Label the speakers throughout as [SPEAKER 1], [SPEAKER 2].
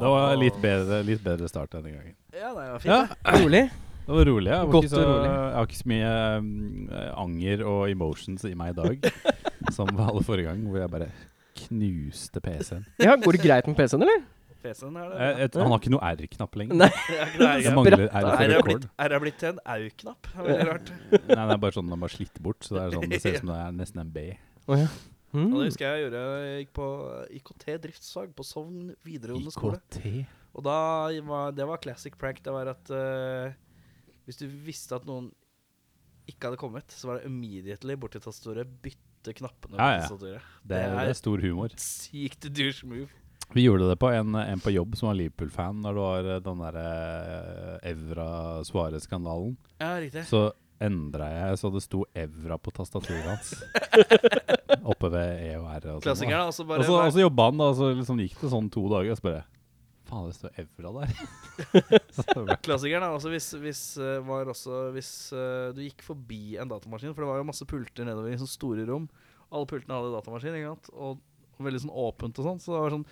[SPEAKER 1] Det var litt bedre, litt bedre start denne gangen.
[SPEAKER 2] Ja, det var
[SPEAKER 1] Ja,
[SPEAKER 2] fint.
[SPEAKER 3] Rolig.
[SPEAKER 1] det var rolig. Jeg, var
[SPEAKER 3] Godt
[SPEAKER 1] ikke så,
[SPEAKER 3] og rolig.
[SPEAKER 1] jeg har ikke så mye mm, anger og emotions i meg i dag som ved alle forrige gang, hvor jeg bare knuste PC-en.
[SPEAKER 3] Ja, Går det greit med PC-en, eller?
[SPEAKER 2] det. PC-en her,
[SPEAKER 1] Jeg-
[SPEAKER 2] det.
[SPEAKER 1] jeg- Han har ikke noe R-knapp lenger.
[SPEAKER 3] Nei.
[SPEAKER 2] Ja, greier.
[SPEAKER 1] Det mangler
[SPEAKER 2] Da
[SPEAKER 1] R
[SPEAKER 2] er
[SPEAKER 1] for
[SPEAKER 2] det blitt,
[SPEAKER 1] record.
[SPEAKER 2] er det blitt til en au-knapp. Det er Veldig rart.
[SPEAKER 1] Nei, det er bare sånn den er bare slitt bort, så det er sånn det ser ut som det er nesten en B.
[SPEAKER 3] Å ja.
[SPEAKER 2] Og det
[SPEAKER 3] Mm.
[SPEAKER 2] husker jeg jeg gjorde. Jeg gikk på IKT-driftsfag på Sogn videregående skole.
[SPEAKER 1] IKT.
[SPEAKER 2] Og da var, det var classic prank. Det var at eh, hvis du visste at noen ikke hadde kommet, så var det immediately bort til tastaturet, bytte knappene
[SPEAKER 1] Ja, ja.
[SPEAKER 2] på tastaturet.
[SPEAKER 1] Det er, det er stor humor.
[SPEAKER 2] Sykt douche move.
[SPEAKER 1] Vi gjorde det på en, en på jobb som var Liverpool-fan, når det var eh, den eh, derre Evra-Suarez-skandalen.
[SPEAKER 2] Ja, riktig.
[SPEAKER 1] Så endra jeg så det sto Evra på tastaturet hans. Oppe ved E og R. Og sånn, da.
[SPEAKER 2] Klassikeren, og så
[SPEAKER 1] Og
[SPEAKER 2] bare
[SPEAKER 1] så, og så jobba han, da, og så liksom gikk det sånn to dager. Og så bare Faen, det står Evra der. så det ble,
[SPEAKER 2] Klassikeren er også hvis, hvis, eh, var også hvis eh, du gikk forbi en datamaskin, for det var jo masse pulter nedover i sånne store rom. Alle pultene hadde datamaskin, ikke sant? Og veldig sånn åpent og sånn. Så det var sånn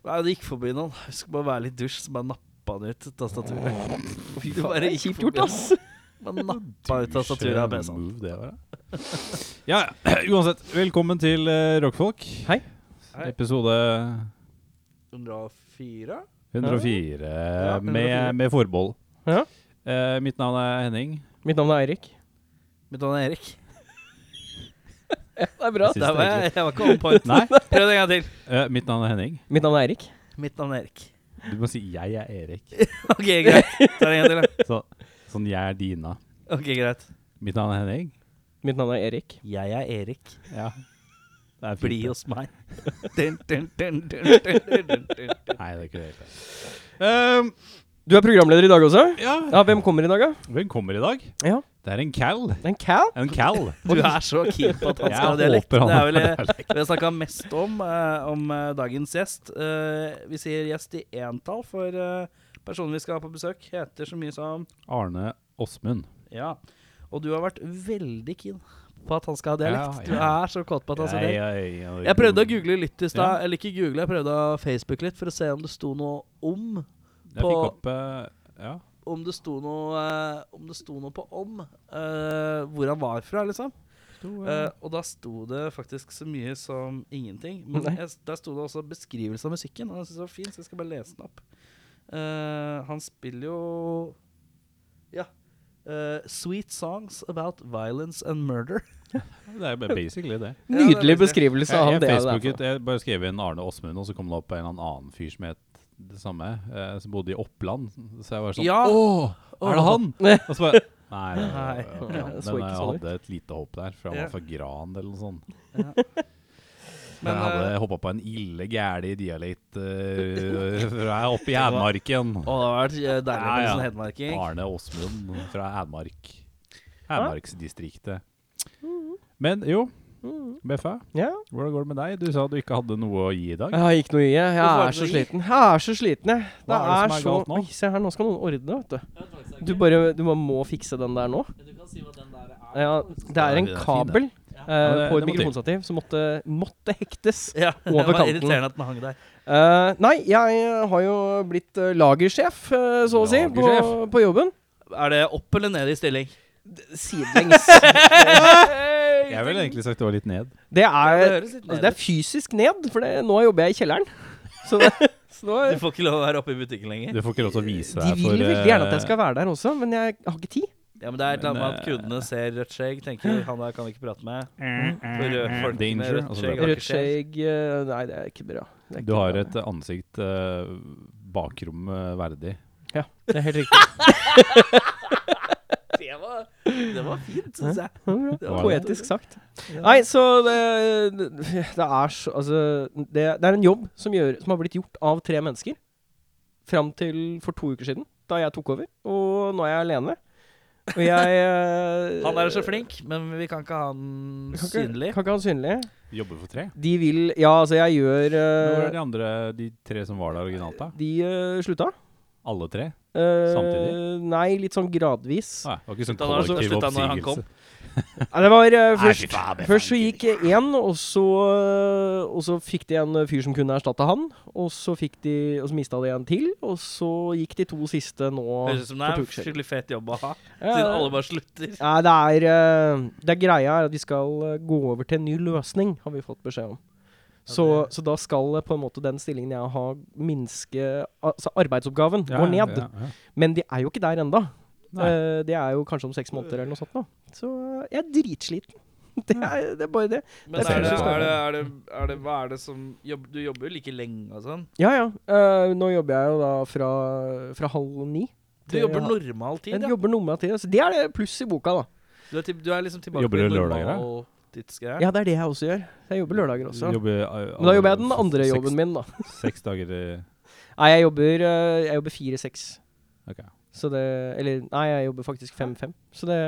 [SPEAKER 2] Nei, du gikk forbi noen. Husk bare å være litt dusj, så bare nappa han ut tastaturet. Fy faen,
[SPEAKER 3] Det er kjipt gjort, ass.
[SPEAKER 2] Bare nappa ut tastaturet av PC-en.
[SPEAKER 1] eh, move, det var det. Ja, ja, uansett. Velkommen til eh, Rockfolk.
[SPEAKER 3] Hei.
[SPEAKER 2] Hei.
[SPEAKER 1] Episode
[SPEAKER 2] 104?
[SPEAKER 1] 104,
[SPEAKER 2] Ja, 104.
[SPEAKER 1] Med, med forbehold.
[SPEAKER 3] Ja.
[SPEAKER 1] Eh, mitt navn er Henning.
[SPEAKER 3] Mitt navn er Eirik.
[SPEAKER 2] Mitt navn er Erik.
[SPEAKER 3] Det er bra.
[SPEAKER 1] Jeg synes
[SPEAKER 2] Der
[SPEAKER 1] det
[SPEAKER 2] var
[SPEAKER 1] er
[SPEAKER 2] jeg, jeg var ikke on point.
[SPEAKER 1] Nei,
[SPEAKER 2] Prøv det en gang til.
[SPEAKER 1] eh, mitt navn er Henning.
[SPEAKER 3] Mitt navn er Eirik.
[SPEAKER 2] Mitt navn er Erik.
[SPEAKER 1] Du må si 'jeg er Erik'.
[SPEAKER 2] OK, greit. Ta det en gang til, da.
[SPEAKER 1] Så, sånn 'jeg er Dina'.
[SPEAKER 2] OK, greit.
[SPEAKER 1] Mitt navn er Henning.
[SPEAKER 3] Mitt navn er Erik.
[SPEAKER 2] Jeg er Erik.
[SPEAKER 1] Ja. Det er fint,
[SPEAKER 2] Bli
[SPEAKER 1] det.
[SPEAKER 2] hos meg. Dun, dun, dun, dun, dun, dun, dun.
[SPEAKER 1] Nei, det er ikke det. helt, det. Ehm,
[SPEAKER 3] Du er programleder i dag også?
[SPEAKER 1] ja,
[SPEAKER 3] Ja, hvem kommer i dag, da?
[SPEAKER 1] hvem kommer i dag?
[SPEAKER 3] Ja.
[SPEAKER 1] Det er en Cal.
[SPEAKER 3] Det er en Cal.
[SPEAKER 1] En Cal.
[SPEAKER 2] Du er så keen på at han skal ha
[SPEAKER 1] Jeg
[SPEAKER 2] dialekt.
[SPEAKER 1] håper han
[SPEAKER 2] Det er vel
[SPEAKER 1] har
[SPEAKER 2] det vi har snakka mest om, eh, om eh, dagens gjest. Eh, vi sier gjest i entall, for eh, personen vi skal ha på besøk, heter så mye som
[SPEAKER 1] Arne Åsmund.
[SPEAKER 2] Ja. Og du har vært veldig keen på at han skal ha
[SPEAKER 1] Ja,
[SPEAKER 2] dialekt. Du
[SPEAKER 1] ja.
[SPEAKER 2] er så kåt på at han skal ha dialekt.
[SPEAKER 1] jeg, jeg-
[SPEAKER 2] Jeg prøvde å google litt i stad, eller ikke google, jeg prøvde å Facebook litt for å se om det sto noe om
[SPEAKER 1] Jeg
[SPEAKER 2] på-
[SPEAKER 1] fikk opp eh, Ja.
[SPEAKER 2] om det sto noe, eh, om, det sto noe på om eh, hvor han var fra, liksom. Eh, og da sto det faktisk så mye som ingenting. Men
[SPEAKER 3] Nei.
[SPEAKER 2] jeg, der sto det også beskrivelse av musikken. Og jeg synes det var fint, så jeg skal bare lese den opp. Eh, han spiller jo Ja. eh, sweet songs about violence and murder.
[SPEAKER 1] Det er bare basically det.
[SPEAKER 3] Nydelig
[SPEAKER 2] Ja, det er
[SPEAKER 3] beskrivelse av
[SPEAKER 1] Jeg, jeg,
[SPEAKER 3] det. det er for
[SPEAKER 1] Facebooket,
[SPEAKER 3] noe.
[SPEAKER 1] jeg bare skrev inn Arne Åsmund, og så kom det opp en eller annen fyr som het det samme, eh, som bodde i Oppland. Så jeg var sånn
[SPEAKER 2] Ja.
[SPEAKER 1] Åh, er det han? Og så bare Nei, det var
[SPEAKER 2] Nei.
[SPEAKER 1] ikke han.
[SPEAKER 3] Det så
[SPEAKER 1] men
[SPEAKER 3] ikke
[SPEAKER 1] jeg
[SPEAKER 3] sånn ut.
[SPEAKER 1] hadde et lite håp der, for han
[SPEAKER 2] Ja.
[SPEAKER 1] var fra Gran eller noe sånt.
[SPEAKER 2] Ja.
[SPEAKER 1] Men
[SPEAKER 2] Men,
[SPEAKER 1] jeg hadde hoppa på en ille gæli dialekt eh, fra oppe i Hedmarken.
[SPEAKER 2] Å, det har vært eh, deilig med
[SPEAKER 1] Ja,
[SPEAKER 2] sånn
[SPEAKER 1] ja.
[SPEAKER 2] hedmarking.
[SPEAKER 1] Arne Åsmund fra Hedmark. Hedmarksdistriktet. Men jo, Beffa,
[SPEAKER 3] Mm-hmm. Ja.
[SPEAKER 1] hvordan går det med deg? Du sa du ikke hadde noe å gi i dag.
[SPEAKER 3] Jeg har ikke noe i. Jeg, jeg
[SPEAKER 2] Hvorfor er
[SPEAKER 3] er
[SPEAKER 2] det
[SPEAKER 3] så
[SPEAKER 2] noe i?
[SPEAKER 3] sliten. Jeg er så sliten, jeg.
[SPEAKER 1] Hva
[SPEAKER 3] Det
[SPEAKER 1] er det
[SPEAKER 3] er
[SPEAKER 1] som er
[SPEAKER 3] så
[SPEAKER 1] galt nå?
[SPEAKER 3] Oi, se her, nå skal noen ordne, vet du. Du bare du bare må fikse den der nå. Ja, det er en
[SPEAKER 1] Det er fin,
[SPEAKER 3] kabel
[SPEAKER 1] Ja,
[SPEAKER 3] eh,
[SPEAKER 1] det- det
[SPEAKER 3] på et
[SPEAKER 1] må til.
[SPEAKER 3] mikrofonstativ som måtte, måtte hektes.
[SPEAKER 2] Ja, det
[SPEAKER 3] Over
[SPEAKER 2] var
[SPEAKER 3] kanten.
[SPEAKER 2] irriterende at den hang der.
[SPEAKER 3] Eh, nei, jeg har jo blitt eh, lagersjef, eh, så å si, på,
[SPEAKER 1] Lagersjef.
[SPEAKER 3] på jobben.
[SPEAKER 2] Er det opp eller ned i stilling?
[SPEAKER 3] Sidelengs.
[SPEAKER 1] Jeg ville egentlig sagt det var litt ned.
[SPEAKER 2] det
[SPEAKER 3] Det er,
[SPEAKER 2] høres litt
[SPEAKER 3] altså,
[SPEAKER 2] ned
[SPEAKER 3] det er
[SPEAKER 2] ut.
[SPEAKER 3] fysisk ned, for det, nå jobber jeg i kjelleren. Så det, så nå
[SPEAKER 2] Du
[SPEAKER 3] er,
[SPEAKER 2] får ikke lov å være oppe i butikken lenger.
[SPEAKER 1] Du får ikke lov til å vise
[SPEAKER 3] de
[SPEAKER 1] deg
[SPEAKER 3] vil
[SPEAKER 1] for eh,
[SPEAKER 3] veldig gjerne at jeg skal være der også, men jeg har ikke tid.
[SPEAKER 2] Ja, men det er et eller annet med at
[SPEAKER 1] Men, eh,
[SPEAKER 2] kundene ser rødt skjegg, tenker han der kan vi ikke prate med. For røde folk
[SPEAKER 1] Danger, altså, og så drar
[SPEAKER 2] med rødt skjegg har
[SPEAKER 3] Mm, Rødt
[SPEAKER 2] ikke skjegg.
[SPEAKER 3] skjegg eh, Nei, det er ikke bra. Det er
[SPEAKER 1] eh, Du
[SPEAKER 3] ikke
[SPEAKER 1] har
[SPEAKER 3] bra.
[SPEAKER 1] et ansikt eh, bakrom eh, verdig.
[SPEAKER 3] Ja, det er helt riktig.
[SPEAKER 2] Det var, det var fint, syns jeg. Det var-
[SPEAKER 3] Poetisk sagt. Nei, så det, det er så Altså, det, det er en jobb som, gjør, som har blitt gjort av tre mennesker. Fram til for to uker siden, da jeg tok over. Og nå er jeg alene. Og jeg eh,
[SPEAKER 2] Han er så flink, men vi kan ikke ha han
[SPEAKER 3] kan ikke-
[SPEAKER 2] synlig.
[SPEAKER 3] Kan ikke ha han synlig.
[SPEAKER 1] Jobber for tre.
[SPEAKER 3] De vil Ja, altså, jeg gjør
[SPEAKER 1] Men Hvor er
[SPEAKER 3] eh,
[SPEAKER 1] de andre, de tre som var der originalt, da?
[SPEAKER 3] De eh, slutta.
[SPEAKER 1] Alle tre?
[SPEAKER 3] Eh,
[SPEAKER 1] Samtidig?
[SPEAKER 3] Nei, litt sånn gradvis.
[SPEAKER 1] Ah, det var ikke sånn
[SPEAKER 2] Da var det så
[SPEAKER 1] kollektiv
[SPEAKER 2] slutta når han
[SPEAKER 1] oppsigelse.
[SPEAKER 3] Nei, det var eh,
[SPEAKER 1] Nei, fy
[SPEAKER 3] først,
[SPEAKER 1] faen, det er
[SPEAKER 3] først så
[SPEAKER 1] faen
[SPEAKER 3] gikk én, og så eh, Og så fikk de en fyr som kunne erstatte han. Og så fikk de Og så mista de en til, og så gikk de to siste nå
[SPEAKER 2] Høres ut som det
[SPEAKER 3] for
[SPEAKER 2] er
[SPEAKER 3] to
[SPEAKER 2] en
[SPEAKER 3] uker siden.
[SPEAKER 2] skikkelig fet jobb å ha,
[SPEAKER 3] Ja,
[SPEAKER 2] siden alle bare slutter.
[SPEAKER 3] Nei, det er, eh, det er greia er at vi skal eh, gå over til en ny løsning, har vi fått beskjed om. Så, så da skal eh, på en måte den stillingen jeg har, minske Altså arbeidsoppgaven
[SPEAKER 1] Ja,
[SPEAKER 3] går ned.
[SPEAKER 1] ja, ja.
[SPEAKER 3] Men de er jo ikke der ennå.
[SPEAKER 1] Nei.
[SPEAKER 3] Eh, det er jo kanskje om seks måneder eller noe sånt nå. Så eh, jeg er dritsliten. Det er, det er bare det.
[SPEAKER 2] Men
[SPEAKER 3] Det er
[SPEAKER 2] er det,
[SPEAKER 3] fint.
[SPEAKER 2] er det, er det, er det, hva er det som jobb, Du jobber jo like lenge og sånn.
[SPEAKER 3] Ja, ja. Eh, nå jobber jeg jo da fra, fra halv ni.
[SPEAKER 2] Du
[SPEAKER 3] til
[SPEAKER 2] jobber
[SPEAKER 3] halv-
[SPEAKER 2] normal tid,
[SPEAKER 3] Jeg
[SPEAKER 2] ja.
[SPEAKER 3] jobber noe med tida. Så det er det pluss i boka, da.
[SPEAKER 2] Du er, til, du er liksom tilbake
[SPEAKER 1] Jobber
[SPEAKER 2] til
[SPEAKER 1] du lørdager, da?
[SPEAKER 2] normaltidsgreie.
[SPEAKER 3] Ja, det er det jeg også gjør. Jeg jobber lørdager også.
[SPEAKER 1] Jobber,
[SPEAKER 3] Men da jobber jeg den andre jobben min, da.
[SPEAKER 1] min. Seks dager i
[SPEAKER 3] Nei, jeg jobber, eh, jeg jobber fire-seks.
[SPEAKER 1] Ok.
[SPEAKER 3] Så det Eller nei, jeg jobber faktisk fem-fem. Så det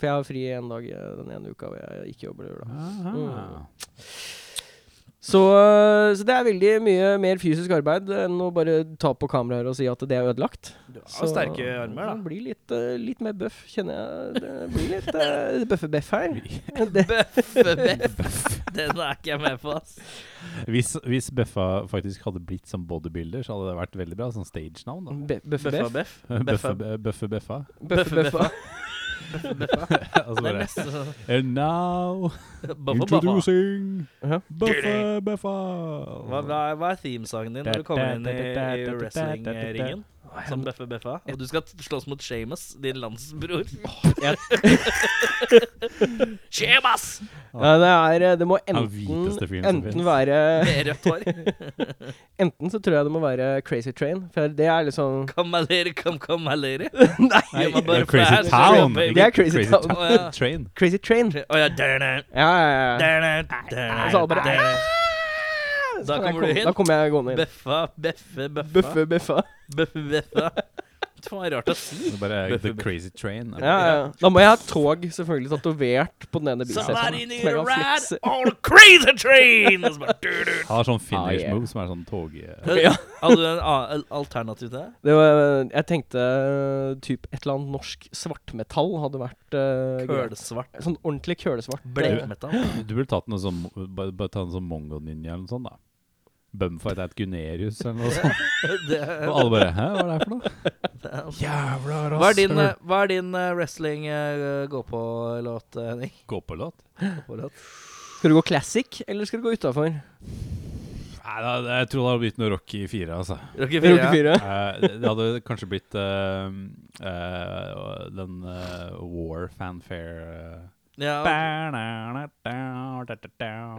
[SPEAKER 3] For jeg har fri en dag eh, den ene uka hvor jeg ikke jobber lørdag. Mm.
[SPEAKER 1] Aha.
[SPEAKER 3] Så, øh, så det er veldig mye mer fysisk arbeid enn å bare ta på kameraer og si at det er ødelagt.
[SPEAKER 2] Du har
[SPEAKER 3] Så-
[SPEAKER 2] jo sterke armer,
[SPEAKER 3] Det
[SPEAKER 2] da.
[SPEAKER 3] blir litt, øh, litt mer bøff, kjenner jeg. Det blir litt uh, bøffe-beff her. Det,
[SPEAKER 2] Bøff. Den er ikke jeg med på, ass.
[SPEAKER 1] Hvis, hvis Bøffa faktisk hadde blitt som bodybuilder, så hadde det vært veldig bra. Sånn stagenavn, da.
[SPEAKER 3] be-
[SPEAKER 2] Bøffa
[SPEAKER 3] Bøffe-beff.
[SPEAKER 2] Beff.
[SPEAKER 1] Bøffe, bøffe Bøffa.
[SPEAKER 3] Bøffe-bøffa.
[SPEAKER 1] altså
[SPEAKER 2] Det er
[SPEAKER 1] bare
[SPEAKER 2] mest sånn
[SPEAKER 1] And now
[SPEAKER 2] Bøffa Bøffa.
[SPEAKER 1] introducing
[SPEAKER 3] Ja.
[SPEAKER 1] Bøffe Bøffa.
[SPEAKER 2] Hva, hva er- hva er themesangen din når du kommer inn i, i wrestlingringen? Som Bøffe Bøffa? Og du skal slåss mot Shamus, din landsbror. Shamus!
[SPEAKER 3] Ja, det, er, øh, det må
[SPEAKER 1] Den
[SPEAKER 3] enten,
[SPEAKER 1] hviteste fyren som
[SPEAKER 3] enten
[SPEAKER 1] finnes.
[SPEAKER 3] være
[SPEAKER 2] Med rødt hår.
[SPEAKER 3] Enten så tror jeg det må være Crazy Train, for det er liksom
[SPEAKER 2] Kom meg lere, kom, kom meg lere.
[SPEAKER 3] Nei,
[SPEAKER 2] Gjør meg bare
[SPEAKER 1] Det er Crazy
[SPEAKER 2] fæl,
[SPEAKER 1] Town.
[SPEAKER 2] baby.
[SPEAKER 3] Det er Crazy Town.
[SPEAKER 2] Å ja.
[SPEAKER 1] Train.
[SPEAKER 3] Crazy Train.
[SPEAKER 2] Å ja, derne,
[SPEAKER 3] Ja, ja, ja.
[SPEAKER 2] derne, derne,
[SPEAKER 3] Så alle bare,
[SPEAKER 2] derne. Da
[SPEAKER 3] Da
[SPEAKER 2] kommer du
[SPEAKER 3] Da
[SPEAKER 2] inn.
[SPEAKER 3] kommer jeg gående inn.
[SPEAKER 2] Bøffa, beffe, bøffa.
[SPEAKER 3] Bøffe-bøffa.
[SPEAKER 2] Bøffe, bøffa. Det var rart å si.
[SPEAKER 1] Det er bare
[SPEAKER 2] Bøffe
[SPEAKER 1] The
[SPEAKER 2] Bøffa.
[SPEAKER 1] Crazy Train.
[SPEAKER 3] Ja, ja. ja. Da må jeg ha tog selvfølgelig tatovert på den ene bicepen.
[SPEAKER 2] Somebody need
[SPEAKER 3] som jeg
[SPEAKER 2] a
[SPEAKER 3] kan
[SPEAKER 2] ride
[SPEAKER 3] flekse.
[SPEAKER 2] on a crazy train! Og så bare, du, du.
[SPEAKER 1] Har sånn finish
[SPEAKER 3] Ah, yeah.
[SPEAKER 1] move som er sånn tog...
[SPEAKER 3] Ja.
[SPEAKER 2] Hadde du en annen alternativ til det?
[SPEAKER 3] Det var, jeg tenkte eh, typ et eller annet norsk svartmetall hadde vært eh, greit.
[SPEAKER 2] Kølsvart.
[SPEAKER 3] Sånn ordentlig kølesvart.
[SPEAKER 2] Bleikmetall.
[SPEAKER 1] Du burde tatt noe som Bare bare ta en sånn mongo-ninja eller noe sånt, da. Bumfight at Gunerius eller noe sånt.
[SPEAKER 2] Det,
[SPEAKER 1] Og alle bare Hæ, hva er det her for noe?
[SPEAKER 2] det-
[SPEAKER 1] Jævla
[SPEAKER 2] Hva er din, eh, hva er din eh, wrestling eh, gå på-låt, Henning?
[SPEAKER 1] Gå-på-låt?
[SPEAKER 2] Gå-på-låt?
[SPEAKER 3] Skal du gå classic, eller skal du gå utafor?
[SPEAKER 1] Nei, da- da- jeg tror det hadde blitt noe rock i fire, altså.
[SPEAKER 2] Rocky Fire, ja.
[SPEAKER 3] Ja.
[SPEAKER 1] Eh, det det hadde kanskje blitt eh, eh, den eh, War fanfare eh.
[SPEAKER 2] Ja, ok.
[SPEAKER 1] Ja,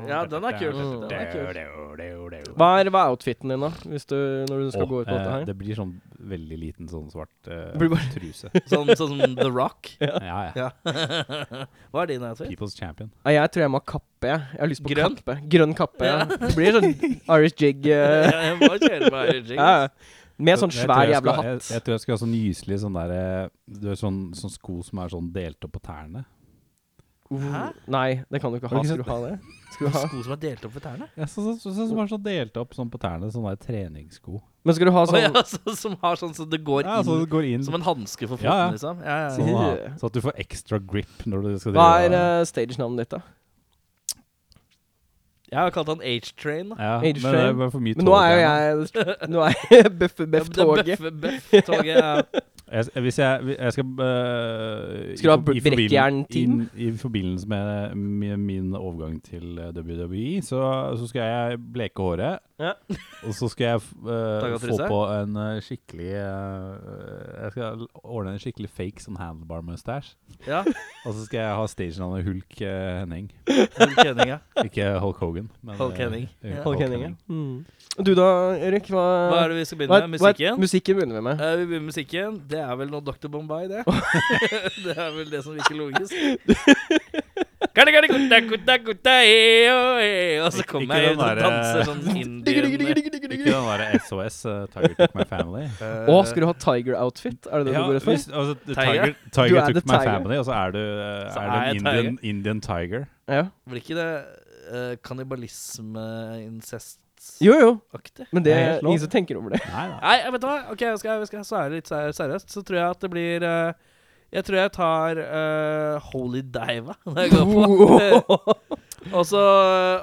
[SPEAKER 2] Ja, den er kul.
[SPEAKER 3] Den er
[SPEAKER 1] kul.
[SPEAKER 3] Mm. Hva er, hva er outfiten din, da? Hvis du, når du skal gå ut på dette her?
[SPEAKER 1] det blir sånn veldig liten sånn svart eh,
[SPEAKER 3] Blir bare-
[SPEAKER 1] truse.
[SPEAKER 2] Sånn, sånn som The Rock?
[SPEAKER 1] Ja, ja.
[SPEAKER 2] Ja. Hva er din eh, outfit?
[SPEAKER 1] People's champion.
[SPEAKER 3] Nei, jeg tror jeg må ha kappe. Jeg Jeg har lyst på
[SPEAKER 2] Grønn?
[SPEAKER 3] kappe. Grønn kappe. Ja. Det blir sånn Irish jig. eh,
[SPEAKER 2] Jeg må kjøre meg Iron Jigs.
[SPEAKER 3] ja. ja. Med sånn
[SPEAKER 1] Jeg
[SPEAKER 3] svær
[SPEAKER 1] tror jeg
[SPEAKER 3] jævla
[SPEAKER 1] skal-
[SPEAKER 3] hatt.
[SPEAKER 1] Jeg, jeg tror jeg skal ha sånn nyselig sånn der eh, Du vet sånn, sånn sko som er sånn delt opp på tærne.
[SPEAKER 2] Hæ?
[SPEAKER 3] Nei, det kan du ikke
[SPEAKER 1] Har
[SPEAKER 3] ha.
[SPEAKER 1] du ikke
[SPEAKER 3] Skal du ha det? Skal du ha?
[SPEAKER 2] Sko som er delt opp ved tærne?
[SPEAKER 1] Ja, så, så, så, så, som er sånn delt opp sånn på tærne. Sånn der treningssko.
[SPEAKER 3] Men skal du ha
[SPEAKER 2] Å
[SPEAKER 3] sånn
[SPEAKER 2] ja, så, som har sånn så det går
[SPEAKER 1] Ja, så
[SPEAKER 2] inn
[SPEAKER 1] det går inn
[SPEAKER 2] som en hanske for foten,
[SPEAKER 1] Ja, ja.
[SPEAKER 2] liksom? Ja, ja,
[SPEAKER 1] sånn,
[SPEAKER 2] ja.
[SPEAKER 1] da, så at du får ekstra grip når du skal
[SPEAKER 3] Hva er
[SPEAKER 1] drive-
[SPEAKER 3] eh, stage-navnet ditt, da?
[SPEAKER 2] Jeg har kalt han H-Train. da.
[SPEAKER 1] ja,
[SPEAKER 3] eh, Age
[SPEAKER 1] men det
[SPEAKER 3] Train?
[SPEAKER 1] er bare for mye
[SPEAKER 3] Men nå
[SPEAKER 1] tog
[SPEAKER 3] er jo
[SPEAKER 1] igjen, da.
[SPEAKER 3] jeg Nå er jeg Bøffe-Beff-toget.
[SPEAKER 2] Ja, Bøff-toget. Ja.
[SPEAKER 1] Jeg, s- hvis jeg, vi- jeg skal eh, i
[SPEAKER 3] Skal du ha
[SPEAKER 1] forbi- i forbilen-
[SPEAKER 3] brekkjernteam?
[SPEAKER 1] inn- I forbindelse med mi- min overgang til eh, WWE, så, så skal jeg bleke håret.
[SPEAKER 3] Ja.
[SPEAKER 1] Og så skal jeg f- eh,
[SPEAKER 2] Daga
[SPEAKER 1] få
[SPEAKER 2] frisør?
[SPEAKER 1] på en eh, skikkelig eh, Jeg skal ordne en skikkelig fake sånn handlebar mustache.
[SPEAKER 2] ja.
[SPEAKER 1] Og så skal jeg ha stagenavnet Hulk eh, Henning.
[SPEAKER 2] Hulk Henning, ja.
[SPEAKER 1] Ikke Hulk Hogan. Men,
[SPEAKER 2] Hulk
[SPEAKER 1] eh,
[SPEAKER 2] Henning.
[SPEAKER 1] eh,
[SPEAKER 2] Ja.
[SPEAKER 3] Folk enige. Mm. Og Du da, Erik? Hva,
[SPEAKER 2] Hva er det vi skal
[SPEAKER 3] hva
[SPEAKER 2] begynne
[SPEAKER 3] er-
[SPEAKER 2] med?
[SPEAKER 3] hva er-
[SPEAKER 2] Musikken?
[SPEAKER 3] musikken begynner vi med.
[SPEAKER 2] Eh, vi begynner med musikken. Det er vel noe Dr. Bombay, det. det er vel det som virker logisk. Kari, kari, gutta, gutta, gutta, eh, oh, eh. Og så
[SPEAKER 1] Ik-
[SPEAKER 2] kommer
[SPEAKER 1] ikke
[SPEAKER 2] jeg
[SPEAKER 1] den
[SPEAKER 2] inn og
[SPEAKER 1] der,
[SPEAKER 2] danser
[SPEAKER 1] eh,
[SPEAKER 2] sånn indian
[SPEAKER 1] Ikke den derre SOS, eh, Tiger Took My Family.
[SPEAKER 2] Eh,
[SPEAKER 3] Å, skal du ha tiger-outfit? Er det det
[SPEAKER 1] Ja,
[SPEAKER 3] du går ut for?
[SPEAKER 1] hvis- altså, the
[SPEAKER 2] Tiger?
[SPEAKER 1] tiger, tiger
[SPEAKER 3] Du er
[SPEAKER 1] took
[SPEAKER 3] the
[SPEAKER 1] my
[SPEAKER 3] tiger.
[SPEAKER 1] family, og så er du, eh,
[SPEAKER 2] Så
[SPEAKER 1] er
[SPEAKER 2] er
[SPEAKER 1] du en
[SPEAKER 2] jeg
[SPEAKER 1] Indian tiger. Indian tiger.
[SPEAKER 3] Ja.
[SPEAKER 2] Blir ikke det eh, kannibalisme-incest-aktig?
[SPEAKER 3] Jo, jo. Men det
[SPEAKER 1] Det er
[SPEAKER 3] er
[SPEAKER 1] helt lov.
[SPEAKER 3] ingen som tenker over det.
[SPEAKER 1] Nei, nei.
[SPEAKER 2] Nei, vet du hva? Ok, jeg skal, jeg skal svare litt ser- seriøst. Så tror jeg at det blir eh, Jeg tror jeg tar eh, Holy Diva når jeg går på. og så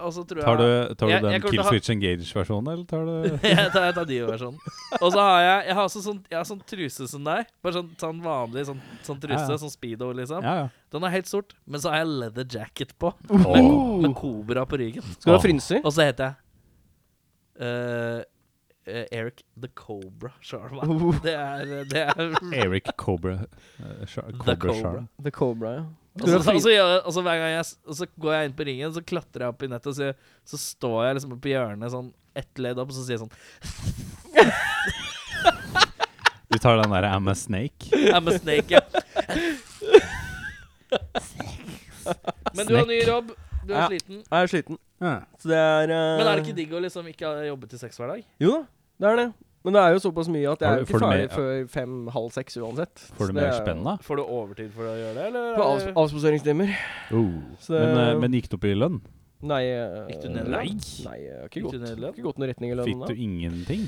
[SPEAKER 2] og så tror jeg
[SPEAKER 1] Tar du, tar du
[SPEAKER 2] Jeg-
[SPEAKER 1] den
[SPEAKER 2] jeg kommer til å
[SPEAKER 1] Kill
[SPEAKER 2] ha-
[SPEAKER 1] Switch Engage-versjonen, eller tar du
[SPEAKER 2] jeg tar, jeg tar Dio-versjonen. Og så har jeg Jeg har også sånn, jeg har sånn truse som deg. Bare sånn, sånn vanlig sånn, sånn truse,
[SPEAKER 1] Ja, ja.
[SPEAKER 2] sånn speedo, liksom.
[SPEAKER 1] Ja, Uh. ja.
[SPEAKER 2] Den er helt sort, men så har jeg leather jacket på.
[SPEAKER 1] Åh.
[SPEAKER 2] Med kobra på ryggen.
[SPEAKER 3] Skal du ha
[SPEAKER 1] Åh.
[SPEAKER 3] frynser?
[SPEAKER 2] Og så heter jeg eh, eh, Eric the Cobra Sharma. Det er Det er
[SPEAKER 1] Uh. Eric Cobra eh, Shar- Cobra
[SPEAKER 2] The Cobra.
[SPEAKER 1] Sharm.
[SPEAKER 3] The Cobra, ja.
[SPEAKER 2] Og så, og så, gjør jeg- og så hver gang jeg s- og så går jeg inn på ringen, så klatrer jeg opp i nettet, og så, så står jeg liksom på hjørnet sånn ett ledd opp, og så sier jeg sånn
[SPEAKER 1] Du tar den derre I'm a snake.
[SPEAKER 2] I'm a snake, ja. Men du har ny jobb. Du er
[SPEAKER 3] Ja.
[SPEAKER 2] sliten.
[SPEAKER 3] Jeg er sliten.
[SPEAKER 1] Ja.
[SPEAKER 3] Så det er eh,
[SPEAKER 2] Men er det ikke digg å liksom ikke ha jobbet til seks hver dag?
[SPEAKER 3] Jo da, det er det. Men det er jo såpass mye at jeg
[SPEAKER 1] Har
[SPEAKER 3] er
[SPEAKER 1] du-
[SPEAKER 3] jo
[SPEAKER 1] får
[SPEAKER 3] ikke
[SPEAKER 1] du
[SPEAKER 3] ferdig
[SPEAKER 1] mer-
[SPEAKER 3] før fem-halv seks uansett.
[SPEAKER 1] Får du
[SPEAKER 3] Så det
[SPEAKER 1] mer
[SPEAKER 3] er jo-
[SPEAKER 1] spenn, da?
[SPEAKER 2] Får du overtid for å gjøre det, eller?
[SPEAKER 3] På avs avspaseringstimer. Så det-
[SPEAKER 1] Men, eh, men gikk det opp i lønn?
[SPEAKER 3] Nei eh,
[SPEAKER 2] Gikk du ned i
[SPEAKER 3] nei.
[SPEAKER 2] lønn?
[SPEAKER 3] Nei, jeg har ikke
[SPEAKER 2] Gikk
[SPEAKER 3] gått,
[SPEAKER 2] du ned i lønn?
[SPEAKER 3] ikke gått noen retning i lønnen
[SPEAKER 1] Fikk
[SPEAKER 3] da.
[SPEAKER 1] du ingenting?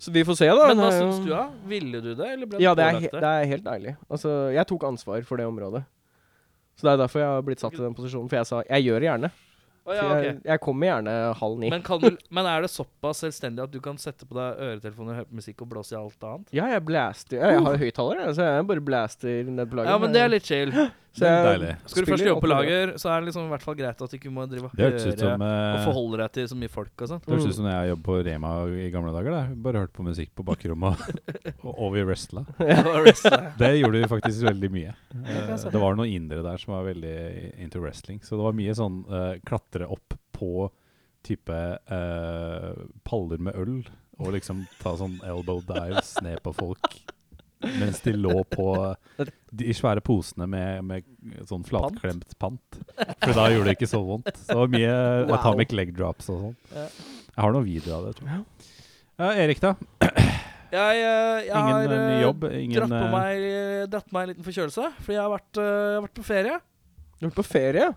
[SPEAKER 3] Så vi får se, da.
[SPEAKER 2] Men hva
[SPEAKER 3] Det er jo-
[SPEAKER 2] syns du, da? Ville du det, eller ble
[SPEAKER 3] Ja,
[SPEAKER 2] du
[SPEAKER 3] det er, he
[SPEAKER 2] pålagt
[SPEAKER 3] det er helt ærlig. Altså, jeg tok ansvar for det området. Så det er derfor jeg har blitt satt i den posisjonen. For jeg sa jeg gjør det gjerne.
[SPEAKER 2] Å,
[SPEAKER 3] Så
[SPEAKER 2] ja,
[SPEAKER 3] jeg,
[SPEAKER 2] ok.
[SPEAKER 3] jeg kommer gjerne halv ni.
[SPEAKER 2] men, kan du, men er det såpass selvstendig at du kan sette på deg øretelefoner, høre på musikk og blåse i alt annet?
[SPEAKER 3] Ja, jeg blaster. Jeg, jeg har jo høyttaler, jeg, så jeg bare blaster ned på laget.
[SPEAKER 2] Ja, men det er litt chill.
[SPEAKER 3] Så jeg-
[SPEAKER 1] Deilig.
[SPEAKER 2] Skal du
[SPEAKER 3] Spiller
[SPEAKER 2] først jobbe på
[SPEAKER 3] alt mulig.
[SPEAKER 2] lager, så er det liksom i hvert fall greit at du ikke må drive og
[SPEAKER 1] Det hørtes ut
[SPEAKER 2] høre
[SPEAKER 1] som
[SPEAKER 2] og
[SPEAKER 1] eh,
[SPEAKER 2] forholde deg til så mye folk og sånn.
[SPEAKER 1] Det hørtes ut som når jeg jobbet på Rema i gamle dager. Da. Bare hørt på musikk på bakrommet, og, og vi wrestla.
[SPEAKER 2] Og wrestle.
[SPEAKER 1] Det gjorde vi faktisk veldig mye.
[SPEAKER 2] kan jeg
[SPEAKER 1] Eh,
[SPEAKER 2] se.
[SPEAKER 1] Det var noen indere der som var veldig into wrestling. Så det var mye sånn eh, klatre opp på type eh, paller med øl, og liksom ta sånn elbow dives ned på folk. Mens de lå på de svære posene med, med sånn flatklemt pant. For da gjorde det ikke så vondt. Så det var mye
[SPEAKER 3] Wow.
[SPEAKER 1] atomic leg drops og sånn.
[SPEAKER 2] Ja.
[SPEAKER 1] Jeg har noen videoer av det, tror jeg. Ja, Erik, da?
[SPEAKER 2] Jeg, eh, jeg
[SPEAKER 1] Ingen
[SPEAKER 2] har
[SPEAKER 1] eh, ny
[SPEAKER 2] eh,
[SPEAKER 1] jobb? Ingen
[SPEAKER 2] dratt, på
[SPEAKER 1] eh,
[SPEAKER 2] meg, dratt meg en liten forkjølelse, fordi jeg har vært, eh, jeg har vært på ferie.
[SPEAKER 3] Du har vært på ferie?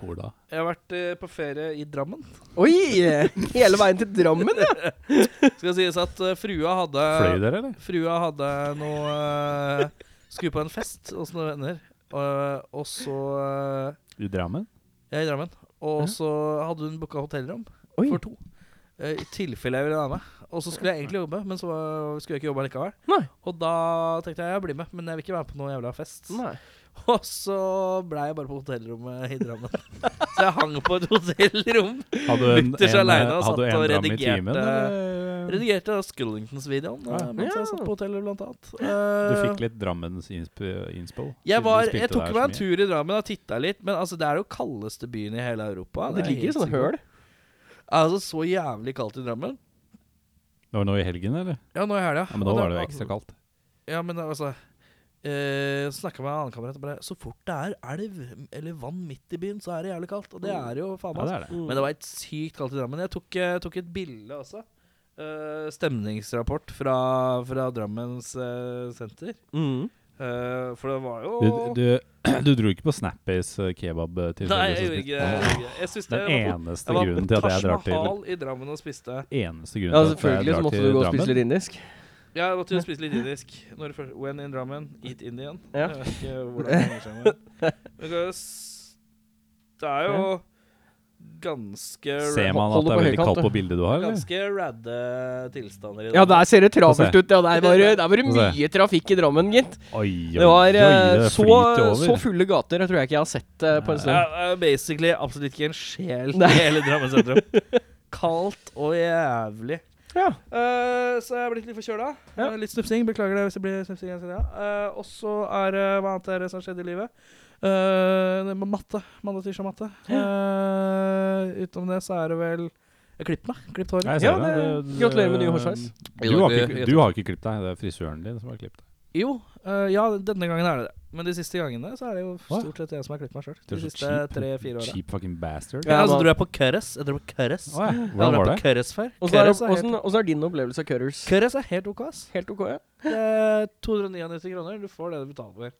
[SPEAKER 1] hvor da?
[SPEAKER 2] Jeg har vært eh, på ferie i Drammen.
[SPEAKER 3] Oi! Hele veien til Drammen, ja!
[SPEAKER 2] Skal sies at eh, frua hadde
[SPEAKER 1] Fløy dere, eller?
[SPEAKER 2] Frua hadde noe eh, Skulle på en fest hos noen venner, eh, og så eh,
[SPEAKER 1] I Drammen?
[SPEAKER 2] Jeg er i Drammen. Og
[SPEAKER 3] Ja.
[SPEAKER 2] så hadde hun booka hotellrom
[SPEAKER 3] Oi.
[SPEAKER 2] for to. eh, I tilfelle jeg ville være med. Og så skulle jeg egentlig jobbe, men så eh, skulle jeg ikke jobbe likevel.
[SPEAKER 3] Nei.
[SPEAKER 2] Og da tenkte jeg jeg blir med, men jeg vil ikke være på noe jævla fest.
[SPEAKER 3] Nei.
[SPEAKER 2] Og så ble jeg bare på hotellrommet i Drammen. så jeg hang på et hotellrom.
[SPEAKER 1] Hadde du en,
[SPEAKER 2] Mutters
[SPEAKER 1] en,
[SPEAKER 2] alene altså, og
[SPEAKER 1] eh, hadde du
[SPEAKER 2] satt
[SPEAKER 1] en dram i
[SPEAKER 2] og redigerte-
[SPEAKER 1] timen? eller?
[SPEAKER 2] Redigerte da Skullingtons-videoen eh,
[SPEAKER 1] Ja.
[SPEAKER 2] mens
[SPEAKER 3] Ja.
[SPEAKER 2] jeg satt på hotellet, blant annet.
[SPEAKER 1] Du
[SPEAKER 2] Eh,
[SPEAKER 1] fikk litt Drammens innsp innspo?
[SPEAKER 2] jeg,
[SPEAKER 1] siden du
[SPEAKER 2] var,
[SPEAKER 1] spilte
[SPEAKER 2] jeg tok
[SPEAKER 1] der så
[SPEAKER 2] meg en
[SPEAKER 1] mye.
[SPEAKER 2] tur i Drammen og titta litt, men altså, det er jo kaldeste byen i hele Europa.
[SPEAKER 3] Det
[SPEAKER 2] er
[SPEAKER 3] ligger i
[SPEAKER 2] helt
[SPEAKER 3] sånne
[SPEAKER 2] sikkert.
[SPEAKER 3] høl.
[SPEAKER 2] Altså, så jævlig kaldt i Drammen.
[SPEAKER 1] Det var nå i helgen, eller?
[SPEAKER 2] Ja, nå i helga.
[SPEAKER 1] Ja, Men da var det jo ekstra kaldt.
[SPEAKER 2] Ja, men altså eh, Snakka med en annen kamerat og bare Så fort det er elv eller vann midt i byen, så er det jævlig kaldt. Og det er jo faen
[SPEAKER 1] Mm. Ja, det
[SPEAKER 2] meg altså.
[SPEAKER 1] er det.
[SPEAKER 2] Men det var helt sykt kaldt i Drammen. Jeg tok, eh, tok et bilde også. Eh, stemningsrapport fra, fra Drammens eh, senter.
[SPEAKER 3] Mm.
[SPEAKER 2] Eh, for det var jo
[SPEAKER 1] Du, du, du dro ikke på Snappies eh, kebab eh, til Sølve
[SPEAKER 2] Nei, jeg
[SPEAKER 1] som
[SPEAKER 2] gjorde ikke
[SPEAKER 1] spiste?
[SPEAKER 2] jeg gjorde ikke det. Jeg synes det
[SPEAKER 1] Den
[SPEAKER 2] jeg var på-
[SPEAKER 1] eneste grunnen til at jeg drar
[SPEAKER 2] Jeg var på Taj
[SPEAKER 1] til
[SPEAKER 2] Mahal i Drammen og spiste.
[SPEAKER 1] Eneste
[SPEAKER 3] Ja,
[SPEAKER 1] grunnen til at
[SPEAKER 3] selvfølgelig
[SPEAKER 1] jeg
[SPEAKER 3] så
[SPEAKER 1] drar
[SPEAKER 3] måtte
[SPEAKER 1] til
[SPEAKER 3] du gå og spise
[SPEAKER 1] Drammen?
[SPEAKER 3] litt indisk.
[SPEAKER 2] Ja, jeg måtte jo spise litt indisk. Når det først- When in Drammen, eat Indian.
[SPEAKER 3] Ja.
[SPEAKER 2] Jeg vet ikke hvordan det henger sammen. Men det er s- Det er jo ganske
[SPEAKER 1] Ser
[SPEAKER 2] ra-
[SPEAKER 1] man at det er
[SPEAKER 3] Hold det eh, på
[SPEAKER 1] veldig
[SPEAKER 3] høykant,
[SPEAKER 1] kaldt på bildet du har, eller?
[SPEAKER 2] Ganske radde tilstander i
[SPEAKER 3] Ja, der ser det travelt
[SPEAKER 1] Få se.
[SPEAKER 3] ut. Ja, der var det der var det
[SPEAKER 1] Få se.
[SPEAKER 3] mye trafikk i Drammen, gitt.
[SPEAKER 1] Oi,
[SPEAKER 3] Det var eh, så,
[SPEAKER 1] flyter over.
[SPEAKER 3] så fulle gater. Jeg tror jeg ikke jeg har sett eh, på en stund.
[SPEAKER 2] Ja, det er basically absolutt ikke en sjel
[SPEAKER 3] Nei.
[SPEAKER 2] i hele Drammen sentrum. Kaldt og jævlig.
[SPEAKER 3] Ja.
[SPEAKER 2] Eh, så jeg er blitt litt forkjøla.
[SPEAKER 3] Ja.
[SPEAKER 2] Eh, litt snufsing. Beklager det hvis det blir snufsing. igjen senere. Eh, og så er det hva annet er det som har skjedd i livet? Eh, det med matte. Mandag, tirsdag, matte. Eh, utenom det så er det vel Jeg klipper meg. Klippet håret.
[SPEAKER 1] Nei, jeg
[SPEAKER 3] Ja,
[SPEAKER 1] ser
[SPEAKER 3] det-
[SPEAKER 1] det.
[SPEAKER 3] gratulerer med ny hårsveis.
[SPEAKER 1] Du har ikke, du har ikke klippet deg, det er frisøren din som har klippet deg.
[SPEAKER 2] Jo, eh, ja, denne gangen er det det. Men de siste gangene så er det jo
[SPEAKER 1] Hva?
[SPEAKER 2] stort sett jeg som har klippet meg sjøl.
[SPEAKER 1] Du
[SPEAKER 2] De
[SPEAKER 1] er så
[SPEAKER 2] siste
[SPEAKER 1] cheap.
[SPEAKER 2] tre-fire åra.
[SPEAKER 1] Cheap fucking bastard.
[SPEAKER 3] Ja,
[SPEAKER 2] Ja, så
[SPEAKER 3] man-
[SPEAKER 2] dro jeg på Curres. Jeg dro på Curres.
[SPEAKER 1] Å, ja.
[SPEAKER 2] Jeg har
[SPEAKER 1] Hvordan var
[SPEAKER 2] vært
[SPEAKER 1] det?
[SPEAKER 2] på Curres før.
[SPEAKER 3] Åssen er,
[SPEAKER 2] Curres er helt-
[SPEAKER 3] hvordan- hvordan er din opplevelse av Cutters?
[SPEAKER 2] Curres er helt OK, ass.
[SPEAKER 3] Helt ok, ja.
[SPEAKER 2] Det er 299 kroner. Du får det du betaler for.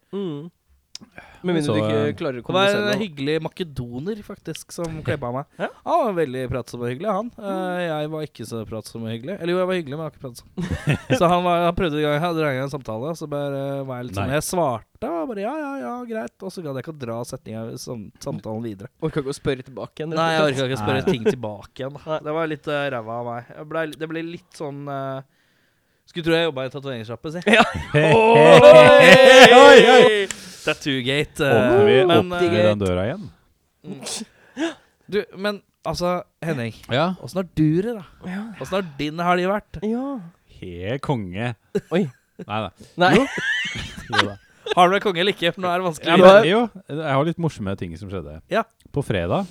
[SPEAKER 3] Med
[SPEAKER 1] Så,
[SPEAKER 3] mindre du
[SPEAKER 1] eh,
[SPEAKER 3] ikke klarer å
[SPEAKER 2] Mm. Det var
[SPEAKER 3] kommunisere
[SPEAKER 2] en
[SPEAKER 3] det.
[SPEAKER 2] hyggelig makedoner faktisk som klebba meg.
[SPEAKER 3] Ja.
[SPEAKER 2] Han var veldig pratsom og hyggelig, han. Eh, jeg var ikke så pratsom og hyggelig. Eller jo, jeg var hyggelig, men jeg var ikke pratsom. så han, var, han prøvde i gang, han dro i gang en samtale, og så bare eh, var jeg litt sånn
[SPEAKER 1] Nei.
[SPEAKER 2] Jeg svarte og bare ja, ja, ja, greit. Og så gadd jeg ikke å dra setninga sam samtalen videre.
[SPEAKER 3] Orka ikke å spørre tilbake igjen. rett og
[SPEAKER 2] Nei, jeg
[SPEAKER 3] slett.
[SPEAKER 2] orka ikke å spørre
[SPEAKER 1] Nei.
[SPEAKER 2] ting tilbake igjen. da. Det var litt eh, ræva av meg. Jeg ble, det ble litt sånn eh, Skulle tro jeg jobba i tatoveringssjappe, si. Oi! Tattoo-gate. eh,
[SPEAKER 1] Åpner vi
[SPEAKER 2] men,
[SPEAKER 1] opp
[SPEAKER 2] eh,
[SPEAKER 1] til den døra igjen?
[SPEAKER 2] Du, men altså, Henning.
[SPEAKER 1] Ja.
[SPEAKER 2] Åssen har du det, da? Åssen har din helg vært?
[SPEAKER 3] Ja.
[SPEAKER 1] He konge.
[SPEAKER 3] Oi.
[SPEAKER 1] Nei da.
[SPEAKER 3] Nei.
[SPEAKER 1] Jo da.
[SPEAKER 2] Har du vært konge eller ikke? For nå er det
[SPEAKER 1] Ja,
[SPEAKER 2] vanskelig.
[SPEAKER 3] men-
[SPEAKER 1] men, jo, jeg har litt morsomme ting som skjedde.
[SPEAKER 2] Ja.
[SPEAKER 1] På fredag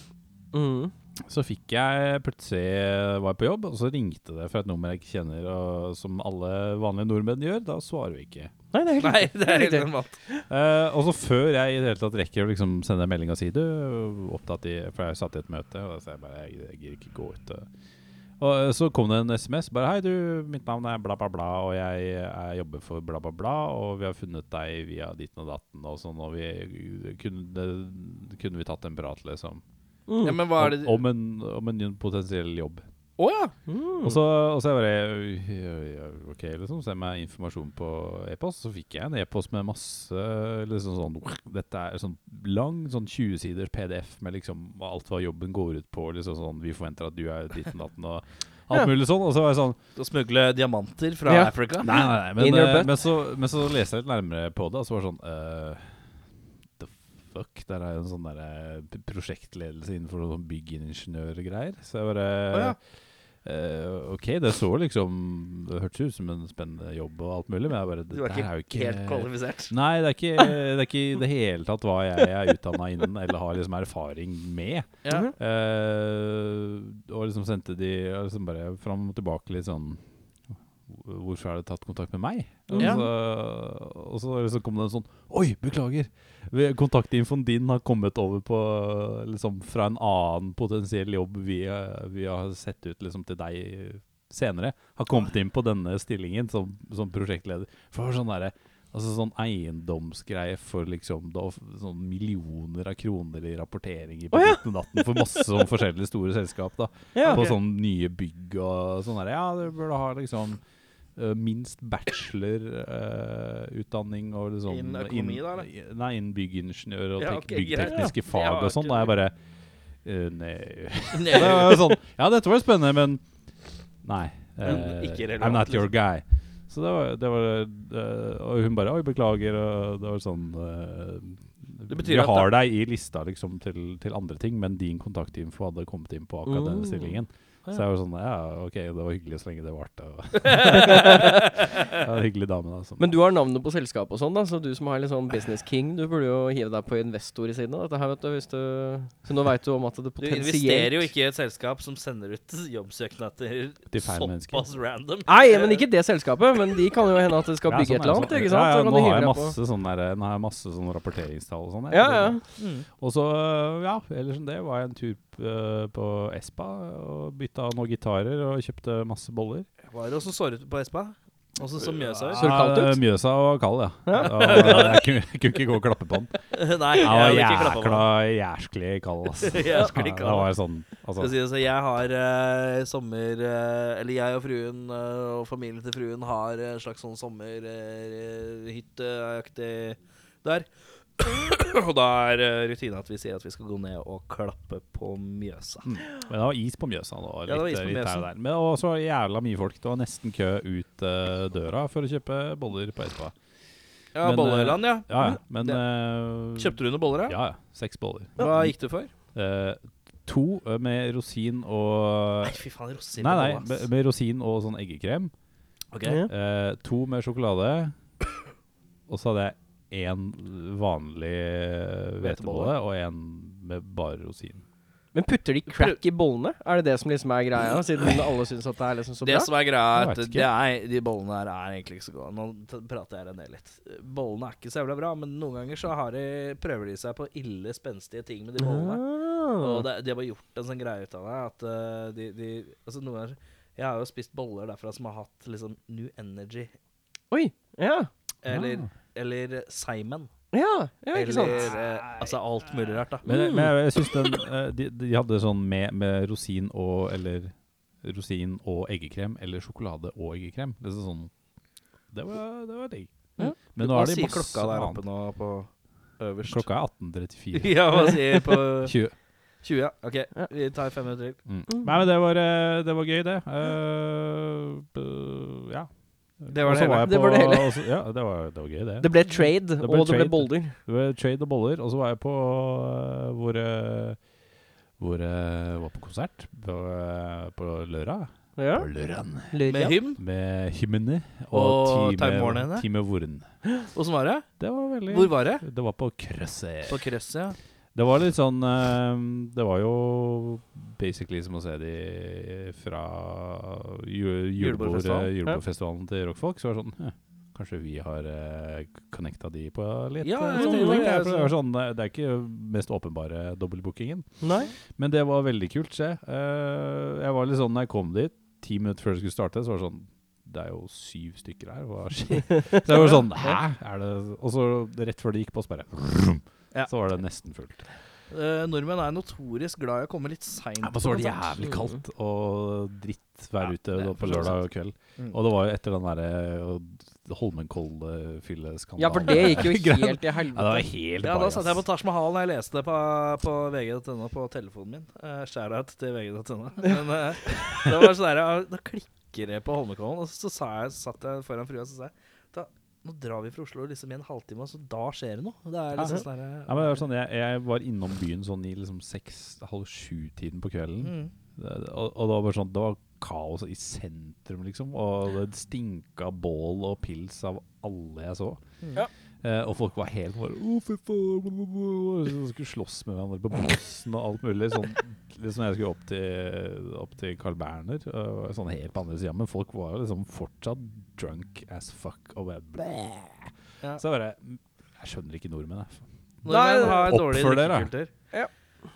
[SPEAKER 3] Mm.
[SPEAKER 1] så fikk jeg plutselig var jeg på jobb, og så ringte det fra et nummer jeg ikke kjenner, og som alle vanlige nordmenn gjør. Da svarer vi ikke.
[SPEAKER 3] Nei, det er helt
[SPEAKER 2] Nei, det er helt
[SPEAKER 3] riktig.
[SPEAKER 2] normalt.
[SPEAKER 1] Eh, og så før jeg i det hele tatt rekker å liksom sende en melding og si du opptatt i For jeg satt i et møte, og da sa jeg bare jeg, jeg gidder ikke gå ut. Og, og eh, så kom det en SMS. Bare hei, du, mitt navn er bla, bla, bla, og jeg, eh, jobber for bla, bla, bla, og vi har funnet deg via ditten og datten og sånn, og vi kunne, kunne vi tatt en prat, liksom.
[SPEAKER 3] Mm.
[SPEAKER 2] Ja, men hva er det Å
[SPEAKER 1] Om, en, om en potensiell jobb.
[SPEAKER 2] ja!
[SPEAKER 3] Mm.
[SPEAKER 1] Og så, og så er jeg bare «Øy, øy, øy, OK, liksom. Send meg informasjon på e-post. Så fikk jeg en e-post med masse liksom sånn Dette er sånn lang, sånn 20-siders PDF med liksom hva- alt hva jobben går ut på. Liksom sånn Vi forventer at du er ditten datten og alt
[SPEAKER 3] Ja.
[SPEAKER 1] mulig sånn. Og så var jeg sånn
[SPEAKER 2] Å smugle diamanter fra
[SPEAKER 3] Ja.
[SPEAKER 2] Africa?
[SPEAKER 1] Nei, nei, nei.
[SPEAKER 3] In
[SPEAKER 1] Men,
[SPEAKER 3] your
[SPEAKER 1] eh,
[SPEAKER 3] butt.
[SPEAKER 1] men, så, men så leste jeg litt nærmere på det, og så var det sånn eh, The fuck? Der er jo en sånn der, eh, p- prosjektledelse innenfor noen sånn byggingeniørgreier. Så jeg bare
[SPEAKER 2] Å,
[SPEAKER 1] eh, OK, det så liksom Det hørtes ut som en spennende jobb og alt mulig, men jeg bare
[SPEAKER 2] Du
[SPEAKER 1] Det
[SPEAKER 2] var
[SPEAKER 1] der er jo
[SPEAKER 2] ikke
[SPEAKER 1] ikke
[SPEAKER 2] helt kvalifisert.
[SPEAKER 1] Nei, det er ikke det er ikke i det hele tatt hva jeg er utdanna innen eller har liksom erfaring med.
[SPEAKER 2] Ja.
[SPEAKER 1] Eh, og liksom sendte de og liksom bare fram og tilbake litt sånn Hvorfor har de tatt kontakt med meg? Og
[SPEAKER 2] Ja.
[SPEAKER 1] så, og så liksom kom det en sånn Oi, beklager! Vi- Kontaktinfoen din har kommet over på liksom fra en annen potensiell jobb vi, eh, vi har sett ut liksom til deg senere. Har kommet inn på denne stillingen som, som prosjektleder. For det var sånn derre Altså sånn eiendomsgreie for liksom da, sånn millioner av kroner i rapporteringer på
[SPEAKER 3] Å, ja.
[SPEAKER 1] ditten og datten for masse sånn forskjellige store selskap. da
[SPEAKER 3] Ja.
[SPEAKER 1] På sånn nye bygg og sånn der. Ja, du burde ha liksom eh, minst bachelorutdanning og liksom
[SPEAKER 2] Innen
[SPEAKER 1] inn-
[SPEAKER 2] økonomi da,
[SPEAKER 1] Nei, innen byggingeniør og
[SPEAKER 2] Ja,
[SPEAKER 1] tek-
[SPEAKER 2] ok, greit.
[SPEAKER 1] byggtekniske
[SPEAKER 2] Ja.
[SPEAKER 1] fag
[SPEAKER 2] Ja,
[SPEAKER 1] og sånn.
[SPEAKER 2] ok.
[SPEAKER 1] Da er jeg bare eh, Nei.
[SPEAKER 2] Nei.
[SPEAKER 1] Det var jo sånn, ja, dette var jo spennende, men Nei.
[SPEAKER 2] Men
[SPEAKER 1] eh,
[SPEAKER 2] ikke relevant,
[SPEAKER 1] I'm not your
[SPEAKER 2] liksom.
[SPEAKER 1] guy. Så det var, det var eh, Og hun bare 'oi, beklager', og det var sånn eh,
[SPEAKER 2] Det betyr
[SPEAKER 1] Vi
[SPEAKER 2] at
[SPEAKER 1] har deg i lista liksom til, til andre ting, men din kontaktinfo hadde kommet inn på akkurat
[SPEAKER 3] Mm.
[SPEAKER 2] Oh,
[SPEAKER 1] denne stillingen. Så jeg var sånn Ja, OK, det var hyggelig så lenge det varte. og- Det var en hyggelig dame, da. Som,
[SPEAKER 3] Men du har navnet på selskapet og sånn, da, så du som har litt sånn business king, du burde jo hive deg på investor i siden av dette her, vet du. Hvis du så nå veit du om at det
[SPEAKER 2] Du
[SPEAKER 3] potensielt
[SPEAKER 2] investerer jo ikke i et selskap som sender ut jobbsøknader
[SPEAKER 1] Til feil mennesker.
[SPEAKER 2] såpass random.
[SPEAKER 3] Nei, men ikke det selskapet, men de kan jo hende at det skal
[SPEAKER 1] Ja,
[SPEAKER 3] bygge
[SPEAKER 1] sånn er det
[SPEAKER 3] et eller annet,
[SPEAKER 1] sånn.
[SPEAKER 3] ikke sant?
[SPEAKER 1] Ja, ja,
[SPEAKER 3] Så kan
[SPEAKER 1] nå,
[SPEAKER 3] du
[SPEAKER 1] har
[SPEAKER 3] hive
[SPEAKER 1] jeg
[SPEAKER 3] deg på-
[SPEAKER 1] masse sånn der, nå har jeg masse sånn rapporteringstall og sånn. jeg.
[SPEAKER 3] Ja, ja.
[SPEAKER 2] Mm.
[SPEAKER 1] Og så, ja, ellers enn det var jeg en tur eh, på Espa og bytta noen gitarer og kjøpte masse boller.
[SPEAKER 2] Var det også såret på Espa? Også som Mjøsa?
[SPEAKER 3] Så det kaldt ut?
[SPEAKER 1] Ja, Eh, Mjøsa var kald, ja.
[SPEAKER 3] Ja.
[SPEAKER 1] ja. Jeg kunne, jeg kunne ikke gå og klappe på den.
[SPEAKER 2] Nei, jeg
[SPEAKER 1] Den var
[SPEAKER 2] vil ikke klappe på
[SPEAKER 1] jækla altså. jæsklig kald, ass.
[SPEAKER 2] Jæsklig
[SPEAKER 1] Ja,
[SPEAKER 2] kald.
[SPEAKER 1] Det var sånn,
[SPEAKER 2] Skal
[SPEAKER 1] altså.
[SPEAKER 2] si det sånn, jeg har eh, sommer eh, Eller jeg og fruen eh, og familien til fruen har eh, en slags sånn sommerhytteaktig der. og da er eh, rutinen at vi sier at vi skal gå ned og klappe på Mjøsa.
[SPEAKER 1] Men det var is på Mjøsa. Det var
[SPEAKER 2] Ja, det var
[SPEAKER 1] litt, eh,
[SPEAKER 2] is på
[SPEAKER 1] litt her og
[SPEAKER 2] Mjøsa.
[SPEAKER 1] der. Men og så var det jævla mye folk. Det var nesten kø ut eh, døra for å kjøpe boller på Espa.
[SPEAKER 2] Ja,
[SPEAKER 1] Men, eh,
[SPEAKER 2] Bolleland, ja.
[SPEAKER 1] Ja, ja. Men
[SPEAKER 2] Det-
[SPEAKER 1] eh,
[SPEAKER 2] Kjøpte du noen boller, da?
[SPEAKER 1] Ja, ja. Seks boller.
[SPEAKER 2] Hva gikk du for?
[SPEAKER 1] Eh, to eh, med rosin og
[SPEAKER 2] Nei, fy faen, rosiner
[SPEAKER 1] Nei, nei,
[SPEAKER 2] på bolla,
[SPEAKER 1] med,
[SPEAKER 2] ass.
[SPEAKER 1] med rosin og sånn eggekrem.
[SPEAKER 2] Ok.
[SPEAKER 3] Ja.
[SPEAKER 1] Eh, to med sjokolade. Og så hadde jeg én vanlig eh, hvetebolle og én med bare rosin.
[SPEAKER 3] Men putter de crack i bollene? Er det det som liksom er greia? Siden alle syns at det er liksom så
[SPEAKER 2] Det
[SPEAKER 3] bra?
[SPEAKER 2] som er greia, er
[SPEAKER 1] Jeg
[SPEAKER 2] at
[SPEAKER 1] vet ikke.
[SPEAKER 2] det er, de bollene her er egentlig ikke så gode. Nå t- prater jeg deg ned litt. Bollene er ikke så jævla bra, men noen ganger så har de, prøver de seg på ille spenstige ting med de bollene. Og
[SPEAKER 3] Ah.
[SPEAKER 2] det, de har bare gjort en sånn greie ut av det. At eh, de, de Altså, noen ganger Jeg har jo spist boller derfra som har hatt liksom New Energy
[SPEAKER 3] Oi. Ja.
[SPEAKER 2] eller,
[SPEAKER 1] Ah.
[SPEAKER 2] eller Simon.
[SPEAKER 3] Ja, ja ikke sant?
[SPEAKER 2] Eller eh, altså alt mulig rart, da.
[SPEAKER 3] Mm.
[SPEAKER 1] Men, men jeg, jeg syns den eh, de, de hadde sånn med, med rosin og Eller rosin og eggekrem, eller sjokolade og eggekrem. Det, er sånn, det var, det var digg.
[SPEAKER 3] Ja.
[SPEAKER 1] Men nå
[SPEAKER 2] Hva
[SPEAKER 1] er det
[SPEAKER 2] sier
[SPEAKER 1] masse
[SPEAKER 2] klokka der oppe
[SPEAKER 1] annet.
[SPEAKER 2] nå på øverst?
[SPEAKER 1] Klokka er 18.34.
[SPEAKER 2] Ja, hva sier på
[SPEAKER 1] 20.
[SPEAKER 2] 20, ja. Ok,
[SPEAKER 3] Ja.
[SPEAKER 2] vi tar fem minutter til.
[SPEAKER 1] Mm. Nei, men det var, eh, det var gøy, det. Eh, b- ja.
[SPEAKER 2] Det var
[SPEAKER 1] Og
[SPEAKER 2] det
[SPEAKER 1] så
[SPEAKER 2] hele.
[SPEAKER 1] jeg
[SPEAKER 3] Det var
[SPEAKER 1] på-
[SPEAKER 3] det hele.
[SPEAKER 1] og så- Ja, det var, det var gøy, det.
[SPEAKER 3] Det ble trade,
[SPEAKER 1] ble
[SPEAKER 3] og det ble
[SPEAKER 1] trade.
[SPEAKER 3] boulder.
[SPEAKER 1] Det var trade og boller. Og så var jeg på eh, hvor, eh, hvor eh, var på konsert på, eh, på lørdag.
[SPEAKER 3] Ja.
[SPEAKER 1] På lørdagen.
[SPEAKER 2] Med
[SPEAKER 3] Lyria.
[SPEAKER 2] hym.
[SPEAKER 1] Med hymne
[SPEAKER 2] Og
[SPEAKER 1] og,
[SPEAKER 2] timemålene.
[SPEAKER 1] time, time Voren.
[SPEAKER 2] Åssen var det?
[SPEAKER 1] Det var veldig
[SPEAKER 2] Hvor var det?
[SPEAKER 1] Det var på krøsset.
[SPEAKER 2] På krøsset, ja.
[SPEAKER 1] Det var litt sånn eh, Det var jo basically som å se de fra ju- julebord,
[SPEAKER 2] Julebordfestivalen.
[SPEAKER 1] eh, julebordfestivalen til Rockfolk. Så var det sånn «Hm, Kanskje vi har eh, connecta de på litt?
[SPEAKER 2] Ja,
[SPEAKER 1] eh,
[SPEAKER 2] jeg
[SPEAKER 1] sånn,
[SPEAKER 2] tenkte
[SPEAKER 1] ting».
[SPEAKER 2] det,
[SPEAKER 1] Ja, for det,
[SPEAKER 2] altså.
[SPEAKER 1] var sånn, eh, det er ikke mest åpenbare dobbeltbookingen.
[SPEAKER 3] Nei.
[SPEAKER 1] Men det var veldig kult, se. Eh, jeg var litt sånn når jeg kom dit, ti minutter før det skulle starte, så var det sånn Det er jo syv stykker her, hva skjer? Så jeg var sånn Hæ? Er det Og så rett før det gikk på, så bare
[SPEAKER 2] Ja.
[SPEAKER 1] Så var det nesten fullt.
[SPEAKER 2] Eh, nordmenn er notorisk glad i å komme litt seint.
[SPEAKER 1] Ja, men så var det
[SPEAKER 2] på konsert.
[SPEAKER 1] jævlig kaldt og dritt vær
[SPEAKER 2] Ja,
[SPEAKER 1] ute
[SPEAKER 2] det er
[SPEAKER 1] da på
[SPEAKER 2] for så vidt
[SPEAKER 1] lørdag kveld.
[SPEAKER 2] Mm.
[SPEAKER 1] Og det var jo etter den derre eh, Holmenkollfylleskandalen.
[SPEAKER 3] Ja, for det gikk jo helt til
[SPEAKER 1] Ja, det
[SPEAKER 3] helvete.
[SPEAKER 1] var helt
[SPEAKER 2] Ja, da
[SPEAKER 1] bajas.
[SPEAKER 2] satt jeg på Taj Mahal da jeg leste det på, på vg.no på telefonen min. Uh, Shout-out til vg.no. Men eh, det var sånn der, ja, da klikker det på Holmenkollen, og så, sa jeg, satt jeg foran frua og så sa jeg, da, nå drar vi fra Oslo liksom i en halvtime, og så da skjer det noe. Det er liksom sånn der, eh,
[SPEAKER 1] Ja, men det var sånn, jeg, jeg var innom byen sånn i liksom seks-halv sju-tiden på kvelden.
[SPEAKER 2] mm.
[SPEAKER 1] Det, og, og det var bare sånn Det var kaos i sentrum, liksom. Og det stinka bål og pils av alle jeg så.
[SPEAKER 2] Mm.
[SPEAKER 3] Ja.
[SPEAKER 1] Eh, og folk var helt bare Å, fy faen! bla, bla, bla», og så Skulle slåss med hverandre på bussen og alt mulig. Sånn, liksom jeg skulle opp til, opp til Carl Berner, og sånn helt på andre sida. Men folk var jo liksom fortsatt drunk as fuck og bare blæ.
[SPEAKER 2] Ja.
[SPEAKER 1] Så jeg bare Jeg skjønner ikke nordmenn, jeg.
[SPEAKER 2] Nordmenn har
[SPEAKER 1] Nei,
[SPEAKER 2] dårlig
[SPEAKER 1] oppfør dere.
[SPEAKER 2] drikkekultur.
[SPEAKER 3] Ja.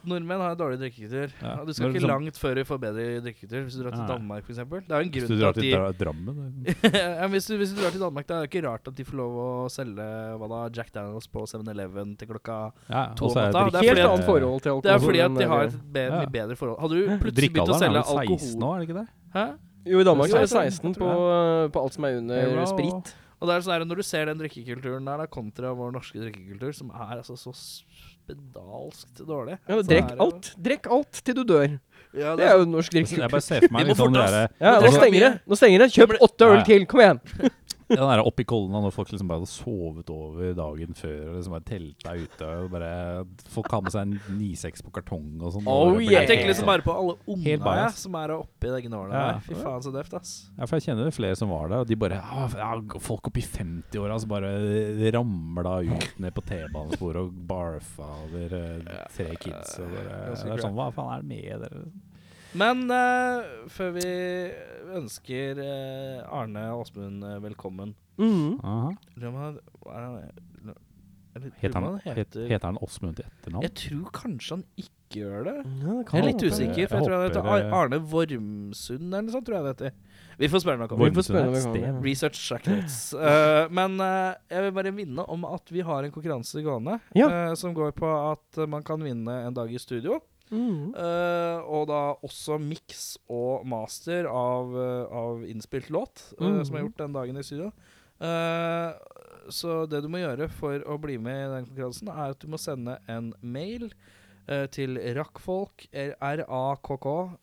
[SPEAKER 2] Nordmenn har dårlig drikkekultur.
[SPEAKER 1] Ja.
[SPEAKER 2] Og Du skal
[SPEAKER 1] Når
[SPEAKER 2] ikke
[SPEAKER 1] du som-
[SPEAKER 2] langt før du får bedre drikkekultur. Hvis du drar til
[SPEAKER 1] Nei.
[SPEAKER 2] Danmark, for eksempel Det er jo en grunn
[SPEAKER 1] Hvis du
[SPEAKER 2] til
[SPEAKER 1] drar
[SPEAKER 2] at
[SPEAKER 1] til
[SPEAKER 2] de
[SPEAKER 1] Dra- Drammen det-
[SPEAKER 2] ja, men hvis, du, hvis du drar til Danmark, da er det ikke rart at de får lov å selge hva da, Jack Daniels på 7-Eleven til klokka
[SPEAKER 1] ja,
[SPEAKER 2] To
[SPEAKER 1] og så altså, er Eh,
[SPEAKER 2] om natta, det er
[SPEAKER 1] drikke-
[SPEAKER 3] Helt annet forhold til alkohol.
[SPEAKER 2] Det er fordi at
[SPEAKER 3] enn
[SPEAKER 2] de
[SPEAKER 3] eh, det
[SPEAKER 2] har
[SPEAKER 3] vi-
[SPEAKER 2] et be-
[SPEAKER 1] Ja.
[SPEAKER 2] mye bedre forhold. Hadde du plutselig begynt å
[SPEAKER 1] Drikkealderen
[SPEAKER 2] selge
[SPEAKER 1] er vel 16
[SPEAKER 2] alkohol Eh,
[SPEAKER 1] nå, er det ikke det?
[SPEAKER 2] Hæ?
[SPEAKER 3] Jo, i Danmark
[SPEAKER 1] Jo,
[SPEAKER 3] så er
[SPEAKER 1] jeg
[SPEAKER 3] det
[SPEAKER 1] tror-
[SPEAKER 3] 16 på, på alt som er
[SPEAKER 1] Ja,
[SPEAKER 3] under
[SPEAKER 1] og-
[SPEAKER 3] sprit.
[SPEAKER 2] Og det er sånn her, Når du ser den drikkekulturen der, da, kontra vår norske drikkekultur, som er altså så spedalskt dårlig
[SPEAKER 3] Ja, men
[SPEAKER 2] Så
[SPEAKER 3] Drekk
[SPEAKER 2] er det-
[SPEAKER 3] alt. Drekk alt til du dør.
[SPEAKER 2] ja,
[SPEAKER 3] Det er jo norsk
[SPEAKER 1] Jeg
[SPEAKER 3] drikkekultur.
[SPEAKER 1] Altså, bare ser for meg
[SPEAKER 2] Vi må
[SPEAKER 1] liksom det
[SPEAKER 2] forte
[SPEAKER 1] derre
[SPEAKER 3] Ja,
[SPEAKER 2] Det
[SPEAKER 3] nå
[SPEAKER 2] er så
[SPEAKER 3] stenger det.
[SPEAKER 2] mye-
[SPEAKER 3] Nå stenger det. Kjøp
[SPEAKER 2] Men-
[SPEAKER 3] åtte
[SPEAKER 1] Ja,
[SPEAKER 3] øl
[SPEAKER 1] ja.
[SPEAKER 3] til. Kom igjen.
[SPEAKER 1] Den der oppi Kolna når folk liksom bare hadde sovet over dagen før og liksom bare telta ute og bare Folk har med seg en 96 på kartong og sånn.
[SPEAKER 3] Oh,
[SPEAKER 1] og det ble
[SPEAKER 3] yeah.
[SPEAKER 2] Jeg tenker liksom
[SPEAKER 1] helt
[SPEAKER 2] bare på alle
[SPEAKER 1] Helt
[SPEAKER 2] unga ja,
[SPEAKER 1] biased.
[SPEAKER 2] som er oppi det gnålet
[SPEAKER 1] Ja.
[SPEAKER 2] der. Fy faen, så døvt, ass.
[SPEAKER 1] sånn. Ja, for jeg kjenner flere som var der, og de bare «Ah, ja, Folk oppi 50-åra som altså bare ramla ut ned på T-banesporet og barfa over eh, tre kids. Og bare,
[SPEAKER 2] Ganske
[SPEAKER 1] det er
[SPEAKER 2] crap.
[SPEAKER 1] sånn, Hva faen er det med dere?
[SPEAKER 2] Men eh, før vi ønsker eh, Arne Åsmund eh, velkommen
[SPEAKER 3] Mhm.
[SPEAKER 1] Aha.
[SPEAKER 2] Lurer på om han- hva er han- jeg lurer på
[SPEAKER 1] Heter,
[SPEAKER 2] om
[SPEAKER 1] han, het, heter han Åsmund til etternavn?
[SPEAKER 2] Jeg tror kanskje han ikke gjør det.
[SPEAKER 3] Ja, det
[SPEAKER 2] Jeg er
[SPEAKER 3] kan
[SPEAKER 2] litt
[SPEAKER 3] håpe.
[SPEAKER 1] Jeg
[SPEAKER 2] usikker, for jeg tror han heter
[SPEAKER 1] håper
[SPEAKER 2] Ar-
[SPEAKER 1] det-
[SPEAKER 2] Arne Vormsund eller noe sånt. tror jeg det heter. Vi får spørre noe om det.
[SPEAKER 3] Vi får
[SPEAKER 1] Vormsund er et
[SPEAKER 3] spørre når vi kommer.
[SPEAKER 1] sted.
[SPEAKER 2] Research Shacknets. Uh, men eh, jeg vil bare minne om at vi har en konkurranse gående
[SPEAKER 3] Ja.
[SPEAKER 2] eh, som går på at eh, man kan vinne en dag i studio.
[SPEAKER 3] Mhm.
[SPEAKER 2] Eh, og da også miks og master av, eh, av innspilt låt, eh,
[SPEAKER 3] Mhm.
[SPEAKER 2] som er gjort den dagen i studio. Eh, så det du må gjøre for å bli med i den konkurransen, er at du må sende en mail eh, til rakkfolk, r- r-a-k-k,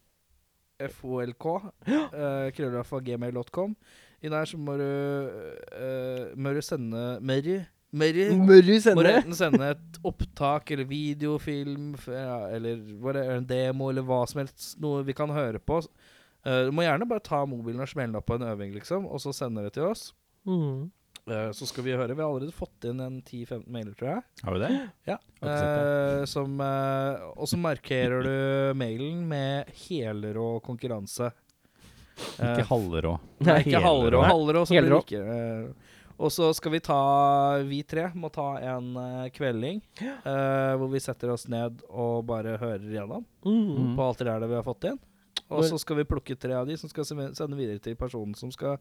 [SPEAKER 2] f-o-l-k, eh, krøllalfa gmail.com. I der så må du, eh, må du sende Mary, Mary
[SPEAKER 3] Mørru
[SPEAKER 2] må du
[SPEAKER 3] sender.
[SPEAKER 2] enten sende et opptak eller videofilm f- ja, eller hva det er, en demo eller hva som helst, noe vi kan høre på. Eh, du må gjerne bare ta mobilen og smelle opp på en øving, liksom, og så sende det til oss.
[SPEAKER 3] Mhm.
[SPEAKER 2] Eh, så skal vi høre. Vi har allerede fått inn en 10-15 mailer, tror jeg.
[SPEAKER 1] Har vi det?
[SPEAKER 2] Ja.
[SPEAKER 1] Har ikke sett det.
[SPEAKER 2] Eh, som, eh, og så markerer du mailen med helrå konkurranse. Eh,
[SPEAKER 1] Ikke halvrå.
[SPEAKER 2] Nei, ikke halvrå.
[SPEAKER 1] Nei.
[SPEAKER 2] Halvrå, så blir det
[SPEAKER 3] Helrå.
[SPEAKER 2] ikke eh, Og så skal vi ta Vi tre må ta en eh, kvelding eh, hvor vi setter oss ned og bare hører igjennom
[SPEAKER 3] Mhm.
[SPEAKER 2] på alt det der vi har fått inn. Og
[SPEAKER 3] Når-
[SPEAKER 2] så skal vi plukke tre av de som skal se- sende videre til personen som skal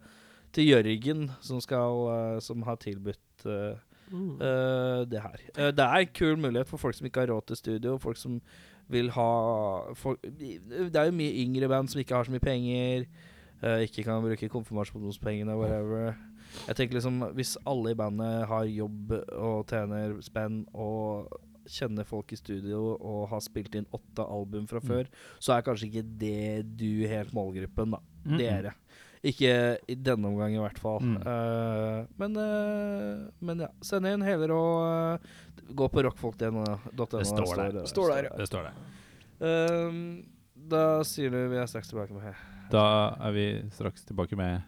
[SPEAKER 2] Til Jørgen, som skal eh, Som har tilbudt eh,
[SPEAKER 3] Mm.
[SPEAKER 2] eh, det her. Eh, det er en kul mulighet for folk som ikke har råd til studio, folk som vil ha folk, Det er jo mye yngre band som ikke har så mye penger, eh, ikke kan bruke konfirmasjonspengene, whatever. Jeg tenker liksom, Hvis alle i bandet har jobb og tjener spenn og kjenner folk i studio og har spilt inn åtte album fra før, så er kanskje ikke det du helt målgruppen, da. Det er det. Ikke i denne omgang, i hvert fall.
[SPEAKER 1] Mm.
[SPEAKER 2] Eh, men, eh, men ja. Send inn heller og eh, gå på rockfolk.no.
[SPEAKER 1] Det står der.
[SPEAKER 2] det
[SPEAKER 3] Står der,
[SPEAKER 2] står
[SPEAKER 1] Det står det.
[SPEAKER 2] Ehm, da sier du vi er straks tilbake med
[SPEAKER 1] Da er vi straks tilbake med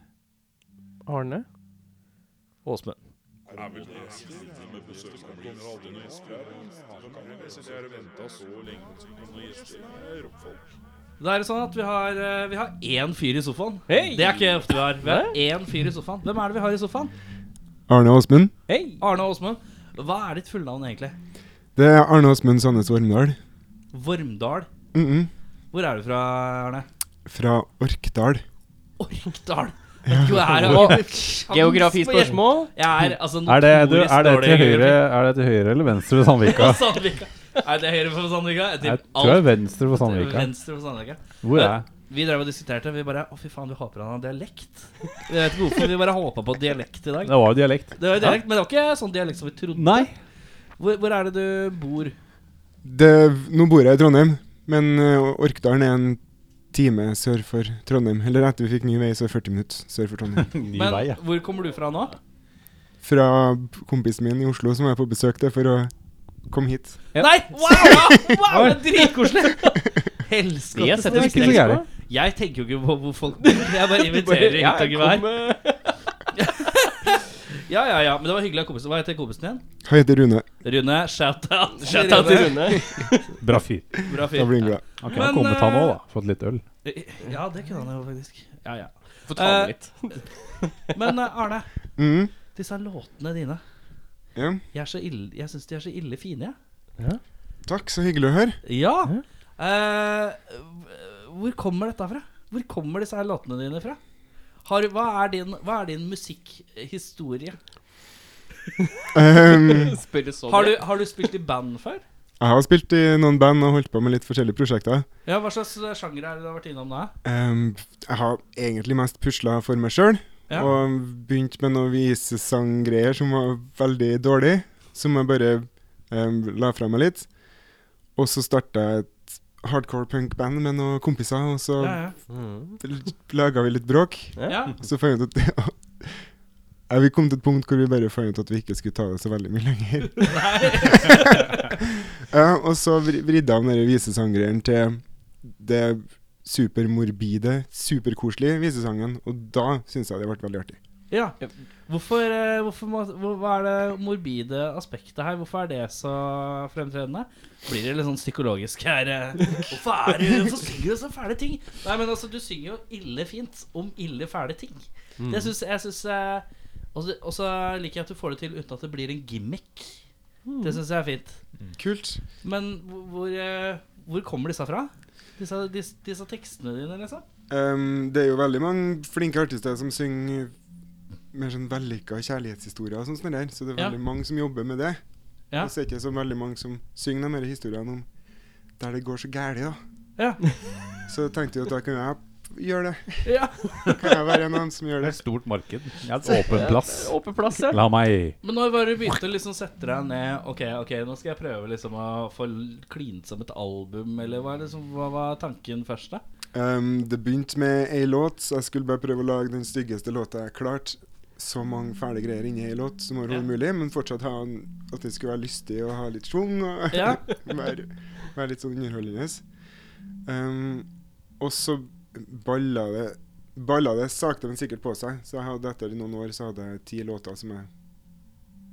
[SPEAKER 3] Arne?
[SPEAKER 2] Åsmund. Da er det sånn at vi har eh, Vi har én fyr i sofaen.
[SPEAKER 3] Hei!
[SPEAKER 2] Det er ikke ofte vi har. Vi har én fyr i sofaen. Hvem er det vi har i sofaen?
[SPEAKER 4] Arne Åsmund.
[SPEAKER 3] Hei!
[SPEAKER 2] Arne Åsmund. Hva er ditt fullnavn egentlig?
[SPEAKER 4] Det er Arne Åsmund Sandnes Vormdal.
[SPEAKER 2] Vormdal.
[SPEAKER 4] Mm -mm.
[SPEAKER 2] Hvor er du fra, Arne?
[SPEAKER 4] Fra Orkdal.
[SPEAKER 2] Orkdal. Vet ikke hvor jeg er, jeg har ikke sjans på
[SPEAKER 3] Geografispørsmål?
[SPEAKER 2] Jeg er altså
[SPEAKER 1] Er det, du,
[SPEAKER 2] notorisk
[SPEAKER 1] er, det
[SPEAKER 2] dårlig
[SPEAKER 1] til
[SPEAKER 2] i
[SPEAKER 1] høyre,
[SPEAKER 2] geografi.
[SPEAKER 1] er det til høyre eller venstre for Sandvika?
[SPEAKER 2] På Sandvika. Er det høyre for Sandvika? Jeg
[SPEAKER 1] Jeg
[SPEAKER 2] tipper
[SPEAKER 1] tror det
[SPEAKER 2] alt
[SPEAKER 1] er venstre for Sandvika.
[SPEAKER 2] venstre for Sandvika.
[SPEAKER 1] Hvor er
[SPEAKER 2] Vi drev og diskuterte. Vi bare Å, fy faen, vi håper han har dialekt. Vi vet ikke hvorfor. Vi bare håpa på dialekt i dag.
[SPEAKER 1] Det var jo dialekt.
[SPEAKER 2] Det var jo dialekt, men det var ikke sånn dialekt som vi trodde.
[SPEAKER 1] Nei.
[SPEAKER 2] Hvor, hvor er det du bor?
[SPEAKER 4] Det, nå bor jeg i Trondheim, men eh, Orkdalen er en time sør for Trondheim. Eller etter vi fikk ny vei, så er det 40 minutter sør for Trondheim.
[SPEAKER 1] Ny
[SPEAKER 2] Men
[SPEAKER 1] vei, ja.
[SPEAKER 2] hvor kommer du fra nå?
[SPEAKER 4] Fra kompisen min i Oslo som jeg er på besøk til for å komme hit.
[SPEAKER 3] Ja.
[SPEAKER 2] Nei! Wow! wow det er dritkoselig! Helskotte.
[SPEAKER 3] Det
[SPEAKER 2] Jeg,
[SPEAKER 3] setter vi
[SPEAKER 1] ikke så
[SPEAKER 3] pris
[SPEAKER 1] gærent.
[SPEAKER 3] på.
[SPEAKER 2] jeg tenker jo ikke på hvor folk bor. Jeg bare inviterer hit
[SPEAKER 3] Ja,
[SPEAKER 2] og
[SPEAKER 3] kom,
[SPEAKER 2] gevær.
[SPEAKER 3] eh,
[SPEAKER 2] Ja, ja, ja. Men det var hyggelig av kompisen. Hva heter kompisen din?
[SPEAKER 4] Han heter Rune.
[SPEAKER 2] Rune. Shout-out.
[SPEAKER 3] Shout out til Rune.
[SPEAKER 1] Bra fyr.
[SPEAKER 2] Bra
[SPEAKER 4] Da
[SPEAKER 2] fyr.
[SPEAKER 4] blir han glad.
[SPEAKER 1] Han
[SPEAKER 2] Men,
[SPEAKER 1] kunne kommet, han
[SPEAKER 2] eh,
[SPEAKER 1] òg, da. Fått litt øl.
[SPEAKER 2] Ja, det kunne han jo faktisk. Ja, ja.
[SPEAKER 3] Få ta
[SPEAKER 2] Eh,
[SPEAKER 3] den litt.
[SPEAKER 2] Men eh, Arne,
[SPEAKER 4] Mm.
[SPEAKER 2] disse låtene dine
[SPEAKER 4] Ja.
[SPEAKER 2] Jeg, er så ille- jeg syns de er så ille fine, jeg.
[SPEAKER 4] Takk, så hyggelig å høre.
[SPEAKER 2] Ja. Eh, hvor kommer dette fra? Hvor kommer disse her låtene dine fra? Har, hva, er din, hva er din musikkhistorie?
[SPEAKER 4] Ehm,
[SPEAKER 3] Spørre sånn.
[SPEAKER 2] Har du, har du spilt i band før?
[SPEAKER 4] jeg har spilt i noen band og holdt på med litt forskjellige prosjekter.
[SPEAKER 2] Ja, Hva slags eh, sjanger er det du har vært innom da?
[SPEAKER 4] Ehm, jeg har egentlig mest pusla for meg sjøl,
[SPEAKER 2] Ja.
[SPEAKER 4] og begynt med noen visesanggreier som var veldig dårlig, som jeg bare ehm, la fra meg litt. Og så starta jeg et hardcore punk-band med noen kompiser, og så
[SPEAKER 2] Ja, ja.
[SPEAKER 3] Mm.
[SPEAKER 4] laga vi litt bråk.
[SPEAKER 2] ja.
[SPEAKER 4] Og så fant jeg ut at Ja, Vi kom til et punkt hvor vi bare fant ut at vi ikke skulle ta det så veldig mye lenger. ja, og så vri- vridde jeg om den visesanggreieren til det supermorbide, superkoselige visesangen. Og da syns jeg det ble veldig artig.
[SPEAKER 2] ja. Hvorfor, eh, hvorfor må, hvor, Hva er det morbide aspektet her? Hvorfor er det så fremtredende? Blir det litt sånn psykologisk her? eh? Hvorfor, er du, hvorfor synger du så fæle ting? Nei, men altså, du synger jo ille fint om ille fæle ting. Det syns jeg synes, eh, Og så- og så liker jeg at du får det til uten at det blir en gimmick. Det syns jeg er fint.
[SPEAKER 4] Kult.
[SPEAKER 2] Men hvor, hvor, eh, hvor kommer disse fra? Disse, disse, disse tekstene dine, liksom?
[SPEAKER 4] Ehm, det er jo veldig mange flinke artister som synger mer sånn vellykka kjærlighetshistorier og sånt sånn der, så det er
[SPEAKER 2] Ja.
[SPEAKER 4] veldig mange som jobber med det.
[SPEAKER 2] Ja.
[SPEAKER 4] Og så er det ikke så veldig mange som synger de her historiene om der det går så gæli, da.
[SPEAKER 2] Ja.
[SPEAKER 4] Så tenkte jeg at da kan jeg gjøre det.
[SPEAKER 2] ja.
[SPEAKER 4] Kan jeg være en av dem som gjør
[SPEAKER 1] Det
[SPEAKER 4] det?
[SPEAKER 1] er et stort marked. Åpen plass.
[SPEAKER 3] Åpen plass, ja.
[SPEAKER 1] La meg
[SPEAKER 2] Men når var det du begynte å liksom sette deg ned Ok, ok, nå skal jeg prøve liksom å få l- klint som et album, eller hva, er liksom, hva var tanken først, da?
[SPEAKER 4] Um, det begynte med ei låt, så jeg skulle bare prøve å lage den styggeste låta jeg klarte. Så mange fæle greier inni ei låt som var
[SPEAKER 2] Ja.
[SPEAKER 4] mulig, men fortsatt ha en, at det skulle være lystig og ha litt schwung og
[SPEAKER 2] Ja.
[SPEAKER 4] være, være litt sånn underholdende. Um, og så balla det Balla det sakte, men sikkert på seg. Så jeg hadde etter noen år så hadde jeg ti låter som jeg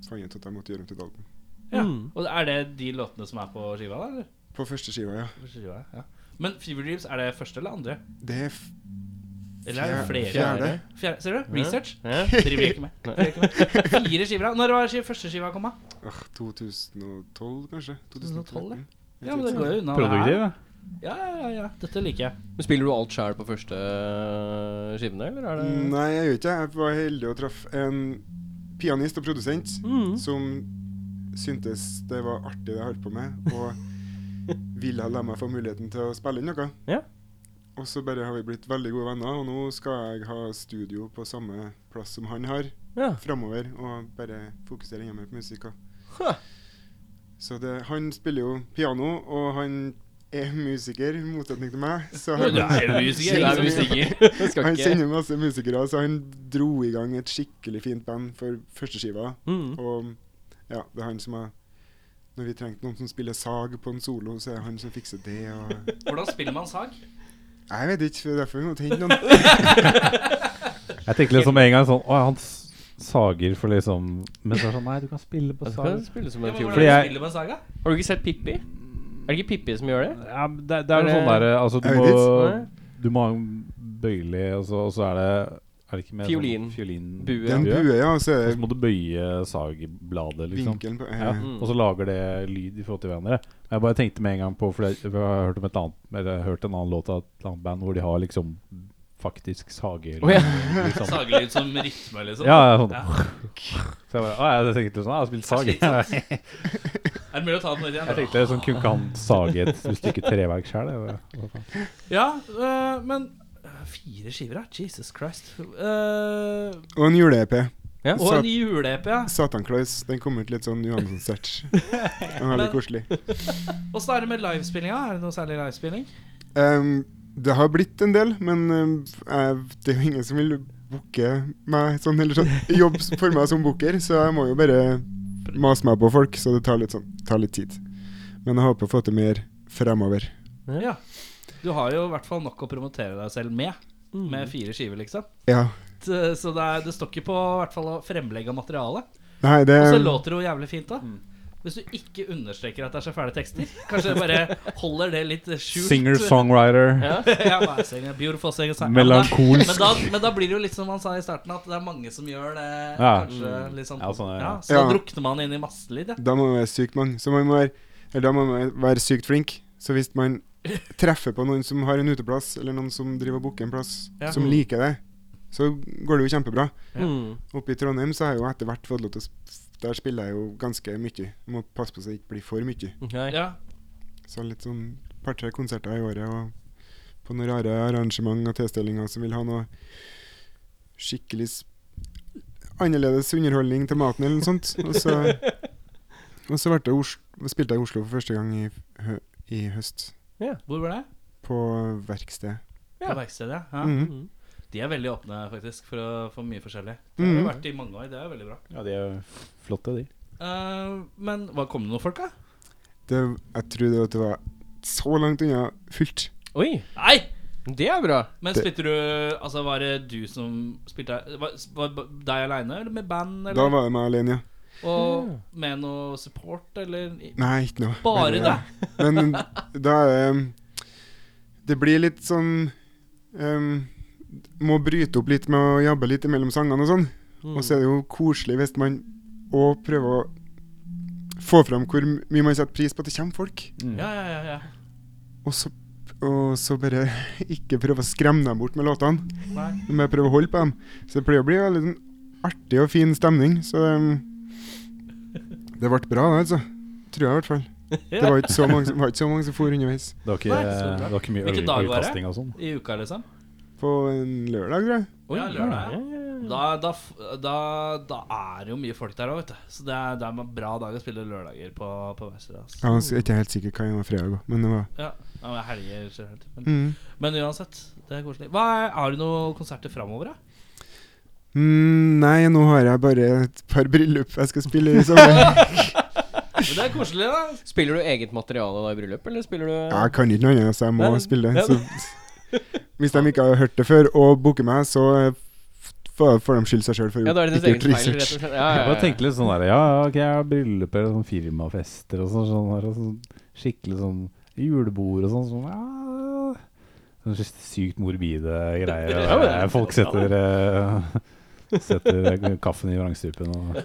[SPEAKER 4] fant ut at jeg måtte gjøre om til et album.
[SPEAKER 2] Ja.
[SPEAKER 3] Mm.
[SPEAKER 2] Og er det de låtene som er på skiva, da? eller?
[SPEAKER 4] På første skiva, ja.
[SPEAKER 2] På skiva, ja. Men Fever Dreams, er det første eller andre?
[SPEAKER 4] Det er f
[SPEAKER 2] Eller er det
[SPEAKER 4] Fjer-
[SPEAKER 2] flere?
[SPEAKER 4] fjerde.
[SPEAKER 2] Fjerde, ser du? Research.
[SPEAKER 3] Ja.
[SPEAKER 2] Driver ikke med. Driver ikke med. Fire skiver. da. Når var skiv- første skiva kom, da?
[SPEAKER 4] åh, 2012, kanskje?
[SPEAKER 2] 2012,
[SPEAKER 4] 2013.
[SPEAKER 2] Ja, men det går jo unna.
[SPEAKER 1] Produktiv, ja.
[SPEAKER 2] Ja, ja, ja, ja. Dette liker jeg.
[SPEAKER 3] Men Spiller du alt sjæl på første skivene, eller er det
[SPEAKER 4] Mm. Nei, jeg gjør ikke det. Jeg var heldig og traff en pianist og produsent
[SPEAKER 3] Mm.
[SPEAKER 4] som syntes det var artig det jeg holdt på med, og ville la meg få muligheten til å spille inn noe.
[SPEAKER 3] Ja.
[SPEAKER 4] Og så bare har vi blitt veldig gode venner, og nå skal jeg ha studio på samme plass som han har
[SPEAKER 3] Ja.
[SPEAKER 4] framover, og bare fokusere enda mer på musikk. og-
[SPEAKER 3] Huh.
[SPEAKER 4] Så det, han spiller jo piano, og han er musiker, i motsetning til meg. Så
[SPEAKER 5] Du
[SPEAKER 4] han,
[SPEAKER 5] er jo musiker, du er musiker.
[SPEAKER 3] Det skal
[SPEAKER 4] han
[SPEAKER 3] ikke
[SPEAKER 4] kjenner masse musikere, så han dro i gang et skikkelig fint band for førsteskiva.
[SPEAKER 3] mm.
[SPEAKER 4] Og ja, det er han som har Når vi trengte noen som spiller sag på en solo, så er det han som fikser det. og...
[SPEAKER 5] Hvordan spiller man sag?
[SPEAKER 4] Jeg vet ikke, det er derfor vi må hente noen.
[SPEAKER 1] Jeg tenkte liksom med en gang sånn Å, han s- sager for liksom Men så er det sånn Nei, du kan spille på
[SPEAKER 3] Du skal
[SPEAKER 1] sag.
[SPEAKER 3] spille som
[SPEAKER 5] Ja,
[SPEAKER 3] en
[SPEAKER 5] men
[SPEAKER 3] fjor.
[SPEAKER 5] hvordan
[SPEAKER 1] Fordi jeg-
[SPEAKER 5] spiller man saga?
[SPEAKER 3] Har du ikke sett Pippi? Er det ikke Pippi som gjør det?
[SPEAKER 1] Ja, men det, det er
[SPEAKER 3] Er
[SPEAKER 1] jo
[SPEAKER 3] det-
[SPEAKER 1] sånn derre Altså, du
[SPEAKER 4] Er det
[SPEAKER 1] må
[SPEAKER 3] vits?
[SPEAKER 1] Du må ha en bøyelig, og så, og så er det Er det ikke mer
[SPEAKER 3] Fiolin.
[SPEAKER 1] Sånn, fiolin
[SPEAKER 3] Bue.
[SPEAKER 4] Det er en bue, ja, og så
[SPEAKER 1] Og
[SPEAKER 4] er
[SPEAKER 1] så
[SPEAKER 4] det
[SPEAKER 1] må du bøye sagbladet, liksom.
[SPEAKER 4] vinkelen på
[SPEAKER 1] Ja,
[SPEAKER 4] eh,
[SPEAKER 3] Mm.
[SPEAKER 1] Og så lager det lyd i forhold til hverandre. Men Jeg bare tenkte med en gang på For jeg, for jeg har hørt om et annet Eller jeg har hørt en annen låt av et annet band hvor de har liksom faktisk sager.
[SPEAKER 3] Å, ja.
[SPEAKER 1] liksom.
[SPEAKER 5] Sagelyd som rytme, liksom?
[SPEAKER 1] Ja, ja, sånn.
[SPEAKER 5] Ja.
[SPEAKER 1] Så jeg bare, å, jeg tenkte sånn, «Ah, jeg har spilt sag. jeg
[SPEAKER 5] Er det mulig å ta den ut igjen?
[SPEAKER 1] tenkte sånn, kunne ikke han sage et stykke treverk sjøl?
[SPEAKER 5] Ja, øh, men øh, Fire skiver, ja. Jesus Christ. Øh,
[SPEAKER 4] Og en jule-EP.
[SPEAKER 3] Ja.
[SPEAKER 5] og
[SPEAKER 4] Sat
[SPEAKER 5] en jule-EP, ja.
[SPEAKER 4] Satanklaus. Den kom ut litt sånn Johan-konsert. Den var veldig
[SPEAKER 5] Men-
[SPEAKER 4] koselig.
[SPEAKER 5] Åssen er det med livespillinga? Er det noe særlig livespilling?
[SPEAKER 4] Ehm, det har blitt en del, men ehm, jeg, det er jo ingen som vil booke meg sånn, eller sånn, jobb for meg som booker, så jeg må jo bare mase meg på folk, så det tar litt, sånn, tar litt tid. Men jeg håper å få til mer fremover.
[SPEAKER 5] Ja. Du har jo i hvert fall nok å promotere deg selv med.
[SPEAKER 3] Mm.
[SPEAKER 1] Mm.
[SPEAKER 5] Med fire skiver, liksom.
[SPEAKER 4] Ja.
[SPEAKER 5] Så- Så det, er, det står ikke på i hvert fall å fremlegge av materialet.
[SPEAKER 4] Nei, det
[SPEAKER 1] Um.
[SPEAKER 5] Og så låter det jo jævlig fint, da.
[SPEAKER 1] Mm.
[SPEAKER 5] Hvis du ikke understreker at det er så fæle tekster. Kanskje bare holder det litt skjult.
[SPEAKER 1] Singer-songwriter.
[SPEAKER 5] ja, bare singer, beautiful singer singer.
[SPEAKER 1] Melankolsk.
[SPEAKER 5] Men da, men da blir det jo litt som han sa i starten, at det er mange som gjør det.
[SPEAKER 1] Ja.
[SPEAKER 5] Kanskje litt sånn
[SPEAKER 1] Ja, sånn er det.
[SPEAKER 5] Ja, Så da
[SPEAKER 4] Ja.
[SPEAKER 5] drukner man inn i masselyd. Ja.
[SPEAKER 4] Da må man være sykt mange. Så man må være, eller da må man være sykt flink. Så hvis man treffer på noen som har en uteplass, eller noen som driver og booker en plass,
[SPEAKER 5] Ja.
[SPEAKER 4] som liker det, så går det jo kjempebra.
[SPEAKER 3] Mm.
[SPEAKER 4] Oppe i Trondheim så har jeg jo etter hvert fått lov til å sp- Der spiller jeg jo ganske mye. Må passe på så det ikke blir for mye.
[SPEAKER 3] Nei.
[SPEAKER 5] Ja.
[SPEAKER 4] Så litt sånn par-tre konserter i året, og på noen rare arrangement og tilstelninger som vil ha noe skikkelig s- annerledes underholdning til maten eller noe sånt. Og så, og så ble det Os spilte jeg i Oslo for første gang i, hø i høst,
[SPEAKER 5] Hvor var det?
[SPEAKER 4] på verksted.
[SPEAKER 5] På verkstedet? ja. Ja.
[SPEAKER 4] Mhm.
[SPEAKER 3] Mm.
[SPEAKER 5] De er veldig åpne, faktisk, for, å, for mye forskjellig. Det har
[SPEAKER 4] Mhm.
[SPEAKER 5] jo vært i mange år. Det er jo veldig bra.
[SPEAKER 1] Ja, de er jo flotte, de.
[SPEAKER 5] Eh, men hva kom det noen folk, da?
[SPEAKER 4] Det, jeg trodde at det var så langt unna fullt.
[SPEAKER 3] Oi,
[SPEAKER 5] Nei!
[SPEAKER 3] det er bra.
[SPEAKER 5] Men
[SPEAKER 4] Det-
[SPEAKER 5] spilte du Altså, var det du som spilte Var, var det deg aleine, eller med band,
[SPEAKER 4] Da
[SPEAKER 5] eller?
[SPEAKER 4] var det meg alene, ja.
[SPEAKER 5] Og
[SPEAKER 3] Ja.
[SPEAKER 5] med noe support, eller?
[SPEAKER 4] Nei, ikke noe.
[SPEAKER 5] Bare
[SPEAKER 4] Men,
[SPEAKER 5] det?
[SPEAKER 4] Men da er det- Det blir litt sånn em, Må bryte opp litt med å jabbe litt mellom sangene og sånn.
[SPEAKER 3] Mm.
[SPEAKER 4] Og så er det jo koselig hvis man òg prøver å få fram hvor mye man setter pris på at det kommer folk.
[SPEAKER 5] Ja, ja, ja. ja.
[SPEAKER 4] Og så, og så bare ikke prøve å skremme dem bort med låtene,
[SPEAKER 5] Nei.
[SPEAKER 4] men bare prøve å holde på dem. Så det pleier å bli veldig sånn artig og fin stemning. Så em, det ble bra, det, altså. Tror jeg i hvert fall. Det var ikke så mange, som- var ikke så mange som for underveis.
[SPEAKER 1] Det var ikke,
[SPEAKER 5] Nei, det er så bra.
[SPEAKER 1] det var ikke mye
[SPEAKER 5] Hvilken dag
[SPEAKER 1] øl-
[SPEAKER 5] var det?
[SPEAKER 1] ølkasting og sånn.
[SPEAKER 5] I uka, liksom?
[SPEAKER 4] På en lørdag, tror jeg.
[SPEAKER 3] Oi,
[SPEAKER 5] ja, lørdag, ja.
[SPEAKER 3] ja, ja, ja.
[SPEAKER 5] Da, da, f- da, da er det jo mye folk der òg, vet du. Så det er, det er en bra dag å spille lørdager på, på Vesterålen. Altså.
[SPEAKER 4] Ja, Jeg er ikke helt sikker hva jeg var fredag, også, men det var
[SPEAKER 5] Ja. ja, men helger generelt. Men,
[SPEAKER 4] mm.
[SPEAKER 5] men uansett, det er koselig. Hva er, har du noen konserter framover, da?
[SPEAKER 4] Mm, Nei, nå har jeg bare et par bryllup jeg skal spille i sommer.
[SPEAKER 5] Men det er koselig, da.
[SPEAKER 3] Spiller du eget materiale da i bryllup, eller spiller du
[SPEAKER 4] Ja, jeg kan ikke noe annet, så jeg må
[SPEAKER 3] Nei,
[SPEAKER 4] spille.
[SPEAKER 3] ja.
[SPEAKER 4] Så hvis de ikke har hørt det før og booker meg, så eh, f- får de skylde seg sjøl for
[SPEAKER 3] Ja, da er det
[SPEAKER 4] ikke
[SPEAKER 3] ditt eget
[SPEAKER 4] gjort
[SPEAKER 3] feil, rett og
[SPEAKER 4] research.
[SPEAKER 3] slett. Ja,
[SPEAKER 1] Jeg
[SPEAKER 3] ja,
[SPEAKER 1] bare
[SPEAKER 3] ja.
[SPEAKER 1] tenkte litt sånn der Ja, ja, ok, jeg har brylluper og sånn firmafester og sånn, sånn, her, og sånn skikkelig sånn julebord og sånn. sånn ja, sånn sy- sykt morbide greier.
[SPEAKER 3] Ja,
[SPEAKER 1] Og,
[SPEAKER 3] men-
[SPEAKER 1] eh, folk setter eh, Setter kaffen i vrangstrupen og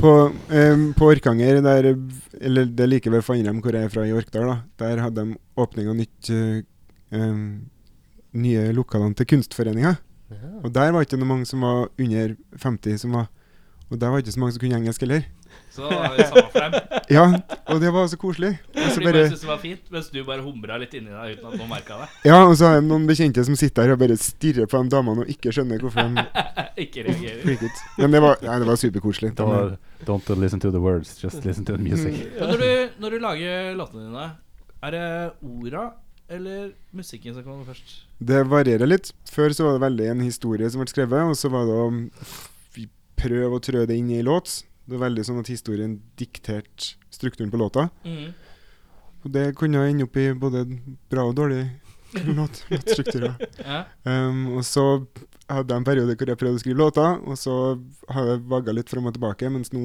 [SPEAKER 4] På, eh, på Orkanger, der, eller det er like ved Fannrem hvor jeg er fra i Orkdal, da, der hadde de åpning av nytt eh, em, nye lokalene til Kunstforeninga. Og der var ikke noe mange som var under 50 som var Og der var ikke så mange som kunne engelsk heller.
[SPEAKER 5] Så da var det samme for dem.
[SPEAKER 4] Ja, og det var så koselig. Og så
[SPEAKER 5] Fordi bare
[SPEAKER 4] bare,
[SPEAKER 5] syntes det var fint, mens du bare humra litt inni deg uten at noen merka det.
[SPEAKER 4] ja, og så har jeg noen bekjente som sitter her og bare stirrer på de damene og ikke skjønner hvorfor de
[SPEAKER 5] Ikke reagerer.
[SPEAKER 4] freaket. Men det var, nei, det var superkoselig.
[SPEAKER 1] Det var Don't listen to the words, just listen to the music.
[SPEAKER 5] Men når du, når du lager låtene dine, er det orda eller musikken som kommer først?
[SPEAKER 4] Det varierer litt. Før så var det veldig en historie som ble skrevet, og så var det å f- prøve å trø det inn i en låt. Det var veldig sånn at historien dikterte strukturen på låta.
[SPEAKER 3] Mm.
[SPEAKER 4] Og det kunne ende opp i både bra og dårlig låt, låtstrukturer.
[SPEAKER 5] Ja.
[SPEAKER 4] Um, og så hadde jeg en periode hvor jeg prøvde å skrive låter, og så har jeg vagga litt fram og tilbake, mens nå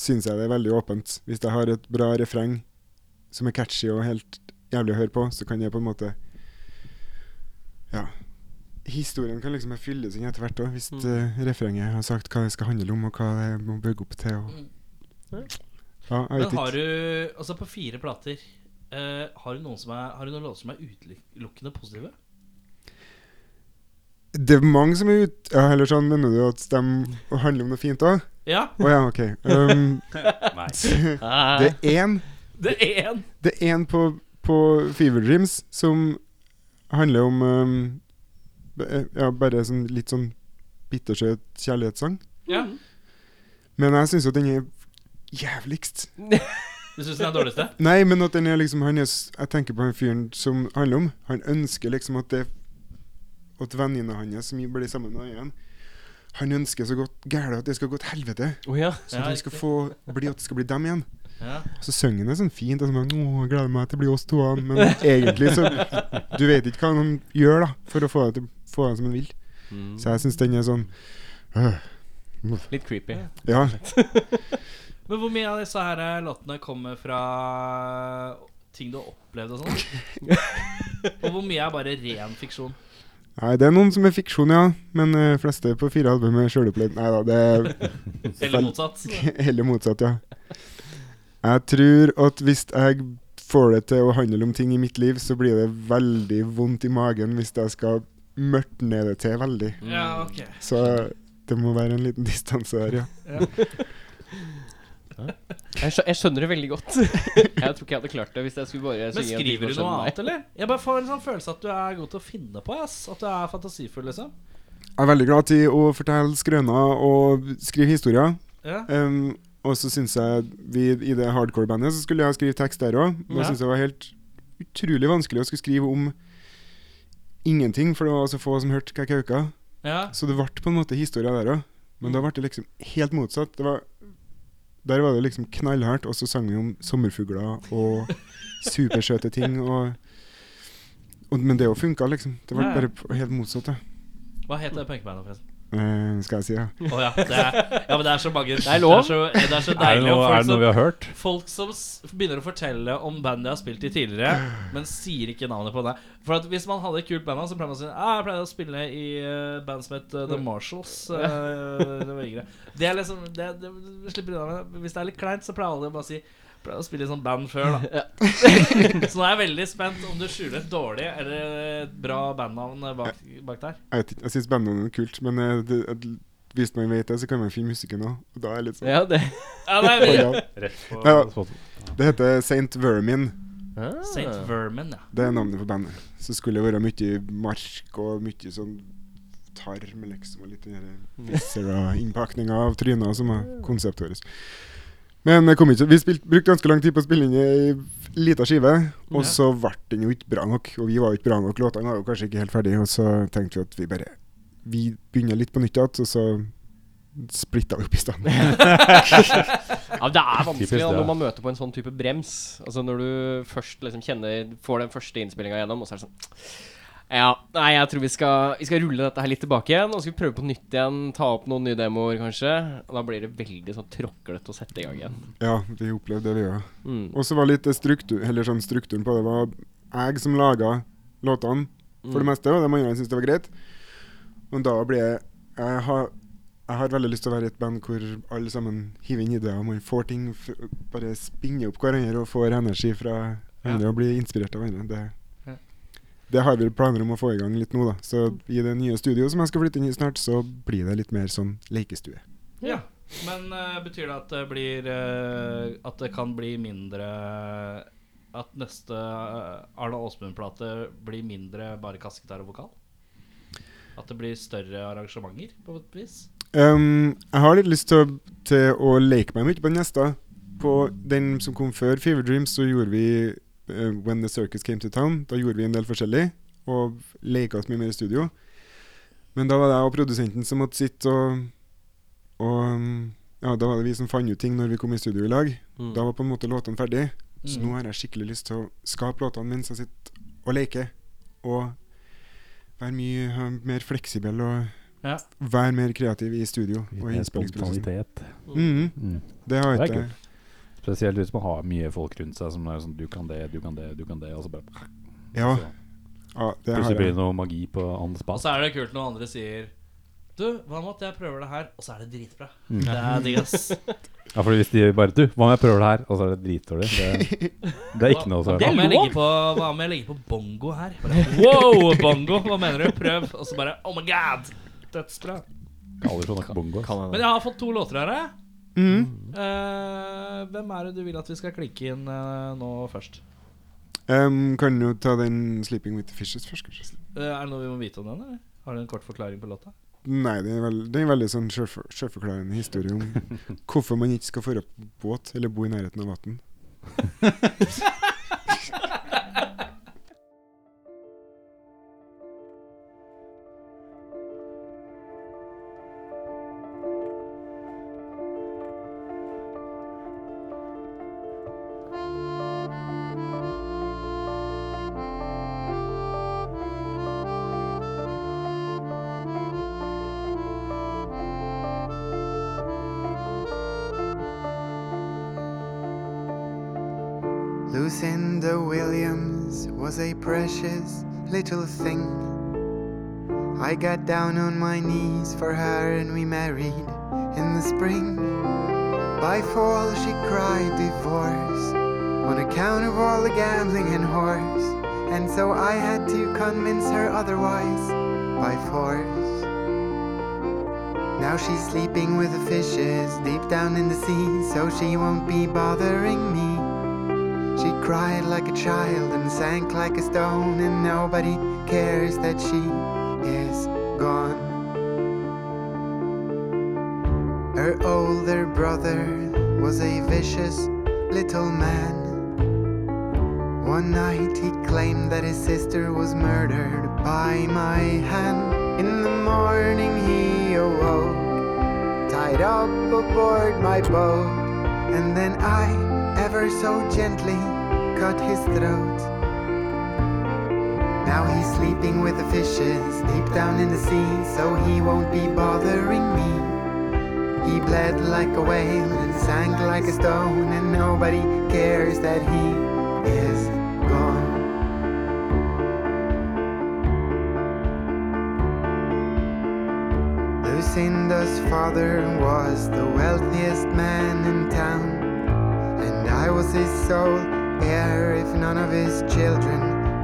[SPEAKER 4] syns jeg det er veldig åpent. Hvis jeg har et bra refreng som er catchy og helt jævlig å høre på, så kan jeg på en måte Ja. Historien kan liksom fylles inn etter hvert òg, hvis
[SPEAKER 3] Mm.
[SPEAKER 4] eh, refrenget har sagt hva det skal handle om, og hva det må bygge opp til. Og... Ja, jeg vet
[SPEAKER 5] Mm. Men
[SPEAKER 4] ikke.
[SPEAKER 5] har du Altså, på fire plater eh, har, du noen som er, har du noen låter som er utelukkende positive?
[SPEAKER 4] Det er mange som er ute ja, Eller sånn, mener du at de handler om noe fint òg?
[SPEAKER 5] Ja,
[SPEAKER 4] Å ja, OK. Um,
[SPEAKER 1] Nei.
[SPEAKER 4] det er én
[SPEAKER 5] det er én.
[SPEAKER 4] Det er en på, på Fever Dreams som handler om ehm, b- eh, Ja, bare sånn, litt sånn bittersøt kjærlighetssang.
[SPEAKER 5] Ja.
[SPEAKER 4] Men jeg syns jo at den er jævligst.
[SPEAKER 5] Du syns den er dårligste?
[SPEAKER 4] Nei, men at den er liksom han er, s- Jeg tenker på han fyren som handler om. Han ønsker liksom at det At venninna hans som blir sammen med han igjen Han ønsker så godt gæla at det skal gå til helvete.
[SPEAKER 3] Å ja.
[SPEAKER 4] Så at
[SPEAKER 5] Ja,
[SPEAKER 4] han skal
[SPEAKER 5] riktig.
[SPEAKER 4] få bli at det skal bli dem igjen.
[SPEAKER 5] Ja.
[SPEAKER 4] Så synger han det sånn fint. Og sånn, Åh, jeg gleder meg til det blir oss to. han», Men egentlig så Du vet ikke hva han gjør da for å få det, til, få det som han vil.
[SPEAKER 5] Mm.
[SPEAKER 4] Så jeg syns den er sånn øh,
[SPEAKER 3] Litt creepy.
[SPEAKER 4] Ja.
[SPEAKER 5] Men hvor mye av disse her eh, låtene kommer fra ting du har opplevd og sånn? og hvor mye er bare ren fiksjon?
[SPEAKER 4] Nei, det er noen som er fiksjon, ja. Men de fleste på fire album er sjølopplevd. Nei da, det
[SPEAKER 5] Eller motsatt?
[SPEAKER 4] er heller motsatt, ja. Jeg tror at hvis jeg får det til å handle om ting i mitt liv, så blir det veldig vondt i magen hvis jeg skal mørtne det til veldig.
[SPEAKER 5] Ja, ok.
[SPEAKER 4] Så det må være en liten distanse der, ja.
[SPEAKER 3] Jeg, skjø jeg skjønner det veldig godt. jeg tror ikke jeg hadde klart det hvis jeg skulle bare
[SPEAKER 5] Men
[SPEAKER 3] synge at de
[SPEAKER 5] skriver du
[SPEAKER 3] skjønner
[SPEAKER 5] noe
[SPEAKER 3] meg.
[SPEAKER 5] annet, eller? Jeg bare får en sånn følelse at du er god til å finne på. ass At du er fantasifull, liksom.
[SPEAKER 4] Jeg er veldig glad til å fortelle skrøner og skrive historier.
[SPEAKER 5] Ja.
[SPEAKER 4] Em, og så syns jeg vi i det hardcore-bandet så skulle jeg skrive tekst der òg. Men
[SPEAKER 5] Ja.
[SPEAKER 4] jeg syns det var helt utrolig vanskelig å skulle skrive om ingenting, for det var så få som hørte kakauka.
[SPEAKER 5] ja.
[SPEAKER 4] Så det ble på en måte historier der òg. Men da ble det liksom helt motsatt. Det var, der var det liksom knallhardt, og så sang vi om sommerfugler og supersøte ting. Og, og, men det jo funka, liksom. Det ble
[SPEAKER 5] Ja, ja.
[SPEAKER 4] bare p- helt motsatt. Ja.
[SPEAKER 5] Hva heter det punkebandet, forresten?
[SPEAKER 4] Eh, skal jeg si, ja.
[SPEAKER 5] Å ja, det er, ja, men det er så mange Det
[SPEAKER 3] er lov.
[SPEAKER 5] så, det er så
[SPEAKER 1] Er det
[SPEAKER 5] deilig.
[SPEAKER 1] noe,
[SPEAKER 5] om folk
[SPEAKER 1] er det
[SPEAKER 5] som-
[SPEAKER 1] noe vi har hørt?
[SPEAKER 5] Folk som s begynner å fortelle om band de har spilt i tidligere, men sier ikke navnet på det. For at hvis man hadde et kult band, da, så pleier man å si ah, Jeg pleide å spille i eh, band som het eh, The Marshals. eh, det var yngre. Det er liksom det, det, du slipper unna med det. Hvis det er litt kleint, så pleier alle bare å si «Jeg Pleide å spille i sånn band før, da. så nå er jeg veldig spent om du skjuler et dårlig eller et bra bandnavn eh, bak, bak der.
[SPEAKER 4] Jeg, vet ikke, jeg syns bandnavnet er kult, men eh, det, at- hvis man vet det, så kan man finne musikken òg. Og da er jeg litt sånn
[SPEAKER 3] Ja, det
[SPEAKER 5] Ja, det er
[SPEAKER 4] Hold av. Ja. Det heter St. Vermin.
[SPEAKER 3] Ah.
[SPEAKER 5] St. Vermin, ja.
[SPEAKER 4] Det er navnet på bandet. Så skulle det være mye mark og mye sånn tarm, liksom, og litt Viscera-innpakninga av tryna, som var konseptet vårt. Men det kom ikke, vi spilt, brukte ganske lang tid på å spille inn ei lita skive, og
[SPEAKER 5] Ja.
[SPEAKER 4] så ble den jo ikke bra nok. Og vi var jo ikke bra nok, låtene var jo kanskje ikke helt ferdige, og så tenkte vi at vi bare Vi begynner litt på nytt igjen, og så splitta vi opp i stand.
[SPEAKER 3] Ja, det er
[SPEAKER 1] Typisk
[SPEAKER 3] vanskelig
[SPEAKER 1] det.
[SPEAKER 3] da, når man møter på en sånn type brems. Altså Når du først liksom kjenner Får den første innspillinga gjennom, og så er det sånn Ja, nei, jeg tror vi skal Vi skal rulle dette her litt tilbake igjen. Og så skal vi prøve på nytt igjen. Ta opp noen nye demoer, kanskje. Og da blir det veldig sånn tråklete å sette i gang igjen.
[SPEAKER 4] Ja, vi opplevde det, vi òg.
[SPEAKER 3] Mm.
[SPEAKER 4] Og så var litt det struktur, eller sånn strukturen på det var jeg som laga låtene for det meste, og de andre syntes det var greit. Men da ble jeg jeg har, jeg har veldig lyst til å være i et band hvor alle sammen hiver inn ideer, og man får ting f Bare spinner opp hverandre og får energi fra hverandre og blir inspirert av hverandre. Det,
[SPEAKER 5] Ja.
[SPEAKER 4] det har vi planer om å få i gang litt nå, da. Så i det nye studioet som jeg skal flytte inn i snart, så blir det litt mer sånn lekestue.
[SPEAKER 5] Ja. Men eh, betyr det at det blir eh, At det kan bli mindre At neste eh, Arne Aasmund-plate blir mindre bare kassegitar og vokal? At det blir større arrangementer, på et vis?
[SPEAKER 4] Ehm, jeg har litt lyst til, å- til å leke meg mye på den neste. På den som kom før Fever Dreams, så gjorde vi eh, When the Circus Came to Town. Da gjorde vi en del forskjellig, og leka oss mye mer i studio. Men da var det jeg og produsenten som måtte sitte og, og mm, Ja, da var det vi som fant ut ting når vi kom i studio i lag. Da var på en måte låtene ferdig. Så nå har jeg skikkelig lyst til å skape låtene mens jeg sitter og leker. Og være mye eh, mer fleksibel og
[SPEAKER 5] Ja.
[SPEAKER 4] være mer kreativ i studio.
[SPEAKER 1] Litt
[SPEAKER 4] Og i
[SPEAKER 1] mer
[SPEAKER 4] innspillingsprosessen.
[SPEAKER 1] spontanitet.
[SPEAKER 4] Mhm,
[SPEAKER 1] Mm.
[SPEAKER 4] det har jeg
[SPEAKER 1] Det er
[SPEAKER 4] ikke.
[SPEAKER 1] Spesielt hvis man har mye folk rundt seg som er sånn Du kan det, du kan det, du kan det. Og så bare
[SPEAKER 4] Ja,
[SPEAKER 1] så
[SPEAKER 4] ja, det har
[SPEAKER 1] plutselig blir
[SPEAKER 4] jeg.
[SPEAKER 1] det noe magi på annen
[SPEAKER 5] Og
[SPEAKER 1] spas.
[SPEAKER 5] så er det kult når andre sier Du, hva med at jeg prøver det her? Og så er det dritbra.
[SPEAKER 1] Mm.
[SPEAKER 5] Det er digg, ass.
[SPEAKER 1] Ja, for hvis de bare Du, hva om jeg prøver det her? Og så er det dritdårlig. Det, det er ikke noe
[SPEAKER 5] Hva
[SPEAKER 1] å
[SPEAKER 5] hva om jeg
[SPEAKER 3] lov.
[SPEAKER 5] legger på, hva om jeg legger på bongo her? Bare, wow, bongo! Hva mener du? Prøv. Og så bare Oh my god! Dødsbra.
[SPEAKER 1] kalle sånne bongoer.
[SPEAKER 3] Kan
[SPEAKER 5] Men
[SPEAKER 3] hende.
[SPEAKER 5] jeg har fått to låter her. jeg.
[SPEAKER 4] Mhm.
[SPEAKER 5] Eh, hvem er det du vil at vi skal klikke inn eh, nå først?
[SPEAKER 4] Em, kan jo ta den 'Sleeping With The Fishes' først, kanskje.
[SPEAKER 5] Eh, er det noe vi må vite om den? eller? Har du en kort forklaring på låta?
[SPEAKER 4] Nei, det er, vel, det er en veldig sånn sjølfor- sjølforklarende historie om hvorfor man ikke skal dra på båt eller bo i nærheten av vann.
[SPEAKER 6] Lucinda Williams was a precious little thing. I got down on my knees for her and we married in the spring. By fall, she cried divorce on account of all the gambling and whores. And so I had to convince her otherwise by force. Now she's sleeping with the fishes deep down in the sea, so she won't be bothering me. She cried like a child and sank like a stone, and nobody cares that she is gone. Her older brother was a vicious little man. One night he claimed that his sister was murdered by my hand. In the morning he awoke, tied up aboard my boat. And then I, ever so gently, cut his throat. Now he's sleeping with the fishes deep down in the sea, so he won't be bothering me. He bled like a whale and sank like a stone, and nobody cares that he is gone. Lucinda's father was the wealthiest man in town, and I was his sole heir if none of his children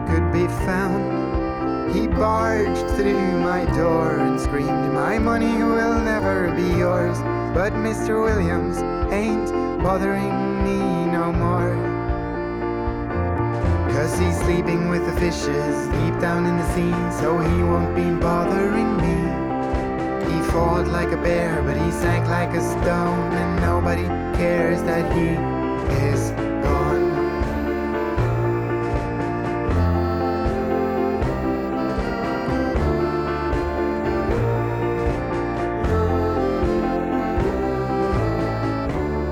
[SPEAKER 6] could be found. He barged through my door and screamed, My money will never be yours, but Mr. Williams ain't bothering me no more. Cause he's sleeping with the fishes deep down in the sea, so he won't be bothering me. He fought like a bear, but he sank like a stone, and nobody cares that he is gone.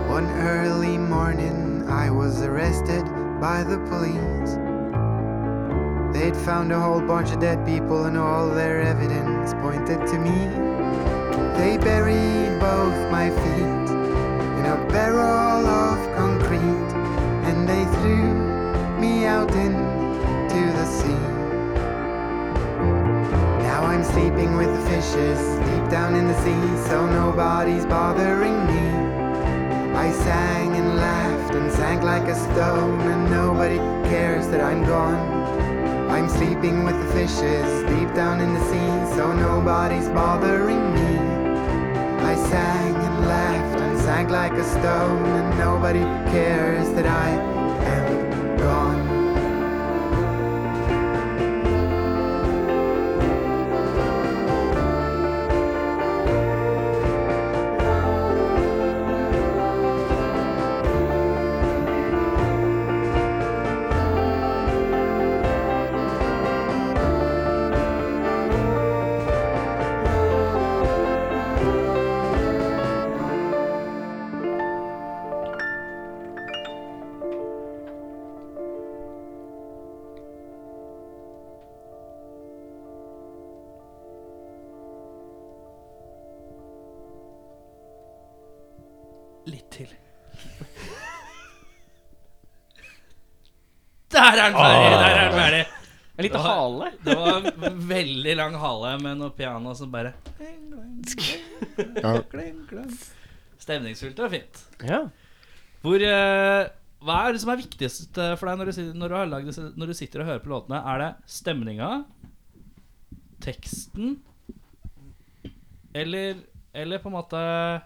[SPEAKER 6] One early morning, I was arrested by the police. They'd found a whole bunch of dead people, and all their evidence pointed to me. They buried both my feet in a barrel of concrete and they threw me out into the sea. Now I'm sleeping with the fishes deep down in the sea, so nobody's bothering me. I sang and laughed and sank like a stone, and nobody cares that I'm gone. I'm sleeping with the fishes deep down in the sea, so nobody's bothering me. I sang and like a stone, and nobody cares that I am gone.
[SPEAKER 5] Litt til. Der er den ferdig! Der er den ferdig.
[SPEAKER 3] Litt
[SPEAKER 5] Det var-
[SPEAKER 3] hale.
[SPEAKER 5] Det var en veldig lang hale med noe piano som bare
[SPEAKER 4] Ja.
[SPEAKER 5] Stemningsfullt og fint.
[SPEAKER 3] Ja.
[SPEAKER 5] Hvor eh, Hva er det som er viktigst eh, for deg når du, sit- når, du har lagd, disse- når du sitter og hører på låtene? Er det stemninga? Teksten? Eller Eller på en måte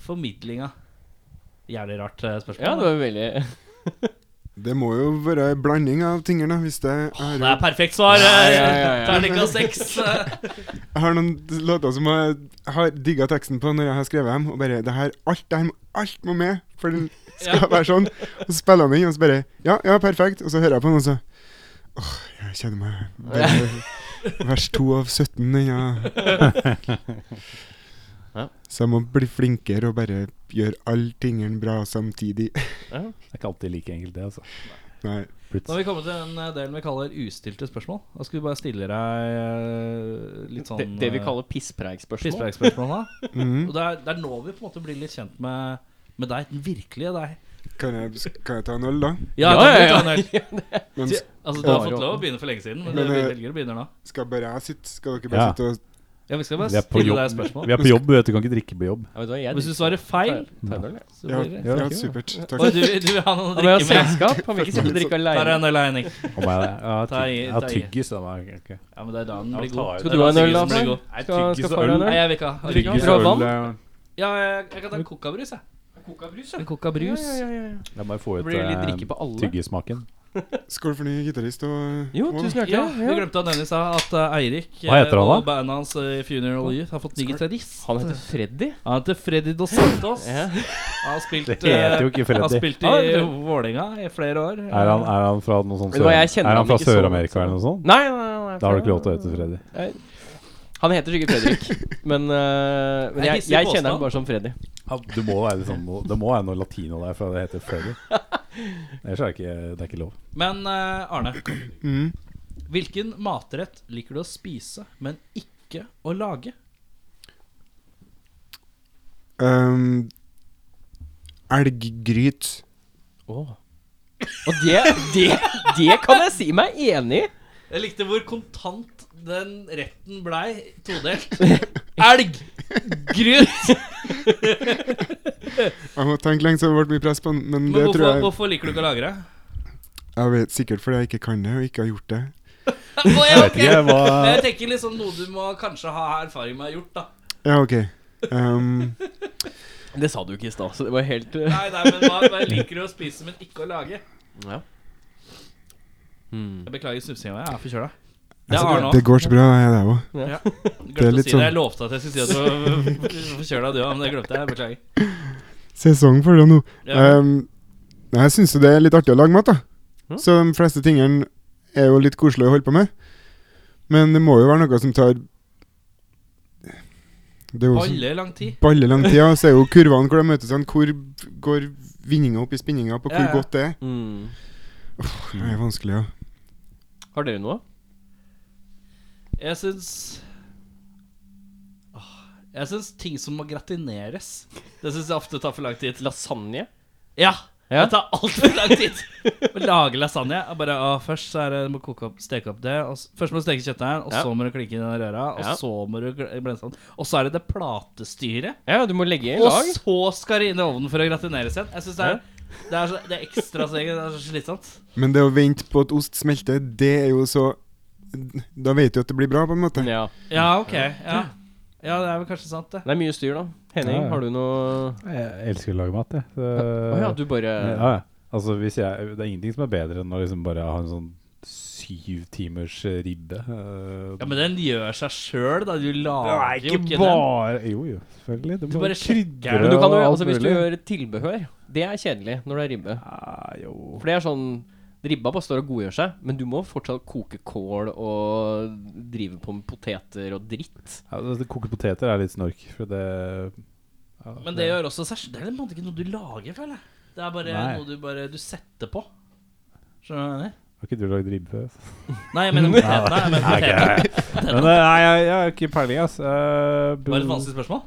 [SPEAKER 5] formidlinga? Jævlig rart eh, spørsmål.
[SPEAKER 3] ja, det var veldig
[SPEAKER 4] Det må jo være en blanding av tingene, da, hvis det
[SPEAKER 5] Åh,
[SPEAKER 4] er
[SPEAKER 5] det er perfekt svar! eh,
[SPEAKER 3] Ja, ja, ja, ja.
[SPEAKER 5] Terningkast seks.
[SPEAKER 4] Jeg har noen låter som jeg har digga teksten på når jeg har skrevet dem, og bare det her, alt, det her, må- alt må med, for den skal
[SPEAKER 5] Ja.
[SPEAKER 4] være sånn. Og så spiller han den inn, og så bare Ja, ja, perfekt. Og så hører jeg på den, og så Åh, jeg kjenner meg bare, Vers 2 av 17, den, ja.
[SPEAKER 3] Ja.
[SPEAKER 4] Så jeg må bli flinkere og bare gjøre alle tingene bra samtidig.
[SPEAKER 1] Det er ikke alltid like enkelt, det, altså.
[SPEAKER 4] Nei.
[SPEAKER 5] Nå har vi kommet til den eh, delen vi kaller ustilte spørsmål. Da skal vi bare stille deg eh, litt sånn
[SPEAKER 3] det, det vi
[SPEAKER 5] eh,
[SPEAKER 3] kaller pisspreikspørsmål.
[SPEAKER 5] pisspreikspørsmål. da. Og
[SPEAKER 4] Mhm.
[SPEAKER 5] det er, det er nå vi på en måte blir litt kjent med, med deg, den virkelige deg.
[SPEAKER 4] Kan, jeg, kan jeg ta en øl, da?
[SPEAKER 5] Ja,
[SPEAKER 3] ja, ja, ja.
[SPEAKER 4] Men s-
[SPEAKER 5] Altså, Du har
[SPEAKER 3] Ja,
[SPEAKER 5] fått
[SPEAKER 3] ja.
[SPEAKER 5] lov å begynne for lenge siden, men
[SPEAKER 4] Men,
[SPEAKER 5] du
[SPEAKER 4] eh,
[SPEAKER 5] velger å begynne nå.
[SPEAKER 4] skal bare jeg sitte? Skal dere bare
[SPEAKER 1] Ja.
[SPEAKER 4] sitte og
[SPEAKER 5] Ja, Vi skal
[SPEAKER 1] Vi
[SPEAKER 5] bare
[SPEAKER 1] er på
[SPEAKER 5] stille deg
[SPEAKER 1] jobb,
[SPEAKER 5] spørsmål.
[SPEAKER 1] vi er på jobb, vet du kan ikke drikke på jobb.
[SPEAKER 3] Ja, vet du hva, jeg
[SPEAKER 5] Hvis du svarer feil,
[SPEAKER 3] tar en øl, jeg.
[SPEAKER 5] så
[SPEAKER 4] Ja,
[SPEAKER 5] blir det
[SPEAKER 1] Ja,
[SPEAKER 4] ja
[SPEAKER 1] ok, ja.
[SPEAKER 4] supert. Takk.
[SPEAKER 5] Oi, du, du vil ha noen å
[SPEAKER 3] Han vil ha
[SPEAKER 5] drikke med?
[SPEAKER 3] selskap. Han vil ikke sitte og drikke
[SPEAKER 5] Ta deg
[SPEAKER 3] alene.
[SPEAKER 5] en øl, Henning.
[SPEAKER 1] Om jeg, jeg, har
[SPEAKER 5] Ta i-
[SPEAKER 1] tygg- jeg har
[SPEAKER 5] ta i.
[SPEAKER 1] tyggis. da, men jeg- ok.
[SPEAKER 5] Ja, men det er da den
[SPEAKER 1] Ja,
[SPEAKER 5] blir
[SPEAKER 1] ta
[SPEAKER 5] god.
[SPEAKER 1] ut.
[SPEAKER 3] Skal du ha en øl, da?
[SPEAKER 5] Sigurdsen blir god.
[SPEAKER 1] Nei,
[SPEAKER 3] Skal-
[SPEAKER 1] tyggis
[SPEAKER 3] skal
[SPEAKER 1] og øl.
[SPEAKER 3] faren ha en
[SPEAKER 5] Nei, jeg vil ikke ha. Vil du
[SPEAKER 1] Tyggis
[SPEAKER 5] ikke ha.
[SPEAKER 1] og
[SPEAKER 3] Prøv
[SPEAKER 1] øl.
[SPEAKER 3] vann.
[SPEAKER 1] eh,
[SPEAKER 5] Ja, jeg, jeg kan ta en kokabrus, jeg. Kokabrus, ja. En kokabrus.
[SPEAKER 1] Jeg må jo få
[SPEAKER 3] Det
[SPEAKER 1] ut
[SPEAKER 3] blir
[SPEAKER 1] eh,
[SPEAKER 3] litt drikke på alle.
[SPEAKER 1] tyggismaken.
[SPEAKER 4] Skål for ny gitarist og
[SPEAKER 3] Jo,
[SPEAKER 4] og-
[SPEAKER 3] tusen hjertelig.
[SPEAKER 5] Ja,
[SPEAKER 3] ja.
[SPEAKER 5] du glemte å nevne i stad at eh, Eirik
[SPEAKER 1] Hva heter
[SPEAKER 5] eh,
[SPEAKER 1] han da?
[SPEAKER 5] og bandet hans eh, Funeral Youth har fått ny gitarist.
[SPEAKER 3] Han heter Freddy.
[SPEAKER 5] Han heter Freddy Dos Santos.
[SPEAKER 3] Ja.
[SPEAKER 5] Han har spilt,
[SPEAKER 1] Det heter
[SPEAKER 5] eh,
[SPEAKER 1] jo ikke
[SPEAKER 5] han
[SPEAKER 1] Freddy.
[SPEAKER 5] spilt i
[SPEAKER 3] Ja, det-
[SPEAKER 5] Vålerenga i flere år.
[SPEAKER 1] Er han, er han fra noe sånt
[SPEAKER 3] Vet du hva, jeg
[SPEAKER 1] Sør-
[SPEAKER 3] kjenner
[SPEAKER 1] Er
[SPEAKER 3] han
[SPEAKER 1] han fra
[SPEAKER 3] ikke så godt,
[SPEAKER 1] Sør-Amerika
[SPEAKER 3] så-
[SPEAKER 1] eller noe sånt?
[SPEAKER 3] Nei, nei, nei, nei.
[SPEAKER 1] Da har du ikke lov til å hete Freddy.
[SPEAKER 3] Han heter sikkert Fredrik, men, øh, men
[SPEAKER 5] Det er
[SPEAKER 3] jeg,
[SPEAKER 5] hissig
[SPEAKER 3] jeg
[SPEAKER 5] påstand.
[SPEAKER 3] kjenner ham bare som Freddy.
[SPEAKER 1] Du må være liksom, det må være noe latino der for at det heter Freddy. Ellers er det ikke, det er ikke lov.
[SPEAKER 5] Men eh, Arne,
[SPEAKER 4] Mhm.
[SPEAKER 5] hvilken matrett liker du å spise, men ikke å lage?
[SPEAKER 4] Ehm, Elggryt.
[SPEAKER 3] Og det, det, det kan jeg si meg enig i.
[SPEAKER 5] Jeg likte hvor kontant den retten blei todelt. Elg! Gryt!
[SPEAKER 4] Jeg må tenke lenge, så det ble mye press på den, men
[SPEAKER 5] Men
[SPEAKER 4] det tror
[SPEAKER 5] hvorfor,
[SPEAKER 4] jeg
[SPEAKER 5] hvorfor liker du ikke å lage det?
[SPEAKER 4] Jeg vet sikkert fordi jeg ikke kan det, og ikke har gjort det.
[SPEAKER 5] Å, ja,
[SPEAKER 1] Jeg vet
[SPEAKER 5] ok.
[SPEAKER 1] ikke hva
[SPEAKER 5] Men jeg tenker liksom noe du må kanskje ha erfaring med å ha gjort, da.
[SPEAKER 4] Ja, OK. Ehm,
[SPEAKER 3] Det sa du ikke i stad, så det var helt øh,
[SPEAKER 5] Nei, nei, men hva, hva liker du å spise, men ikke å lage?
[SPEAKER 3] ja.
[SPEAKER 5] Jeg beklager snufsinga, jeg er forkjøla. Det er Arne
[SPEAKER 4] altså,
[SPEAKER 5] òg.
[SPEAKER 4] det går så bra, jeg er det òg. det er
[SPEAKER 5] Glemte å
[SPEAKER 4] litt
[SPEAKER 5] si det.
[SPEAKER 4] sånn-
[SPEAKER 5] Jeg lovte at jeg skulle si at du var forkjøla, du òg, men det glemte jeg. Beklager.
[SPEAKER 4] Sesong for det nå.
[SPEAKER 5] Ja.
[SPEAKER 4] Ehm, nei, jeg syns jo det er litt artig å lage mat, da.
[SPEAKER 3] Mhm.
[SPEAKER 4] Så de fleste tingene er jo litt koselig å holde på med. Men det må jo være noe som tar Det er jo så-
[SPEAKER 5] Balle lang tid.
[SPEAKER 4] balle lang tid, ja. Så er jo kurvene hvor de møtes sånn, Hvor går vinninga opp i spinninga på hvor
[SPEAKER 5] Ja, ja.
[SPEAKER 4] godt det er?
[SPEAKER 3] Mm.
[SPEAKER 4] Det er vanskelig, ja.
[SPEAKER 3] Har dere noe?
[SPEAKER 5] Jeg syns Åh, Jeg syns ting som må gratineres, det syns jeg ofte tar for lang tid.
[SPEAKER 3] Lasagne?
[SPEAKER 5] Ja!
[SPEAKER 3] Ja.
[SPEAKER 5] Det tar altfor lang tid å lage lasagne. Jeg Bare, å, først så er det, du må koke opp, steke opp det. Og, s- først må du steke kjøttdeigen, og
[SPEAKER 3] Ja.
[SPEAKER 5] så må du klinke inn i røra. Og
[SPEAKER 3] Ja.
[SPEAKER 5] så må du gl- blende sammen. Og så er det det platestyret.
[SPEAKER 3] Ja, du må legge i en
[SPEAKER 5] Og
[SPEAKER 3] lag.
[SPEAKER 5] så skal det inn i ovnen for å gratineres igjen. Jeg synes det, er, det, er så, det er ekstra steget. Det er så slitsomt.
[SPEAKER 4] Men det å vente på at ost smelter, det er jo så Da vet du at det blir bra, på en måte.
[SPEAKER 3] Ja.
[SPEAKER 5] Ja, ok. Ja. Ja, det er vel kanskje sant, det.
[SPEAKER 3] Det er mye styr, da. Henning,
[SPEAKER 1] Ja, ja.
[SPEAKER 3] har du noe
[SPEAKER 1] Jeg elsker å lage mat, jeg. Så,
[SPEAKER 3] Å ja, du bare
[SPEAKER 1] ja, ja. Altså, hvis jeg, det er ingenting som er bedre enn å liksom bare ha en sånn syv timers eh, ribbe. eh,
[SPEAKER 5] Ja, Men den gjør seg sjøl, da. Du lager jo ikke den.
[SPEAKER 1] bare Jo, jo, selvfølgelig. Du,
[SPEAKER 5] Du
[SPEAKER 1] må
[SPEAKER 5] bare sjekker.
[SPEAKER 1] krydre
[SPEAKER 3] Men du kan jo,
[SPEAKER 1] og alt
[SPEAKER 3] altså, hvis du
[SPEAKER 1] mulig.
[SPEAKER 3] gjør tilbehør, det er kjedelig når det er ribbe.
[SPEAKER 1] Ja, jo.
[SPEAKER 3] For det er sånn Ribba bare står og godgjør seg, men du må fortsatt koke kål og drive på med poteter og dritt.
[SPEAKER 1] Ja, det- det Koke poteter er litt snork, for det ja,
[SPEAKER 5] Men det gjør også seg Det er på en måte ikke noe du lager, føler jeg. Det er bare
[SPEAKER 1] Nei.
[SPEAKER 5] noe du bare Du setter på. Skjønner du hva jeg mener?
[SPEAKER 1] Har ikke du lagd ribbe før? altså?
[SPEAKER 5] Nei, jeg mener potetene. Jeg mener potetene.
[SPEAKER 1] Men eh, nei, jeg, jeg har ikke peiling, ass. Eh,
[SPEAKER 5] Var det et vanskelig spørsmål?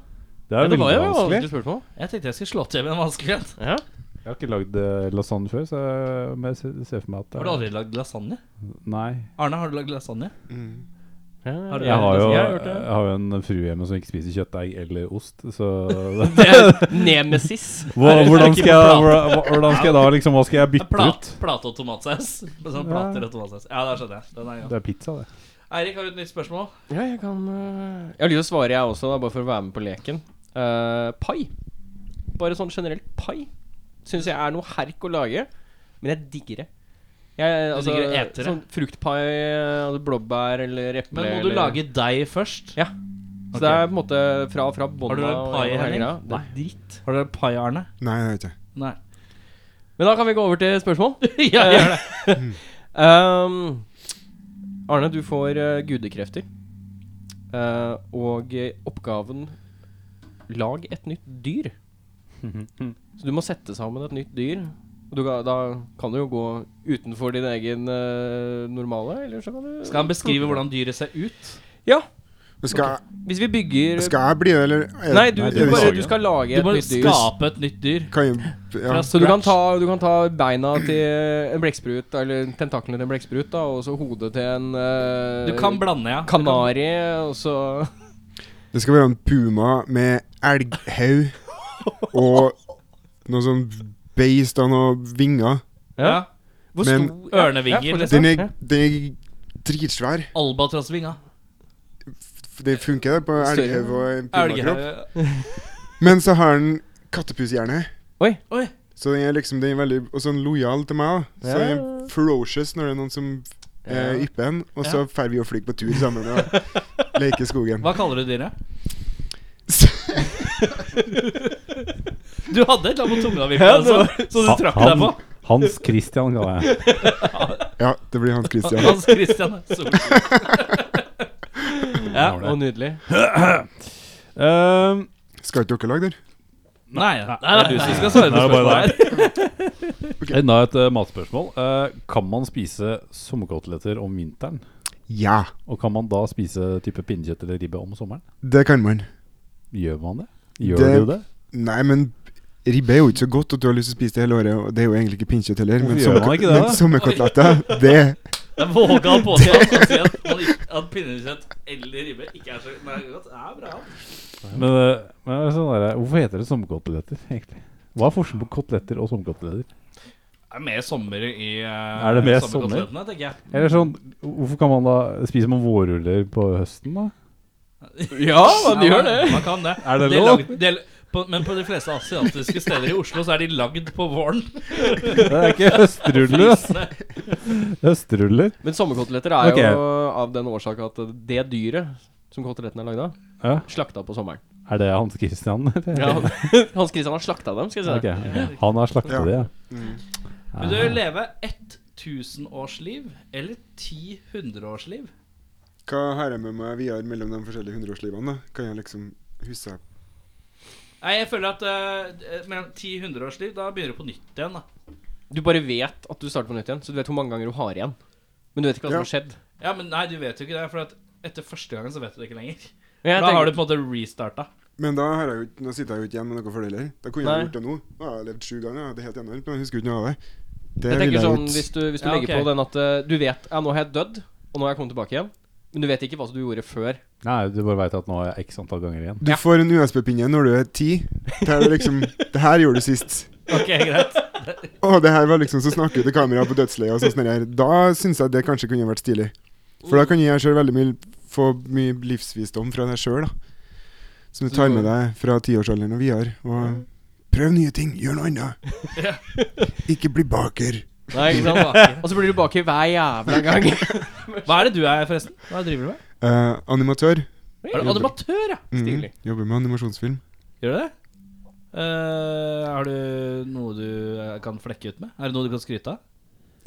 [SPEAKER 1] Det er
[SPEAKER 3] Men det var
[SPEAKER 1] veldig
[SPEAKER 3] jo et
[SPEAKER 1] vanskelig.
[SPEAKER 3] vanskelig spørsmål.
[SPEAKER 5] Jeg tenkte jeg skulle slå til med en vanskelig en.
[SPEAKER 3] Ja.
[SPEAKER 1] Jeg har ikke lagd eh, lasagne før, så jeg- men jeg ser- ser for meg at det
[SPEAKER 5] Har du aldri lagd lasagne?
[SPEAKER 1] Nei.
[SPEAKER 5] Arne, har du lagd lasagne?
[SPEAKER 4] Mm.
[SPEAKER 3] Ja,
[SPEAKER 5] Har du-
[SPEAKER 1] Jeg har jo,
[SPEAKER 3] jeg
[SPEAKER 1] jeg
[SPEAKER 3] har gjort det.
[SPEAKER 1] har jo en frue hjemme som ikke spiser kjøttdeig eller ost, så
[SPEAKER 3] Det er Nemesis.
[SPEAKER 1] Hvor- Hvordan
[SPEAKER 5] ikke
[SPEAKER 1] skal jeg, hvordan- hvordan skal jeg da liksom Hva skal jeg
[SPEAKER 5] Det er
[SPEAKER 1] bytte
[SPEAKER 5] Plat,
[SPEAKER 1] ut?
[SPEAKER 5] plate og tomatsaus. Med Sånn plater og tomatsaus. Ja, det skjønner jeg. Den er god.
[SPEAKER 1] Det er pizza, det.
[SPEAKER 5] Eirik, har du et nytt spørsmål?
[SPEAKER 3] Ja, jeg kan øh, Jeg har lyst til å svare, jeg også, da, bare for å være med på leken. Eh, pai. Bare sånn generelt pai. Syns jeg er noe herk å lage, men jeg digger det. Jeg,
[SPEAKER 5] Du
[SPEAKER 3] altså,
[SPEAKER 5] digger å ete det?
[SPEAKER 3] Sånn fruktpai, altså blåbær eller eple.
[SPEAKER 5] Men må du
[SPEAKER 3] eller-
[SPEAKER 5] lage deig først?
[SPEAKER 3] Ja. Så det er på en måte fra fra bånda.
[SPEAKER 5] Har du lagd
[SPEAKER 3] og
[SPEAKER 5] pai,
[SPEAKER 3] hele
[SPEAKER 5] Henning?
[SPEAKER 3] greia. Det er dritt.
[SPEAKER 5] Har dere pai, Arne?
[SPEAKER 4] Nei, det er ikke
[SPEAKER 5] Nei.
[SPEAKER 3] Men da kan vi gå over til spørsmål.
[SPEAKER 5] ja, gjør det. Mm.
[SPEAKER 3] Um, Arne, du får eh, gudekrefter. Eh, og eh, oppgaven Lag et nytt dyr. Så du må sette sammen et nytt dyr. Og du, ga- da kan du jo gå utenfor din egen eh, normale, eller så kan du
[SPEAKER 5] Skal han beskrive hvordan dyret ser ut?
[SPEAKER 3] Ja.
[SPEAKER 4] Men skal,
[SPEAKER 3] Hvis vi bygger
[SPEAKER 4] jeg- skal jeg bli det, eller? er-
[SPEAKER 3] Nei, du,
[SPEAKER 1] Nei,
[SPEAKER 3] du,
[SPEAKER 1] det må
[SPEAKER 3] bare,
[SPEAKER 1] lage.
[SPEAKER 3] du skal lage
[SPEAKER 5] Du
[SPEAKER 3] et
[SPEAKER 5] må
[SPEAKER 3] nytt dyr.
[SPEAKER 5] skape et nytt dyr.
[SPEAKER 4] Kan jeg, ja.
[SPEAKER 5] Fra
[SPEAKER 3] Så du kan,
[SPEAKER 5] scratch.
[SPEAKER 3] ta, du kan ta beina til en blekksprut, eller tentaklene til en blekksprut, da, og så hodet til en eh,
[SPEAKER 5] Du kan blande, ja.
[SPEAKER 3] Kanari, og så
[SPEAKER 4] Det skal være en puma med elghau og noe sånn beist av noen vinger.
[SPEAKER 5] Ja.
[SPEAKER 3] Hvor
[SPEAKER 4] Men-
[SPEAKER 3] stor- ja,
[SPEAKER 5] Ørnevinger,
[SPEAKER 3] ja, fortsett,
[SPEAKER 4] Den
[SPEAKER 3] ja.
[SPEAKER 4] er, den er dritsvær.
[SPEAKER 5] Albatrossvinga.
[SPEAKER 4] F- Det funker, det, på
[SPEAKER 3] Større.
[SPEAKER 4] elghau og en pumakropp.
[SPEAKER 5] Elghauge.
[SPEAKER 4] Men så har den kattepushjerne.
[SPEAKER 3] Oi.
[SPEAKER 5] Oi.
[SPEAKER 4] Så den er liksom den er veldig Og sånn lojal til meg. da. Så
[SPEAKER 3] Ja.
[SPEAKER 4] den er ferocious når det er noen som eh,
[SPEAKER 3] Ja.
[SPEAKER 4] ypper den. Og så drar vi og flyr på tur sammen og leker i skogen.
[SPEAKER 5] Hva kaller du dyret? Du hadde et eller annet på tunga, Vippe,
[SPEAKER 3] Ja, det var-
[SPEAKER 5] altså, så du trakk deg på.
[SPEAKER 1] Han, Hans Christian, kaller jeg
[SPEAKER 4] Ja, det blir Hans Christian.
[SPEAKER 5] Hans Christian Solskjær. ja.
[SPEAKER 3] Å, nydelig.
[SPEAKER 1] Ehm,
[SPEAKER 4] Skal ikke dere lage den?
[SPEAKER 5] Nei, det er du som skal svare
[SPEAKER 1] Nei,
[SPEAKER 5] på
[SPEAKER 1] det er bare
[SPEAKER 5] spørsmålet her.
[SPEAKER 1] Enda et eh, matspørsmål. Eh, kan man spise sommerkoteletter om vinteren?
[SPEAKER 4] Ja,
[SPEAKER 1] Og kan man da spise type pinnekjøtt eller ribbe om sommeren?
[SPEAKER 4] det kan man.
[SPEAKER 1] Gjør man det? Gjør
[SPEAKER 4] Det-
[SPEAKER 1] du det?
[SPEAKER 4] Nei, men ribbe er jo ikke så godt at du har lyst til å spise det hele året. Og det er jo egentlig ikke pinnekjøtt heller.
[SPEAKER 1] Hvorfor
[SPEAKER 4] Men,
[SPEAKER 1] gjør man ikke det,
[SPEAKER 4] men
[SPEAKER 1] da?
[SPEAKER 4] sommerkoteletter, det
[SPEAKER 5] Jeg våga å påstå at, at, man ikke- at pinnekjøtt eller ribbe ikke er så Nei, godt. Det er bra.
[SPEAKER 1] Men, eh, men det er sånn der, hvorfor heter det sommerkoteletter, egentlig? Hva er forskjellen på koteletter og sommerkoteletter?
[SPEAKER 5] Det er mer sommer i uh,
[SPEAKER 1] Er det mer sommer?
[SPEAKER 5] tenker jeg.
[SPEAKER 1] Eller sånn, hvorfor kan man da spise man vårruller på høsten, da?
[SPEAKER 3] Ja, man gjør det.
[SPEAKER 5] Man kan det.
[SPEAKER 1] Er det
[SPEAKER 5] De er
[SPEAKER 1] lov?
[SPEAKER 5] lagd- de er- på, men på de fleste asiatiske steder i Oslo så er de lagd på våren.
[SPEAKER 1] Det er ikke høstruller, altså.
[SPEAKER 5] Flisene.
[SPEAKER 1] Høstruller.
[SPEAKER 3] Men sommerkoteletter er
[SPEAKER 1] Ok.
[SPEAKER 3] jo av den årsak at det dyret som koteletten er lagd av,
[SPEAKER 1] Ja.
[SPEAKER 3] slakta på sommeren.
[SPEAKER 1] Er det Hans Christian? eller?
[SPEAKER 3] Hans Christian har slakta dem, skal jeg si.
[SPEAKER 1] Ok, Han har slakta
[SPEAKER 4] Ja.
[SPEAKER 1] det, ja.
[SPEAKER 5] Vil du leve ett tusenårsliv eller ti hundreårsliv?
[SPEAKER 4] Hva har jeg med meg videre mellom de forskjellige hundreårslivene? da? Kan jeg liksom huske
[SPEAKER 5] Nei, jeg føler at eh, mellom ti hundreårsliv, da begynner du på nytt igjen, da.
[SPEAKER 3] Du bare vet at du starter på nytt igjen, så du vet hvor mange ganger du har igjen. Men du vet ikke hva som
[SPEAKER 4] Ja.
[SPEAKER 3] har skjedd.
[SPEAKER 5] Ja, men nei, du vet jo ikke det, for at etter første gangen så vet du det ikke lenger.
[SPEAKER 3] Men jeg
[SPEAKER 5] Da har du
[SPEAKER 3] tenker-
[SPEAKER 5] på en måte restarta.
[SPEAKER 4] Men da har jeg jo, ikke- nå sitter jeg jo ikke igjen med noe for det heller. Da kunne jeg
[SPEAKER 3] Nei.
[SPEAKER 4] gjort det nå. Nå har jeg levd sju ganger, ja, det er helt enormt, men jeg husker jo ikke noe av det. Det
[SPEAKER 3] jeg
[SPEAKER 4] ville
[SPEAKER 3] tenker
[SPEAKER 4] jeg
[SPEAKER 3] sånn,
[SPEAKER 4] gjort.
[SPEAKER 3] Hvis du, hvis du
[SPEAKER 5] Ja,
[SPEAKER 3] legger
[SPEAKER 5] ok.
[SPEAKER 3] på den at eh, du vet Ja, nå har jeg dødd, og nå har jeg kommet tilbake igjen. Men du vet ikke hva du gjorde før.
[SPEAKER 1] Nei, du bare veit at nå har jeg x antall ganger igjen.
[SPEAKER 4] Du får en USB-pinne når du er ti. Der er det liksom Det her gjorde du sist.
[SPEAKER 5] Ok, greit.
[SPEAKER 4] Å, det her var liksom så snakker du til kameraet på dødsleiet og sånn sånn her. Da syns jeg det kanskje kunne vært stilig. For da kan jeg selv veldig mye få mye livsvisdom fra deg sjøl, da. Som du tar med deg fra tiårsalderen og videre. Og prøv nye ting, gjør noe annet. Ikke bli baker.
[SPEAKER 3] Nei, ikke sant? Og så blir du baker hver jævla gang.
[SPEAKER 5] Hva er det du er, forresten? Hva driver du med?
[SPEAKER 4] Eh, animatør.
[SPEAKER 5] Er du animatør, ja?
[SPEAKER 4] Mhm.
[SPEAKER 3] Stilig.
[SPEAKER 4] Jobber med animasjonsfilm.
[SPEAKER 5] Gjør du det? Eh, har du noe du eh, kan flekke ut med? Er det noe du kan skryte av?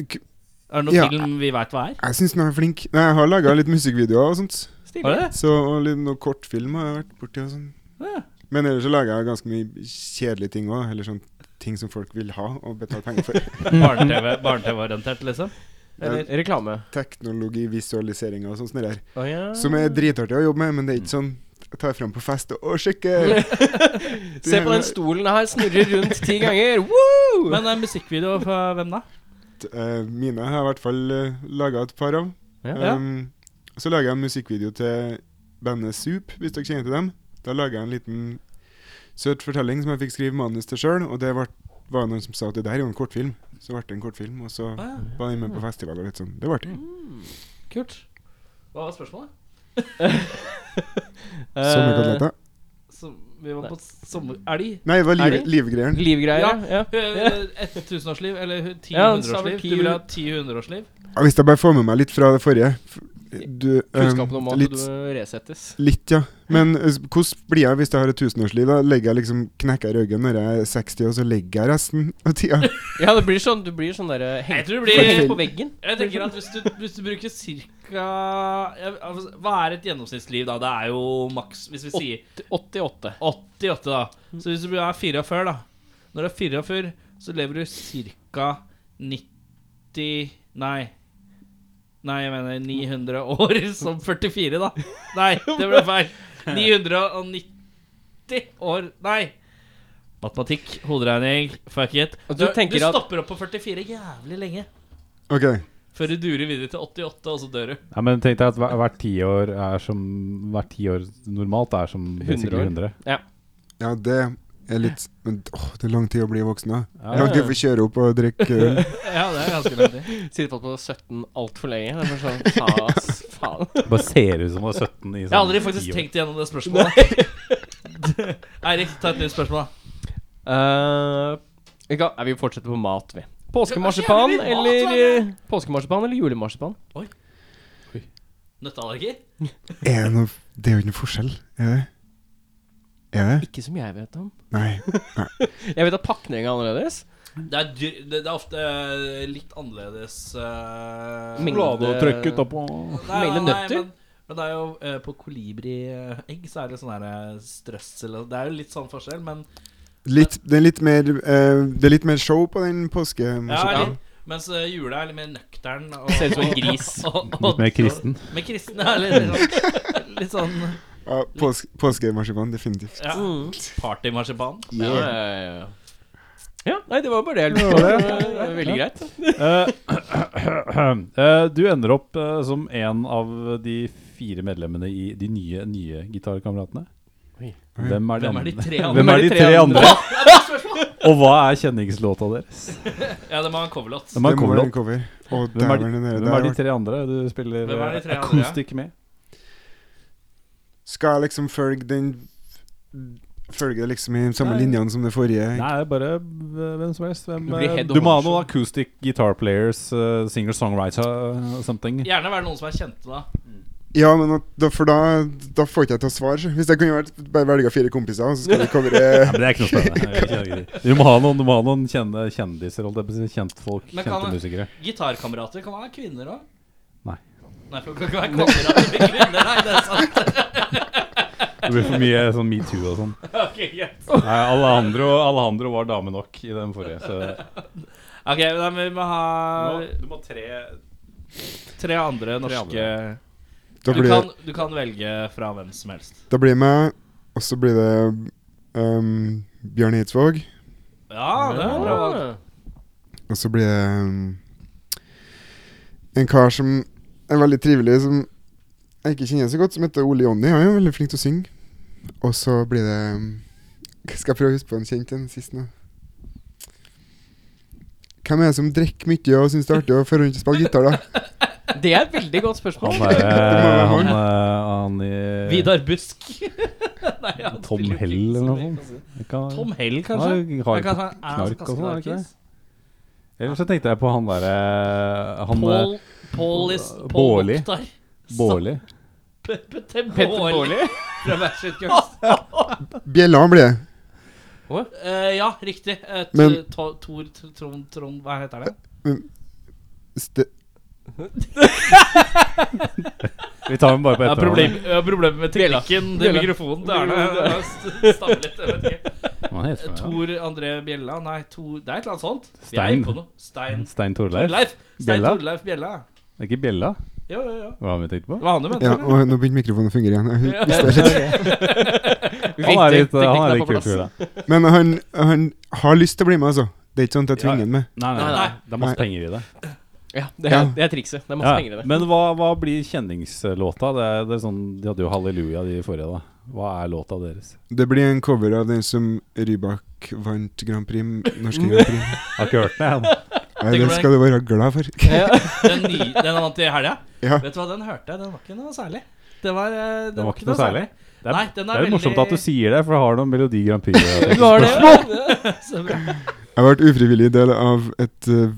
[SPEAKER 4] K-
[SPEAKER 5] Er det noen
[SPEAKER 4] Ja.
[SPEAKER 5] film vi veit hva er?
[SPEAKER 4] Jeg syns den er flink. Nei, jeg har laga litt musikkvideoer og sånt.
[SPEAKER 5] Har du det?
[SPEAKER 4] Så, og litt noe kortfilm har jeg vært borti og sånn.
[SPEAKER 5] Ja.
[SPEAKER 4] Men ellers så lager jeg ganske mye kjedelige ting òg. Eller sånn ting som folk vil ha og betale penger for.
[SPEAKER 5] Barne-TV Barne-TV-orientert, liksom?
[SPEAKER 4] Eller
[SPEAKER 3] Reklame.
[SPEAKER 4] teknologi, visualiseringer og sånt sånn der.
[SPEAKER 3] Oh, ja.
[SPEAKER 4] Som er dritartig å jobbe med, men det er ikke sånn jeg tar fram på fest og å, sjekke!
[SPEAKER 3] Se på den stolen her, snurrer rundt ti ganger. Woo!
[SPEAKER 5] Men eh, musikkvideo fra hvem da?
[SPEAKER 4] Eh, mine har jeg i hvert fall uh, laga et par av.
[SPEAKER 3] Ja.
[SPEAKER 4] Um, så lager jeg en musikkvideo til bandet Soup, hvis dere kjenner til dem. Da lager jeg en liten søt fortelling som jeg fikk skrive manus til sjøl, og det var, var noen som sa at det der er jo en kortfilm. Så ble det en kortfilm, og så
[SPEAKER 5] Ah,
[SPEAKER 4] var jeg med på festival og litt sånn. Det ble det.
[SPEAKER 3] Mm.
[SPEAKER 5] Kult. Hva var spørsmålet?
[SPEAKER 3] Eh,
[SPEAKER 4] Sommerkoteletter.
[SPEAKER 5] Så, vi var på sommerelg.
[SPEAKER 4] Nei, det var liv,
[SPEAKER 3] Er det?
[SPEAKER 4] livgreieren.
[SPEAKER 3] Livgreier, ja. ja.
[SPEAKER 5] Eh, Et tusenårsliv, eller hu- ti
[SPEAKER 3] Ja, han sa vel
[SPEAKER 5] hundreårsliv.
[SPEAKER 3] ti-
[SPEAKER 5] Du vil ha ti hundreårsliv?
[SPEAKER 4] Ja, hvis jeg bare får med meg litt fra det forrige f- du, um,
[SPEAKER 3] Kunnskapen om at
[SPEAKER 4] litt,
[SPEAKER 3] du resettes.
[SPEAKER 4] litt, ja. Men eh, s- hvordan blir jeg hvis jeg har et tusenårsliv? Da legger jeg liksom knekker jeg ryggen når jeg er 60, og så legger jeg resten av tida.
[SPEAKER 3] Ja, det blir sånn, du blir sånn derre
[SPEAKER 5] Jeg
[SPEAKER 3] hengt
[SPEAKER 5] tror det
[SPEAKER 3] hengt
[SPEAKER 5] blir
[SPEAKER 3] på veggen.
[SPEAKER 5] Jeg tenker at hvis du, hvis du bruker cirka ja, altså, Hva er et gjennomsnittsliv, da? Det er jo maks Hvis vi sier
[SPEAKER 3] 88.
[SPEAKER 5] 88,
[SPEAKER 3] Mm.
[SPEAKER 5] da. Så hvis du er 44, da. Når du er 44, så lever du cirka 90 Nei. Nei, jeg mener 900 år som 44, da. Nei, det ble feil. 990 år Nei. Matematikk, hoderegning, fuck it.
[SPEAKER 3] Og
[SPEAKER 5] Du,
[SPEAKER 3] du
[SPEAKER 5] du,
[SPEAKER 3] tenker at-
[SPEAKER 5] stopper opp på 44 jævlig lenge.
[SPEAKER 4] Ok,
[SPEAKER 5] Før du durer videre til 88, og så dør du.
[SPEAKER 1] Nei, men tenk deg at hver- hvert tiår er som Hvert tiår normalt er som 100
[SPEAKER 3] år.
[SPEAKER 1] 100.
[SPEAKER 4] Ja, det er litt Men åh, det er lang tid å bli voksen, da.
[SPEAKER 1] Ja,
[SPEAKER 4] Lang tid for å kjøre opp og drikke øl.
[SPEAKER 5] Ja, det er ganske lang tid.
[SPEAKER 3] Sitter fast på 17 altfor lenge. Det er bare sånn, tas, faen.
[SPEAKER 1] Bare ser ut som du er 17 i sånn
[SPEAKER 5] Jeg har aldri
[SPEAKER 1] 10
[SPEAKER 5] faktisk
[SPEAKER 1] år.
[SPEAKER 5] tenkt igjennom det spørsmålet. Eirik, ta et nytt spørsmål, da.
[SPEAKER 3] Eh, vi kan- nei, vi fortsetter på mat, vi.
[SPEAKER 5] Ja,
[SPEAKER 3] Påskemarsipan
[SPEAKER 5] det er jævlig mye mat,
[SPEAKER 3] eller eh, Påskemarsipan eller julemarsipan?
[SPEAKER 5] Nøtteallergi?
[SPEAKER 4] Er det noe Det er jo ikke noe forskjell, er det? Er det?
[SPEAKER 3] Ikke som jeg vet om.
[SPEAKER 4] Nei.
[SPEAKER 3] Jeg vet at pakningen er annerledes.
[SPEAKER 5] Det er, dyr, det, det er ofte eh, litt annerledes eh,
[SPEAKER 3] Mengde-
[SPEAKER 1] Bladet og trykket oppå
[SPEAKER 5] Nei,
[SPEAKER 3] mengde
[SPEAKER 5] nei,
[SPEAKER 3] nøtter.
[SPEAKER 5] men, men det er jo eh, på kolibriegg så er det sånn her eh, strøssel og Det er jo litt sånn forskjell, men
[SPEAKER 4] Litt, det, er litt mer, eh, det er litt mer show på den
[SPEAKER 5] ja,
[SPEAKER 4] påskemarsipanen.
[SPEAKER 5] litt, Mens eh, jula er litt mer nøktern. og-
[SPEAKER 3] Ser ut som en gris.
[SPEAKER 5] og- og-
[SPEAKER 1] Litt mer kristen.
[SPEAKER 5] Med kristen, ja. Litt, litt, sånn, litt sånn
[SPEAKER 4] Ja, pås påskemarsipan, definitivt.
[SPEAKER 5] ja, partymarsipan.
[SPEAKER 3] Mm. Ja,
[SPEAKER 4] Yeah.
[SPEAKER 3] ja, ja, ja. ja, nei, det var bare det jeg lurte på. Det var Veldig greit.
[SPEAKER 1] Eh, eh, du ender opp eh, som en av de fire medlemmene i de nye, nye gitarkameratene.
[SPEAKER 3] Oi.
[SPEAKER 1] Hvem er de,
[SPEAKER 5] Hvem er de
[SPEAKER 1] andre?
[SPEAKER 5] tre andre?
[SPEAKER 1] Hvem er de tre andre? Og hva er kjenningslåta deres?
[SPEAKER 5] Ja, det må ha en coverlåt.
[SPEAKER 1] De har
[SPEAKER 4] det må være
[SPEAKER 1] coverlåt.
[SPEAKER 4] en cover. Å,
[SPEAKER 1] Hvem er de-
[SPEAKER 4] dæven, den der
[SPEAKER 1] Hvem er de
[SPEAKER 4] der.
[SPEAKER 1] tre andre du spiller
[SPEAKER 5] Hvem er de
[SPEAKER 1] eh,
[SPEAKER 5] tre andre?
[SPEAKER 1] akustikk med?
[SPEAKER 4] Skal jeg liksom følge den Følge det liksom i de samme
[SPEAKER 1] Nei.
[SPEAKER 4] linjene som det forrige?
[SPEAKER 1] Nei, det er bare eh, hvem som helst. Hvem,
[SPEAKER 3] Du blir
[SPEAKER 1] eh,
[SPEAKER 3] head
[SPEAKER 1] du må ha
[SPEAKER 3] honcho.
[SPEAKER 1] noen acoustic guitar players, eh, singer-songwriter eh, something.
[SPEAKER 5] Gjerne være noen som er kjente, da.
[SPEAKER 4] Ja, men at- da, for da, da får ikke jeg til å svare. så. Hvis jeg kunne vært, bare velge fire kompiser, og så skal vi
[SPEAKER 1] Nei,
[SPEAKER 4] covere
[SPEAKER 1] men det er ikke noe spennende. Du må ha noen, du må ha noen kjenne, kjendiser, holdt jeg på å si. Kjentfolk,
[SPEAKER 5] Men
[SPEAKER 1] kjente
[SPEAKER 5] kan-
[SPEAKER 1] musikere.
[SPEAKER 5] Gitarkamerater kan være kvinner òg.
[SPEAKER 1] Nei.
[SPEAKER 5] Nei, for det kan ikke være kamerater med kvinner, nei, det er sant.
[SPEAKER 1] Det blir for mye sånn metoo og sånn.
[SPEAKER 5] Ok, greit.
[SPEAKER 1] Nei, Alejandro, Alejandro var dame nok i den forrige, så
[SPEAKER 5] Ok, nei, men vi må ha
[SPEAKER 1] Du må tre
[SPEAKER 5] tre andre norske
[SPEAKER 4] Da
[SPEAKER 5] Du
[SPEAKER 4] blir,
[SPEAKER 5] kan, du kan velge fra hvem som helst.
[SPEAKER 4] da blir jeg meg, og så blir det ehm, Bjørn Eidsvåg.
[SPEAKER 5] Ja, det er bra valg.
[SPEAKER 4] Og så blir det ehm, en kar som er veldig trivelig, som jeg ikke kjenner så godt, som heter Ole Jonny. Han er jo veldig flink til å synge. Og så blir det ehm, Skal jeg prøve å huske på en kjent en sist nå? Hvem er det som drikker mye og syns det er artig å føre rundt og spille gitar, da?
[SPEAKER 3] Det er et veldig
[SPEAKER 1] Han
[SPEAKER 3] godt spørsmål.
[SPEAKER 1] derre
[SPEAKER 4] være
[SPEAKER 1] han,
[SPEAKER 4] han.
[SPEAKER 1] eh, han i
[SPEAKER 5] Vidar Busk. Nei, ja, det
[SPEAKER 1] Tom
[SPEAKER 5] spiller
[SPEAKER 1] Hell
[SPEAKER 5] Kings,
[SPEAKER 1] eller noe
[SPEAKER 5] det
[SPEAKER 1] sånt.
[SPEAKER 5] kan du-
[SPEAKER 1] Det kan-
[SPEAKER 5] Tom Hell,
[SPEAKER 1] Ja,
[SPEAKER 5] kanskje?
[SPEAKER 1] det har
[SPEAKER 5] Men
[SPEAKER 1] jo
[SPEAKER 5] kanskje han er
[SPEAKER 1] knark og
[SPEAKER 5] ganske
[SPEAKER 1] sånn, er det ikke
[SPEAKER 5] narkis?
[SPEAKER 1] Ellers så tenkte jeg på han derre Han
[SPEAKER 5] Paul,
[SPEAKER 1] eh,
[SPEAKER 5] Paul is Paul
[SPEAKER 1] Bårli.
[SPEAKER 5] Mokhtar.
[SPEAKER 1] Bårli.
[SPEAKER 5] Sa- Petter Bårli fra Backstreet Girls.
[SPEAKER 4] Bjella blir det.
[SPEAKER 5] Eh, ja, riktig. Eh, t-
[SPEAKER 4] Men-
[SPEAKER 5] to, Tor Tr- Trond Trond Hva heter det?
[SPEAKER 4] Ste-
[SPEAKER 1] Vi tar ham bare på
[SPEAKER 5] Ja,
[SPEAKER 1] etternavnet.
[SPEAKER 5] problem, ja, problemet med teknikken til
[SPEAKER 3] Bjella.
[SPEAKER 5] mikrofonen til Erna. Stammer litt. Jeg vet ikke.
[SPEAKER 1] Hva heter han?
[SPEAKER 5] Tor André Bjella? Nei, Tor Det er et eller annet sånt. Vi er
[SPEAKER 1] Stein.
[SPEAKER 5] på noe. Stein
[SPEAKER 1] Stein Torleif?
[SPEAKER 5] Torleif. Stein
[SPEAKER 1] Bjella?
[SPEAKER 5] Torleif Bjella.
[SPEAKER 1] Det er ikke Bjella?
[SPEAKER 5] Jo, jo, jo.
[SPEAKER 1] Hva har vi tenkt på?
[SPEAKER 5] Hva han
[SPEAKER 4] Ja,
[SPEAKER 5] mente du?
[SPEAKER 4] og nå begynte mikrofonen å fungere igjen.
[SPEAKER 1] Han er litt, han er litt kul fyr, da.
[SPEAKER 4] Men han, han har lyst til å bli med, altså. Det er ikke sånn at jeg tvinger han med.
[SPEAKER 1] Nei, nei,
[SPEAKER 5] Nei,
[SPEAKER 1] nei.
[SPEAKER 5] nei.
[SPEAKER 1] Det er masse penger i det.
[SPEAKER 3] Ja, det er,
[SPEAKER 4] Ja.
[SPEAKER 3] det er trikset. Det er masse
[SPEAKER 1] Ja.
[SPEAKER 3] penger i det.
[SPEAKER 1] Men hva, hva blir kjenningslåta? Det er, det er sånn, de hadde jo 'Halleluja' de forrige, da. Hva er låta deres?
[SPEAKER 4] Det blir en cover av den som Rybak vant Grand Prix, norske Grand Prix.
[SPEAKER 1] Jeg har ikke hørt den, jeg.
[SPEAKER 4] Ja, det skal du være glad for.
[SPEAKER 5] Den, nye, den han vant i helga?
[SPEAKER 4] Ja.
[SPEAKER 5] Vet du hva, den hørte jeg. Den var ikke noe særlig. Det var, eh, den
[SPEAKER 1] Den var ikke noe særlig. Det er,
[SPEAKER 5] Nei, den er
[SPEAKER 1] det er jo morsomt
[SPEAKER 5] veldig-
[SPEAKER 1] at du sier det, for det har noen Melodi Grand Prix.
[SPEAKER 3] Du har det, ja.
[SPEAKER 5] Så bra.
[SPEAKER 4] Jeg ble ufrivillig del av et eh,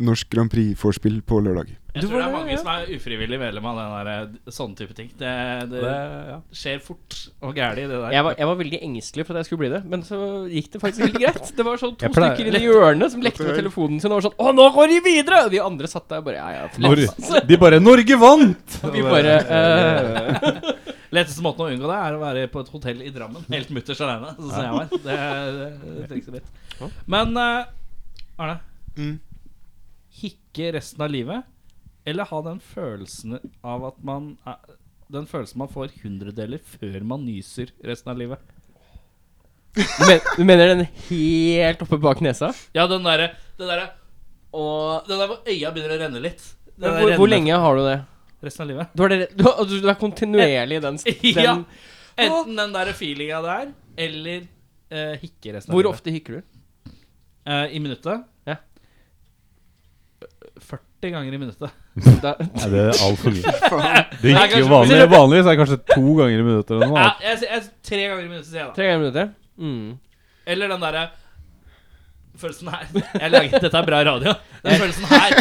[SPEAKER 4] norsk Grand Prix-vorspiel på lørdag.
[SPEAKER 5] Jeg
[SPEAKER 3] Du
[SPEAKER 5] tror det
[SPEAKER 3] var
[SPEAKER 5] er
[SPEAKER 3] det,
[SPEAKER 5] mange
[SPEAKER 3] ja.
[SPEAKER 5] som er ufrivillig medlem av den der, eh, sånne type ting. Det, det, skjer fort og gærlig det der.
[SPEAKER 3] Jeg var, jeg var veldig engstelig for at jeg skulle bli det, men så gikk det faktisk helt greit. Det var sånn to
[SPEAKER 1] Jeg pleier-
[SPEAKER 3] stykker i det hjørnet som lekte med telefonen sin og var sånn 'Å, nå går de videre!' Og de andre satt der og bare Ja, ja. flott».
[SPEAKER 1] Nor de bare 'Norge vant!'
[SPEAKER 3] Og vi bare eh,
[SPEAKER 5] Letteste måten å unngå det er å være på et hotell i Drammen, helt mutters aleine, sånn som jeg var. Det, det, det trikser litt. Men eh, Arne.
[SPEAKER 4] Mm.
[SPEAKER 5] Hikke resten av livet, eller ha den følelsen av at man er, Den følelsen man får hundredeler før man nyser resten av livet.
[SPEAKER 3] du, men, du mener den helt oppe bak nesa?
[SPEAKER 5] Ja, den derre Den derre Og den der hvor øya begynner å renne litt. Den der
[SPEAKER 3] Hvor, hvor
[SPEAKER 5] renne-
[SPEAKER 3] lenge har du det?
[SPEAKER 5] Resten av livet.
[SPEAKER 3] Du, har det, du, har- altså, du, du er kontinuerlig i den, den
[SPEAKER 5] Ja. Enten den der feelinga der, eller eh, hikke resten
[SPEAKER 3] Hvor
[SPEAKER 5] av livet.
[SPEAKER 3] ofte hikker du?
[SPEAKER 5] Eh, I minuttet?
[SPEAKER 3] Ja.
[SPEAKER 5] 40 ganger i minuttet.
[SPEAKER 3] Da,
[SPEAKER 1] Nei, det er altfor mye. Det
[SPEAKER 5] Nei,
[SPEAKER 1] gikk jo
[SPEAKER 5] kanskje-
[SPEAKER 1] vanlig, vanlig, så er det kanskje to ganger i minuttet eller noe.
[SPEAKER 5] Ja,
[SPEAKER 1] da.
[SPEAKER 5] jeg, sier- jeg, sier tre ganger i minuttet, sier jeg da.
[SPEAKER 3] tre ganger i minuttet? Mm.
[SPEAKER 5] Eller den derre følelsen her. Jeg laget, dette er bra radio. Den følelsen her.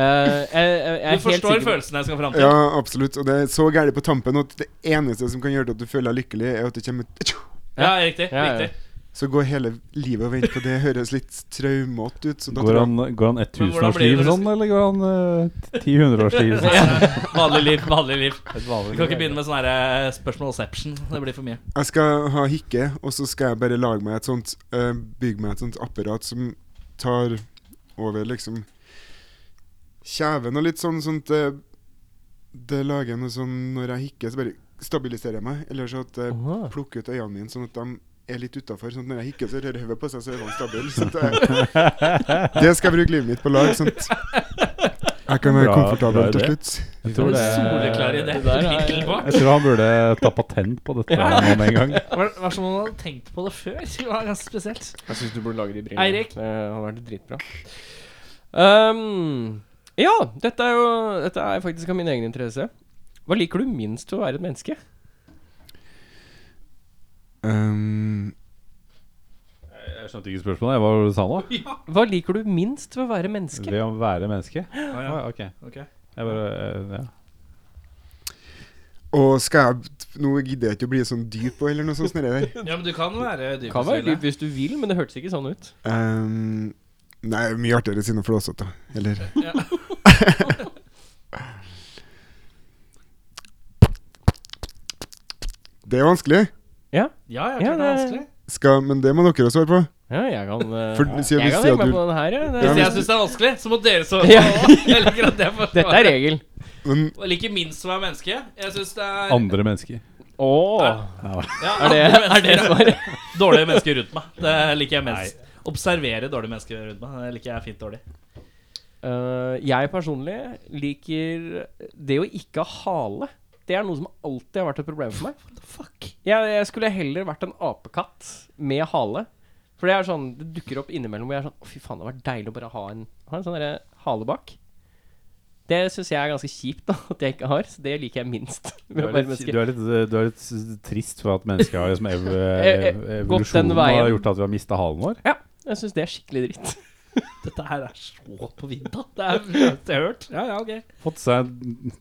[SPEAKER 3] Eh, jeg, jeg, jeg er
[SPEAKER 5] Du
[SPEAKER 3] helt
[SPEAKER 5] forstår
[SPEAKER 3] sikker på-
[SPEAKER 5] følelsen jeg skal fram til.
[SPEAKER 4] Ja, absolutt. Og det er så gærent på tampen at det eneste som kan gjøre at du føler deg lykkelig, er at det kommer et tjo.
[SPEAKER 5] Ja, riktig.
[SPEAKER 3] Ja, ja.
[SPEAKER 5] riktig
[SPEAKER 4] Så går hele livet og venter på det. Høres litt traumete ut. Så da
[SPEAKER 1] Går
[SPEAKER 4] tror jeg-
[SPEAKER 1] han, går han et
[SPEAKER 5] Men hvordan blir
[SPEAKER 1] tusenårsliv
[SPEAKER 5] det
[SPEAKER 1] sånn, eller går han eh, ti hundreårsliv sånn?
[SPEAKER 5] Vanlig liv. vanlig liv Du kan ikke begynne med sånn her, eh, spørsmålseption. Det blir for mye.
[SPEAKER 4] Jeg skal ha hikke, og så skal jeg bare lage meg et sånt eh, Bygge meg et sånt apparat som tar over liksom kjeven og litt sånn sånt eh, Det lager jeg noe sånn når jeg hikker, så bare stabiliserer jeg meg. Eller så at jeg
[SPEAKER 3] Aha.
[SPEAKER 4] plukker ut øynene mine, sånn at de er litt utafor. Sånn at når jeg hikker, så rører hodet på seg, så er øynene stabile. Sånn at jeg, det skal jeg bruke livet mitt på å lage. Sånn at jeg
[SPEAKER 1] Bra-
[SPEAKER 4] kan være
[SPEAKER 1] bra
[SPEAKER 4] komfortabel til
[SPEAKER 1] idé.
[SPEAKER 4] slutt.
[SPEAKER 1] Jeg tror, det,
[SPEAKER 5] Soleklar idé.
[SPEAKER 3] det der er-
[SPEAKER 5] Hittil på.
[SPEAKER 1] jeg tror han burde ta patent på dette
[SPEAKER 5] Ja.
[SPEAKER 1] nå med en gang.
[SPEAKER 5] Det var- var som om man hadde tenkt på det før. Det var ganske spesielt.
[SPEAKER 3] Jeg syns du burde lage de brillene.
[SPEAKER 5] Eirik?
[SPEAKER 3] Det hadde vært dritbra. Ehm, ja, dette er jo Dette er faktisk av min egen interesse. Hva liker du minst ved å være et menneske?
[SPEAKER 4] Um,
[SPEAKER 1] Jeg skjønte ikke spørsmålet. Jeg, hva var det du sa nå?
[SPEAKER 3] Hva liker du minst ved å være menneske?
[SPEAKER 1] Ved å være menneske?
[SPEAKER 5] Ah,
[SPEAKER 1] Ah, ok.
[SPEAKER 5] Ok.
[SPEAKER 1] Jeg bare, eh, ja.
[SPEAKER 4] og skal jeg Nå gidder jeg ikke å bli sånn dyp eller noe sånt. Sånn der.
[SPEAKER 5] Ja, men du kan være
[SPEAKER 3] Det kan være dyp hvis du vil, men det hørtes ikke sånn ut.
[SPEAKER 4] Ehm, nei, mye artigere å si noe flåsete, eller
[SPEAKER 5] Ja.
[SPEAKER 4] Det er vanskelig,
[SPEAKER 5] Ja, jeg
[SPEAKER 3] Ja,
[SPEAKER 5] tror det er
[SPEAKER 3] det-
[SPEAKER 5] vanskelig.
[SPEAKER 4] Skal, men det må dere svare på.
[SPEAKER 3] Ja, jeg kan eh,
[SPEAKER 4] For sier
[SPEAKER 3] Jeg
[SPEAKER 4] hvis
[SPEAKER 3] kan henge
[SPEAKER 4] sier at
[SPEAKER 3] meg
[SPEAKER 4] du
[SPEAKER 3] på den her, ja.
[SPEAKER 5] Hvis
[SPEAKER 3] Det,
[SPEAKER 5] jeg syns det er vanskelig, så må dere så
[SPEAKER 3] Ja.
[SPEAKER 5] Jeg liker at jeg får
[SPEAKER 3] dette er regel.
[SPEAKER 4] men,
[SPEAKER 5] Jeg liker minst å være menneske. Jeg syns det er
[SPEAKER 1] Andre mennesker.
[SPEAKER 3] Å!
[SPEAKER 5] ja,
[SPEAKER 3] Er det,
[SPEAKER 5] andre
[SPEAKER 3] er det
[SPEAKER 5] mennesker.
[SPEAKER 3] svaret?
[SPEAKER 5] Dårlige mennesker rundt meg. Det liker jeg mest. Observere dårlige mennesker rundt meg. Det liker jeg fint dårlig.
[SPEAKER 3] Eh, jeg personlig liker det å ikke ha hale. Det er noe som alltid har vært et problem for meg.
[SPEAKER 5] Fuck.
[SPEAKER 3] Jeg, jeg skulle heller vært en apekatt med hale. For det er sånn, det dukker opp innimellom hvor jeg er sånn Å, fy faen, det hadde vært deilig å bare ha en, ha en sånn derre hale bak. Det syns jeg er ganske kjipt, da, at jeg ikke har. Så det liker jeg minst.
[SPEAKER 1] Du
[SPEAKER 3] med å
[SPEAKER 1] er,
[SPEAKER 3] være
[SPEAKER 1] litt,
[SPEAKER 3] menneske.
[SPEAKER 1] du, er litt, du er litt s- trist for at mennesker har liksom ev
[SPEAKER 3] Eh, eh, gått den
[SPEAKER 1] evolusjonen har
[SPEAKER 3] veien.
[SPEAKER 1] gjort at vi har mista halen vår.
[SPEAKER 3] Jeg syns det er skikkelig dritt.
[SPEAKER 5] Dette her er så på vidda. Det er det jeg har hørt. Ja, ja, ok.
[SPEAKER 1] Fått seg en-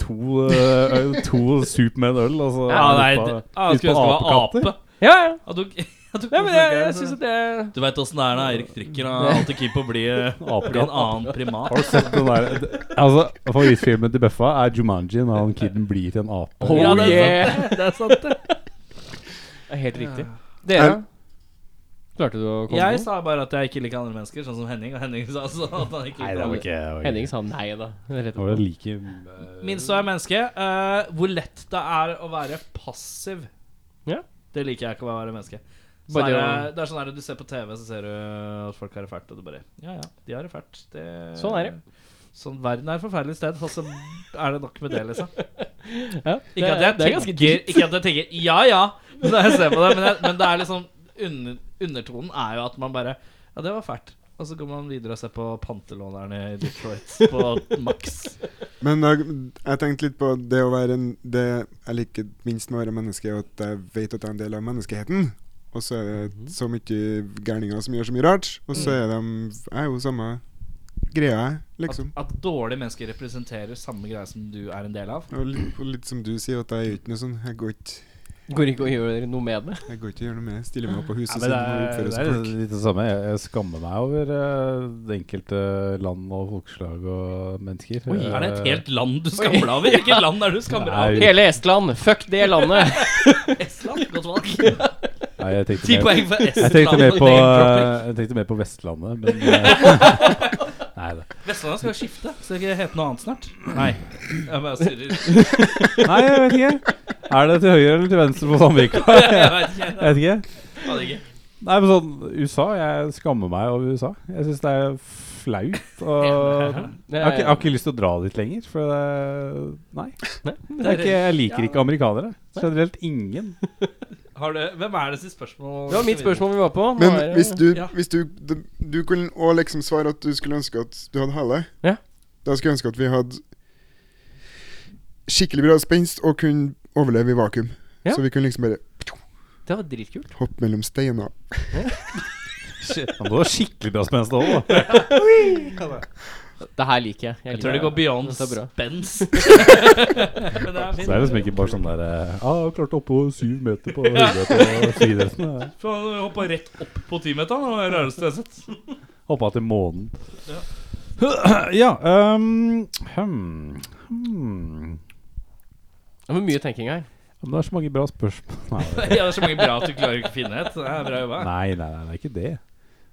[SPEAKER 1] to, eh, ø- to sup med en øl, altså. og så
[SPEAKER 5] Ja,
[SPEAKER 1] er
[SPEAKER 5] nei,
[SPEAKER 1] du
[SPEAKER 5] det,
[SPEAKER 1] på-
[SPEAKER 5] ah,
[SPEAKER 1] ut
[SPEAKER 5] jeg
[SPEAKER 1] på
[SPEAKER 5] skulle ønske det var
[SPEAKER 1] apekatter.
[SPEAKER 5] ape.
[SPEAKER 3] Ja, ja.
[SPEAKER 5] Ja, du, ja, du, sånn-
[SPEAKER 3] Nei, men jeg, jeg syns at det
[SPEAKER 5] Du veit åssen det er når Eirik drikker. Han er alltid keen på å bli, bli eh, en annen primat.
[SPEAKER 1] Har du sett den der det- Altså, Favorittfilmen til Bøffa er Jumanji, når han kiden blir til en ape.
[SPEAKER 3] Oh
[SPEAKER 5] Ja, det er
[SPEAKER 3] yeah!
[SPEAKER 5] Det er sant, det.
[SPEAKER 3] Det er helt riktig.
[SPEAKER 4] Er-
[SPEAKER 3] Dere? Klarte du å komme på
[SPEAKER 5] Jeg
[SPEAKER 3] noe?
[SPEAKER 5] sa bare at jeg ikke liker andre mennesker, sånn som Henning. Og Henning sa så at han ikke
[SPEAKER 1] Nei, det
[SPEAKER 5] likte
[SPEAKER 1] var
[SPEAKER 5] andre.
[SPEAKER 1] ikke det var
[SPEAKER 3] Henning
[SPEAKER 1] ikke-
[SPEAKER 3] sa nei, da. Rett
[SPEAKER 1] det var
[SPEAKER 3] etterpå.
[SPEAKER 1] like eh,
[SPEAKER 5] Minst så er menneske. eh, hvor lett det er å være passiv.
[SPEAKER 3] Ja.
[SPEAKER 5] Det liker jeg ikke å være menneske. Så
[SPEAKER 3] Bare
[SPEAKER 5] er
[SPEAKER 3] å-
[SPEAKER 5] det, det er sånn her, Du ser på TV, så ser du at folk har det fælt, og du bare Ja, ja, de har det fælt. Det,
[SPEAKER 3] Sånn er det.
[SPEAKER 5] Sånn, verden er et forferdelig sted, og så er det nok med det, liksom.
[SPEAKER 3] Ja,
[SPEAKER 5] Ikke at jeg
[SPEAKER 3] det er ganske
[SPEAKER 5] tenker Ikke at jeg tenker ja, ja, når jeg ser på det, men, jeg, men det er liksom under, undertonen er jo at man bare Ja, det var fælt. Og så går man videre og ser på pantelånerne i Detroit på Max.
[SPEAKER 4] Men da, jeg tenkte litt på det å være en Det jeg liker minst med å være menneske, er at jeg vet at jeg er en del av menneskeheten. Og så er
[SPEAKER 1] Mhm.
[SPEAKER 4] det så mye gærninger som gjør så mye rart. Og så er de Jeg er jo samme greia, jeg, liksom.
[SPEAKER 5] At, at dårlige mennesker representerer samme greie som du er en del av.
[SPEAKER 4] Og litt, og litt som du sier, at jeg gjør ikke noe sånn. Jeg går ikke
[SPEAKER 3] Går ikke å gjøre noe med det.
[SPEAKER 4] Jeg går ikke og gjør noe med det. Stiller meg opp på
[SPEAKER 1] Ja,
[SPEAKER 4] huset
[SPEAKER 1] men
[SPEAKER 4] sitt
[SPEAKER 1] det
[SPEAKER 4] og
[SPEAKER 1] er,
[SPEAKER 4] oppfører
[SPEAKER 1] det
[SPEAKER 4] seg
[SPEAKER 1] er
[SPEAKER 4] som folk.
[SPEAKER 1] litt det samme. Jeg, jeg skammer meg over eh, det enkelte land og folkeslag og mennesker.
[SPEAKER 3] Oi.
[SPEAKER 1] Eh,
[SPEAKER 5] Er det et helt land du skammer deg over? Hvilket land er det du skammer deg
[SPEAKER 1] Nei.
[SPEAKER 5] over?
[SPEAKER 3] Hele Estland! Fuck det landet!
[SPEAKER 5] Estland? Godt valg.
[SPEAKER 1] Nei, jeg tenkte
[SPEAKER 5] Ti
[SPEAKER 1] mer-
[SPEAKER 5] poeng for
[SPEAKER 1] Jeg tenkte
[SPEAKER 5] Estland.
[SPEAKER 1] mer på, eh,
[SPEAKER 5] Name-dropping.
[SPEAKER 1] jeg tenkte mer på Vestlandet, men eh, Nei da.
[SPEAKER 5] Vestlandet skal jo skifte. Skal det ikke hete noe annet snart? Nei. Jeg bare surrer.
[SPEAKER 1] Nei, jeg vet ikke. Er det til høyre eller til venstre på Sandvika?
[SPEAKER 5] Jeg
[SPEAKER 1] Jeg
[SPEAKER 5] vet ikke. Jeg
[SPEAKER 1] vet ikke.
[SPEAKER 5] aner ikke.
[SPEAKER 1] Nei, men sånn USA Jeg skammer meg over USA. Jeg syns det er flaut. Og jeg har, ikke, jeg har ikke lyst til å dra dit lenger, for det Nei. Det er ikke, jeg liker ikke amerikanere. Generelt ingen.
[SPEAKER 5] Har du, hvem er det sitt spørsmål?
[SPEAKER 3] Det var mitt spørsmål vi var på. Nå
[SPEAKER 4] Men
[SPEAKER 3] er det-
[SPEAKER 4] hvis du,
[SPEAKER 5] Ja.
[SPEAKER 4] hvis du Du, du kunne òg liksom svare at du skulle ønske at du hadde hale.
[SPEAKER 3] Ja.
[SPEAKER 4] Da skulle jeg ønske at vi hadde skikkelig bra spenst og kunne overleve i vakuum.
[SPEAKER 3] Ja.
[SPEAKER 4] Så vi kunne liksom bare
[SPEAKER 3] Det var dritkult.
[SPEAKER 4] hoppe mellom steiner.
[SPEAKER 1] Han må ha skikkelig bra spenst òg, da.
[SPEAKER 3] Det her liker jeg.
[SPEAKER 5] Jeg
[SPEAKER 3] liker
[SPEAKER 5] tror det går beyond
[SPEAKER 3] Dette er bra.
[SPEAKER 5] spens. Men det er
[SPEAKER 1] Så
[SPEAKER 5] fint.
[SPEAKER 1] det er liksom ikke bare sånn der eh, Ja, ah, klarte å hoppe syv meter på høyde på eh. friidretten. ja.
[SPEAKER 5] Faen, jeg hoppa rett opp på timeteren. Det var det rareste jeg har sett.
[SPEAKER 1] Hoppa til månen. Ja, ehm, hmm, hmm.
[SPEAKER 3] Det var mye tenking her.
[SPEAKER 1] Men det er så mange bra spørsmål. Nei, det-
[SPEAKER 5] Ja, det er så mange bra at du klarer ikke å finne et. Det er bra jobba.
[SPEAKER 1] Nei, nei, nei, det er ikke det.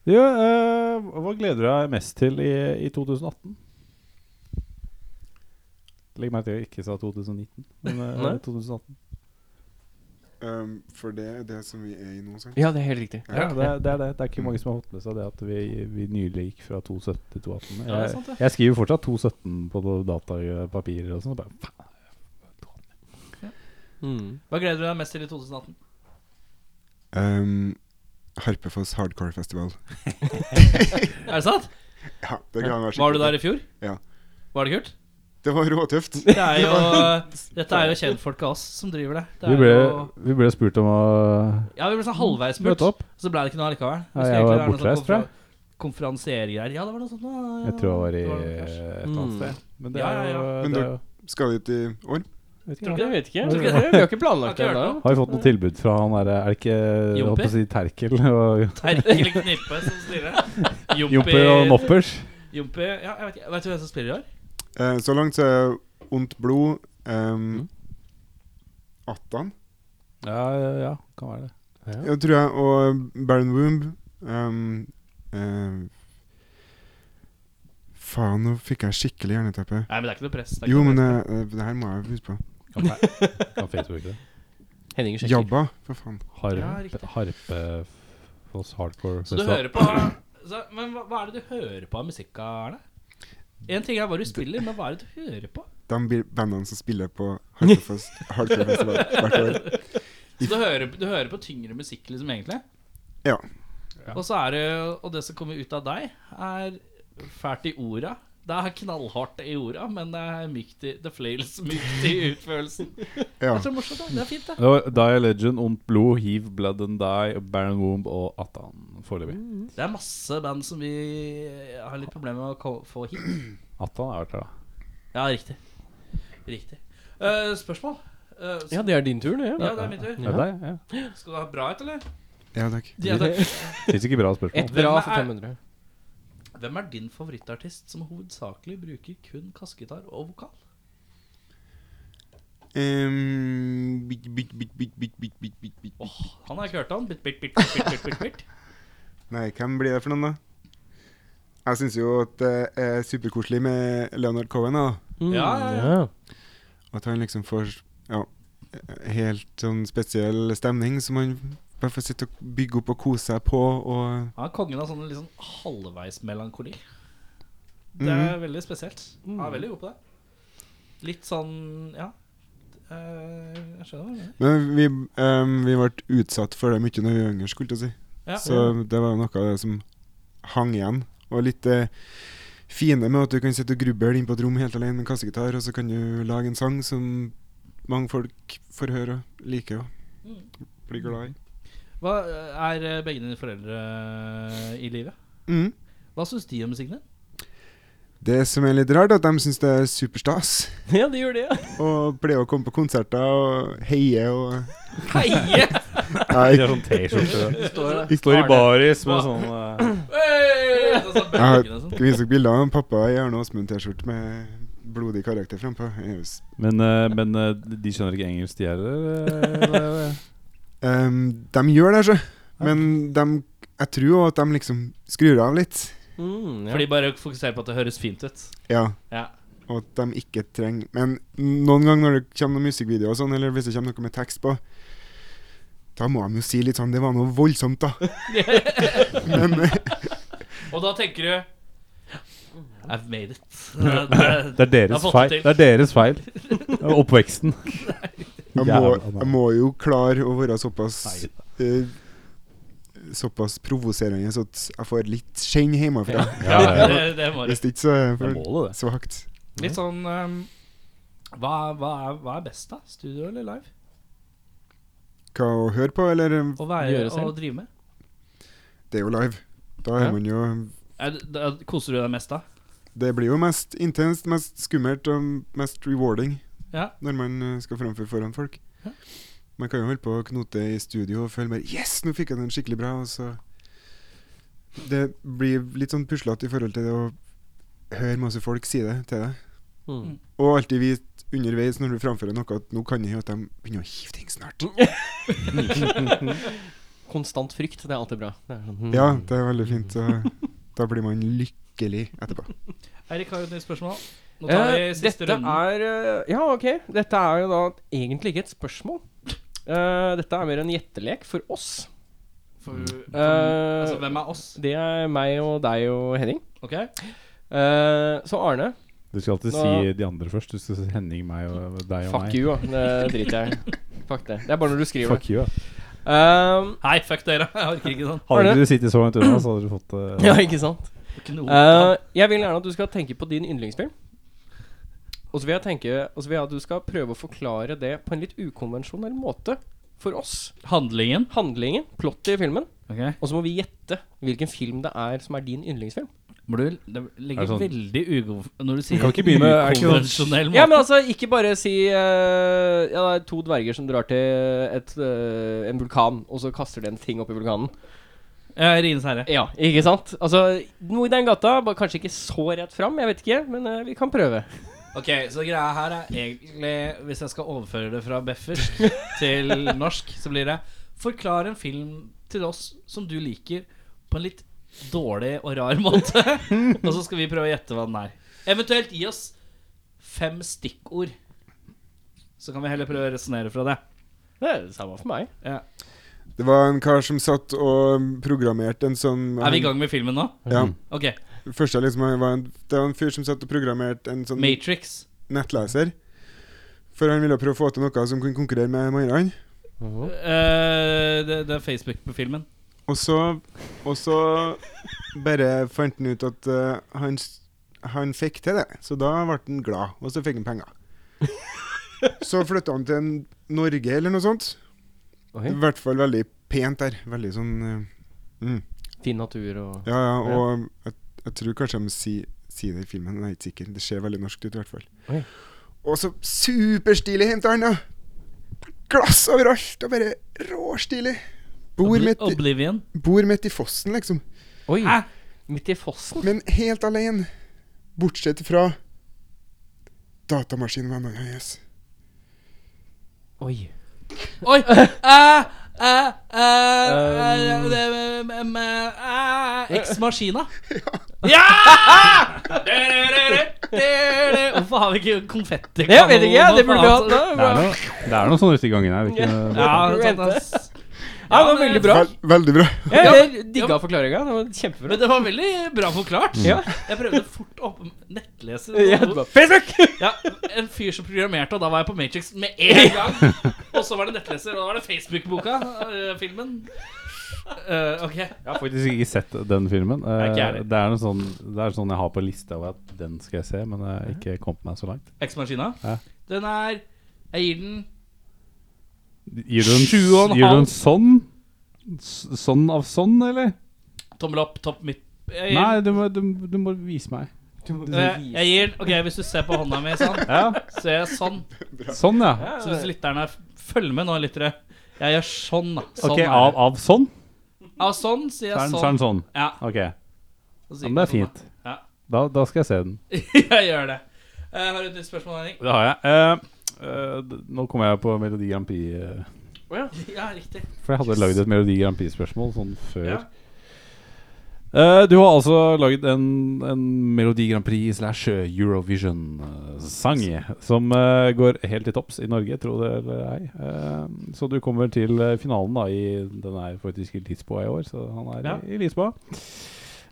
[SPEAKER 1] Du, eh, hva gleder du deg mest til i, i 2018? Legg merke til at jeg ikke sa 2019, men eh,
[SPEAKER 3] Nei.
[SPEAKER 1] 2018.
[SPEAKER 4] Um, for det er det som vi er i nå, altså. sant?
[SPEAKER 3] Ja, det er helt riktig.
[SPEAKER 1] Ja, det, er- det er det. Det er ikke mange som har fått med seg det at vi, vi nylig gikk fra 217 til 218.
[SPEAKER 5] Ja, det er
[SPEAKER 1] Jeg,
[SPEAKER 5] sant, det.
[SPEAKER 1] jeg skriver fortsatt 217 på datapapirer og sånn. og bare, faen.
[SPEAKER 3] Mm.
[SPEAKER 5] Hva gleder du deg mest til i 2018?
[SPEAKER 4] Um, Harpefoss Hardcore Festival.
[SPEAKER 5] Er det sant?
[SPEAKER 4] Ja, det kan være
[SPEAKER 5] Var du der i fjor?
[SPEAKER 4] Ja.
[SPEAKER 5] Var det kult?
[SPEAKER 4] Det var råtøft.
[SPEAKER 5] Det er jo, dette er jo kjentfolk av oss som driver det. det
[SPEAKER 1] Vi
[SPEAKER 5] er
[SPEAKER 1] ble,
[SPEAKER 5] jo,
[SPEAKER 1] vi ble spurt om å
[SPEAKER 5] ja, vi ble sånn halvveis spurt,
[SPEAKER 1] møte opp.
[SPEAKER 5] så ble det ikke noe allikevel.
[SPEAKER 1] Ja, jeg var bortreist, tror jeg.
[SPEAKER 5] Konferansiergreier. Ja, det var noe sånt. da.
[SPEAKER 1] Jeg tror jeg var i
[SPEAKER 5] Det
[SPEAKER 1] et eller
[SPEAKER 3] Mm.
[SPEAKER 1] annet sted. Men det
[SPEAKER 5] Ja,
[SPEAKER 1] er
[SPEAKER 5] ja,
[SPEAKER 1] jo,
[SPEAKER 5] ja.
[SPEAKER 4] Men
[SPEAKER 1] det er
[SPEAKER 4] da-
[SPEAKER 1] jo
[SPEAKER 4] Skal dit i år.
[SPEAKER 1] vet ikke,
[SPEAKER 5] Tror
[SPEAKER 1] ja.
[SPEAKER 5] ikke
[SPEAKER 3] Jeg vet ikke.
[SPEAKER 1] Tror
[SPEAKER 3] Vi
[SPEAKER 1] ikke
[SPEAKER 3] har ikke planlagt det
[SPEAKER 5] Har ikke hørt
[SPEAKER 3] ennå.
[SPEAKER 1] Har vi fått noe tilbud fra han derre Er det ikke jeg holdt på å si Terkel og
[SPEAKER 5] Terkel Knippe som stiller.
[SPEAKER 1] Jomper og Moppers?
[SPEAKER 5] Jompi ja, jeg vet, ikke, vet du hvem som spiller i år?
[SPEAKER 4] Eh, så langt så er Ondt blod
[SPEAKER 3] Mm.
[SPEAKER 4] um, Attan,
[SPEAKER 1] Ja, ja, ja, kan være det.
[SPEAKER 4] ja, tror jeg, og Baron Womb. Um, eh, faen, nå fikk jeg skikkelig jerneteppe.
[SPEAKER 5] Nei, men det er ikke noe press. det er ikke
[SPEAKER 4] Jo,
[SPEAKER 5] noe
[SPEAKER 4] men
[SPEAKER 5] press.
[SPEAKER 4] eh, eh, det her må jeg huske på.
[SPEAKER 1] Kan, kan Facebook det?
[SPEAKER 3] Henning sjekker.
[SPEAKER 4] Jabba, for faen.
[SPEAKER 1] Harp,
[SPEAKER 5] Ja, riktig.
[SPEAKER 1] Harpefoss Hardcore
[SPEAKER 4] eh,
[SPEAKER 5] Så du hører på så, Men hva, hva er det du hører på av musikk, Arne? En ting er hva du spiller, men hva er det du hører på?
[SPEAKER 4] De blir bandene som spiller på Harpefoss Hardcore Festival hvert år.
[SPEAKER 5] Så du hører, du hører på tyngre musikk, liksom, egentlig?
[SPEAKER 4] Ja.
[SPEAKER 5] Og så er det Og det som kommer ut av deg, er fælt i orda, Det er knallhardt i orda, men det er mykt i The Flails mykt i utførelsen. Det
[SPEAKER 4] Ja.
[SPEAKER 5] er så morsomt, da. Det er fint, det.
[SPEAKER 1] Det var Die Legend, Ondt Blod, Heave, Blood and Die, Baron Womb og Atan foreløpig.
[SPEAKER 5] Det er masse band som vi har litt problemer med å ko- få hit.
[SPEAKER 1] Atan er klar.
[SPEAKER 5] Ja, riktig. Riktig. Eh, spørsmål? Eh, s-
[SPEAKER 3] Ja, det er din tur, det.
[SPEAKER 5] ja, det er min tur.
[SPEAKER 1] Ja. Er det deg? Ja.
[SPEAKER 5] Skal du ha bra et, eller?
[SPEAKER 4] ja, takk.
[SPEAKER 5] Ja, takk.
[SPEAKER 1] Syns ikke bra spørsmål.
[SPEAKER 3] Ett bra
[SPEAKER 5] Hvem
[SPEAKER 3] for
[SPEAKER 5] er-
[SPEAKER 3] 500.
[SPEAKER 5] Hvem er din favorittartist som hovedsakelig bruker kun kassegitar og vokal?
[SPEAKER 4] Ehm, bit, bit, bit, bit, bit, bit, bit, bit, bit.
[SPEAKER 5] Åh, han har jeg ikke hørt om. Bitt, bitt, bitt, bitt, bitt, bitt, bitt, bitt.
[SPEAKER 4] Nei, hvem blir det for noen, da? Jeg syns jo at det er superkoselig med Leonard Cohen, da.
[SPEAKER 3] Mm,
[SPEAKER 5] Ja, ja, ja.
[SPEAKER 4] At han liksom får ja, helt sånn spesiell stemning som han bare får sitte og bygge opp og kose seg på. Og
[SPEAKER 5] Han er kongen av sånn litt sånn halvveis melankoli. Det er veldig spesielt. Han er veldig god på det. Litt sånn Ja. Eh, jeg skjønner hva du mener.
[SPEAKER 4] Men vi, ehm, vi ble utsatt for det mye når vi var yngre, skulle jeg til å si.
[SPEAKER 5] Ja.
[SPEAKER 4] Så det var jo noe av det som hang igjen. Og litt det fine med at du kan sitte og gruble inn på et rom helt alene med en kassegitar, og så kan du lage en sang som mange folk får høre og liker og
[SPEAKER 5] Mm.
[SPEAKER 4] blir glad i.
[SPEAKER 5] Hva Er eh, begge dine foreldre i live?
[SPEAKER 4] Mm.
[SPEAKER 5] Hva syns de om musikken din?
[SPEAKER 4] Det som er litt rart, er at de syns det er superstas.
[SPEAKER 3] ja, det gjør det, ja.
[SPEAKER 4] Og pleier å komme på konserter og heie og
[SPEAKER 1] De
[SPEAKER 5] Heie!
[SPEAKER 4] Nei,
[SPEAKER 1] har sånn T-skjorte.
[SPEAKER 2] Står
[SPEAKER 1] Står i baris med sånn eh,
[SPEAKER 5] Hey! Og så
[SPEAKER 4] Ja.
[SPEAKER 5] bølgene og sånn.
[SPEAKER 4] skal vise dere bilder av en pappa i Arne Åsmund-T-skjorte med blodig karakter frampå.
[SPEAKER 1] Men, eh, men eh, de skjønner ikke engelsk, de heller?
[SPEAKER 4] Um, de gjør det, så. Men de, jeg tror også at de liksom skrur av litt.
[SPEAKER 3] Mm, ja.
[SPEAKER 5] For de bare fokuserer på at det høres fint ut.
[SPEAKER 4] Ja.
[SPEAKER 5] Ja.
[SPEAKER 4] Og at de ikke trenger Men noen ganger når det kommer noen musikkvideoer og sånn, eller hvis det kommer noe med tekst på, da må de jo si litt sånn Det var noe voldsomt, da. Men eh,
[SPEAKER 5] Og da tenker du I've made it.
[SPEAKER 1] Det er
[SPEAKER 5] Det- Jeg
[SPEAKER 1] deres
[SPEAKER 5] har
[SPEAKER 1] feil.
[SPEAKER 5] fått det
[SPEAKER 1] Det er deres feil. Oppveksten.
[SPEAKER 4] jeg må, jeg må jo klare å være såpass eh, Såpass provoserende så at jeg får litt skjenn hjemmefra.
[SPEAKER 1] Ja, ja, ja.
[SPEAKER 5] det, det må du.
[SPEAKER 4] Hvis ikke, så er jeg
[SPEAKER 1] Det er
[SPEAKER 4] for
[SPEAKER 1] målet, det.
[SPEAKER 4] svakt.
[SPEAKER 5] Litt sånn ehm, hva, hva, er, hva er best, da? Studio eller live?
[SPEAKER 4] Hva å høre på, eller
[SPEAKER 5] Å være
[SPEAKER 3] Gjøre selv.
[SPEAKER 5] og drive med?
[SPEAKER 4] Det er jo live. Da er
[SPEAKER 3] Ja.
[SPEAKER 4] man jo
[SPEAKER 5] Er, det- da, koser du deg mest da?
[SPEAKER 4] Det blir jo mest intenst, mest skummelt og mest rewarding
[SPEAKER 5] Ja.
[SPEAKER 4] når man eh, skal framføre foran folk.
[SPEAKER 5] Ja.
[SPEAKER 4] Man kan jo holde på å knote i studio og føle bare Yes, nå fikk jeg den skikkelig bra, og så Det blir litt sånn puslete i forhold til det å høre masse folk si det til deg.
[SPEAKER 3] Mm.
[SPEAKER 4] Og alltid vite underveis når du framfører noe at nå kan jeg jo at de begynner å hive ting snart.
[SPEAKER 5] Mm.
[SPEAKER 3] Konstant frykt, det er alltid bra. Det er sånn, mm.
[SPEAKER 4] Ja, det er veldig fint. Og da blir man lykkelig etterpå.
[SPEAKER 5] Eirik har jo et nytt spørsmål. Nå tar vi
[SPEAKER 3] Eh,
[SPEAKER 5] siste
[SPEAKER 3] dette
[SPEAKER 5] runden.
[SPEAKER 3] Er, eh, ja, ok. Dette er jo da egentlig ikke et spørsmål. Eh, dette er mer en gjettelek for oss.
[SPEAKER 5] For, for,
[SPEAKER 3] Eh,
[SPEAKER 5] altså, hvem er oss?
[SPEAKER 3] Det er meg og deg og Henning.
[SPEAKER 5] Ok?
[SPEAKER 3] Eh, så Arne,
[SPEAKER 1] Du skal alltid si de andre først. Du skal si Henning, meg og deg og
[SPEAKER 3] fuck
[SPEAKER 1] meg.
[SPEAKER 3] you, da. Det driter jeg i. Fuck det. Det er bare når du skriver det.
[SPEAKER 1] Fuck you, ja.
[SPEAKER 3] Um,
[SPEAKER 5] Nei, fuck dere. Jeg orker ikke sånn.
[SPEAKER 1] Hadde
[SPEAKER 3] Arne?
[SPEAKER 1] ikke du sittet så langt unna, så hadde du fått eh,
[SPEAKER 3] ja, ikke sant?
[SPEAKER 5] Ikke noe
[SPEAKER 3] Eh, jeg vil gjerne at du skal tenke på din yndlingsfilm. Og så vil jeg tenke Og så vil jeg at du skal prøve å forklare det på en litt ukonvensjonell måte for oss.
[SPEAKER 5] Handlingen.
[SPEAKER 3] Handlingen, plottet i filmen,
[SPEAKER 5] Ok
[SPEAKER 3] og så må vi gjette hvilken film det er som er din yndlingsfilm.
[SPEAKER 5] Må du, Det
[SPEAKER 1] Er
[SPEAKER 5] ligger
[SPEAKER 1] det sånn-
[SPEAKER 5] veldig ugo... Når du sier
[SPEAKER 1] kan ikke begynne- er det ikke sånn-
[SPEAKER 5] ukonvensjonell
[SPEAKER 3] Ja,
[SPEAKER 5] måte.
[SPEAKER 3] men altså, ikke bare si eh, Ja, det er to dverger som drar til et, eh, en vulkan, og så kaster de en ting opp i vulkanen.
[SPEAKER 5] Ja, Rines herre.
[SPEAKER 3] Ja, ikke sant? Altså, noe i den gata. Bare kanskje ikke så rett fram, jeg vet ikke, men eh, vi kan prøve.
[SPEAKER 5] Ok, så greia her er egentlig Hvis jeg skal overføre det fra beffer til norsk, så blir det Forklar en film til oss som du liker, på en litt dårlig og rar måte. og så skal vi prøve å gjette hva den er. Eventuelt gi oss fem stikkord. Så kan vi heller prøve å resonnere fra det.
[SPEAKER 3] Det er det samme for meg.
[SPEAKER 5] Ja.
[SPEAKER 4] Det var en kar som satt og programmerte en sånn
[SPEAKER 5] Er vi i gang med filmen nå?
[SPEAKER 4] Ja.
[SPEAKER 5] Ok.
[SPEAKER 4] Først jeg liksom, var en, det var en fyr som satt og programmerte en sånn
[SPEAKER 5] Matrix.
[SPEAKER 4] nettleser. For han ville prøve å få til noe som kunne konkurrere med Mairan.
[SPEAKER 5] Eh, det, det er Facebook-filmen.
[SPEAKER 4] Og så Og så bare fant han ut at eh, han s- han fikk til det, så da ble han glad, og så fikk han penger. Så flytta han til en- Norge eller noe sånt.
[SPEAKER 3] Ok.
[SPEAKER 4] I hvert fall veldig pent der. Veldig sånn eh, mm.
[SPEAKER 3] Fin natur og
[SPEAKER 4] Ja, ja, og Jeg, jeg tror kanskje de sier si det i filmen, jeg er ikke sikker. Det ser veldig norsk ut i hvert fall.
[SPEAKER 3] Oi.
[SPEAKER 4] Og så superstilig henta han, da! Glass overalt, og bare råstilig. Bor midt, i-
[SPEAKER 5] Oblivion.
[SPEAKER 4] bor midt i fossen, liksom.
[SPEAKER 3] Oi!
[SPEAKER 5] Hæ?
[SPEAKER 3] Midt i fossen?
[SPEAKER 4] Men helt alene. Bortsett fra datamaskinvennene hennes.
[SPEAKER 3] Oi.
[SPEAKER 5] Oi! eh, eh, eh, eh, det med- med- med- eh, Ex Machina. Ja! Hvorfor har vi ikke konfetti?
[SPEAKER 3] Det vet ikke jeg! Det burde vi hatt.
[SPEAKER 1] Det er noe, det er noe sånn ute i gangen her. Ikke,
[SPEAKER 5] Ja, sant, ass.
[SPEAKER 3] Ja, det var veldig bra.
[SPEAKER 4] Vel, veldig bra.
[SPEAKER 3] Ja,
[SPEAKER 5] Ja,
[SPEAKER 3] jeg
[SPEAKER 5] ja.
[SPEAKER 3] digga forklaringa. Det var kjempebra.
[SPEAKER 5] Men det var veldig bra forklart.
[SPEAKER 3] Ja.
[SPEAKER 5] Jeg prøvde fort å åpne nettleser.
[SPEAKER 3] Ja, det var Facebook!
[SPEAKER 5] Ja, en fyr som programmerte, og da var jeg på Matrix med en gang. Og så var det nettleser, og da var det Facebook-boka. eh, filmen. Eh, ok.
[SPEAKER 1] Jeg har faktisk ikke sett den filmen.
[SPEAKER 5] Nei, ikke jeg
[SPEAKER 1] Eh,
[SPEAKER 5] heller.
[SPEAKER 1] det, er noe sånn, det er sånn jeg har på lista over at den skal jeg se, men jeg har ikke kommet meg så langt.
[SPEAKER 5] Ex Machina.
[SPEAKER 1] Ja.
[SPEAKER 5] Den er Jeg gir den
[SPEAKER 1] Gir du en,
[SPEAKER 5] Sju og en
[SPEAKER 1] gir du
[SPEAKER 5] halv.
[SPEAKER 1] en sånn? S- Sånn av sånn, eller?
[SPEAKER 5] tommel opp, topp midt jeg gir,
[SPEAKER 1] Nei, du må, du, du må vise meg.
[SPEAKER 5] eh, jeg gir den Ok, hvis du ser på hånda mi sånn,
[SPEAKER 1] Ja,
[SPEAKER 5] så gjør jeg sånn.
[SPEAKER 1] Sånn, ja.
[SPEAKER 5] Så hvis lytterne f- Følg med nå, lyttere. Jeg gjør sånn, da. Sånn
[SPEAKER 1] Ok,
[SPEAKER 5] er
[SPEAKER 1] av,
[SPEAKER 5] det.
[SPEAKER 1] av sånn?
[SPEAKER 5] Av sånn
[SPEAKER 1] Så
[SPEAKER 5] sier
[SPEAKER 1] er den-
[SPEAKER 5] jeg
[SPEAKER 1] så er
[SPEAKER 5] sånn.
[SPEAKER 1] den sånn.
[SPEAKER 5] Ja,
[SPEAKER 1] Ok, ja,
[SPEAKER 5] så sier
[SPEAKER 1] men det er
[SPEAKER 5] jeg sånn,
[SPEAKER 1] fint.
[SPEAKER 5] Ja.
[SPEAKER 1] Da, da skal jeg se den.
[SPEAKER 5] da. jeg gjør det. Eh, har du et nytt spørsmål, Henrik?
[SPEAKER 1] Det har jeg. Eh, eh, d- nå kommer jeg på Melodi Grand Prix. eh,
[SPEAKER 5] Ja, riktig.
[SPEAKER 1] For jeg hadde lagd et Melodi Grand Prix-spørsmål sånn før.
[SPEAKER 5] Ja.
[SPEAKER 1] Eh, du har altså lagd en, en Melodi Grand Prix slash Eurovision-sang som eh, går helt til topps i Norge, tro det eller ei. Eh, så du kommer til eh, finalen da i Den er faktisk i Lisboa i år, så han er
[SPEAKER 5] Ja.
[SPEAKER 1] i, i Lisboa.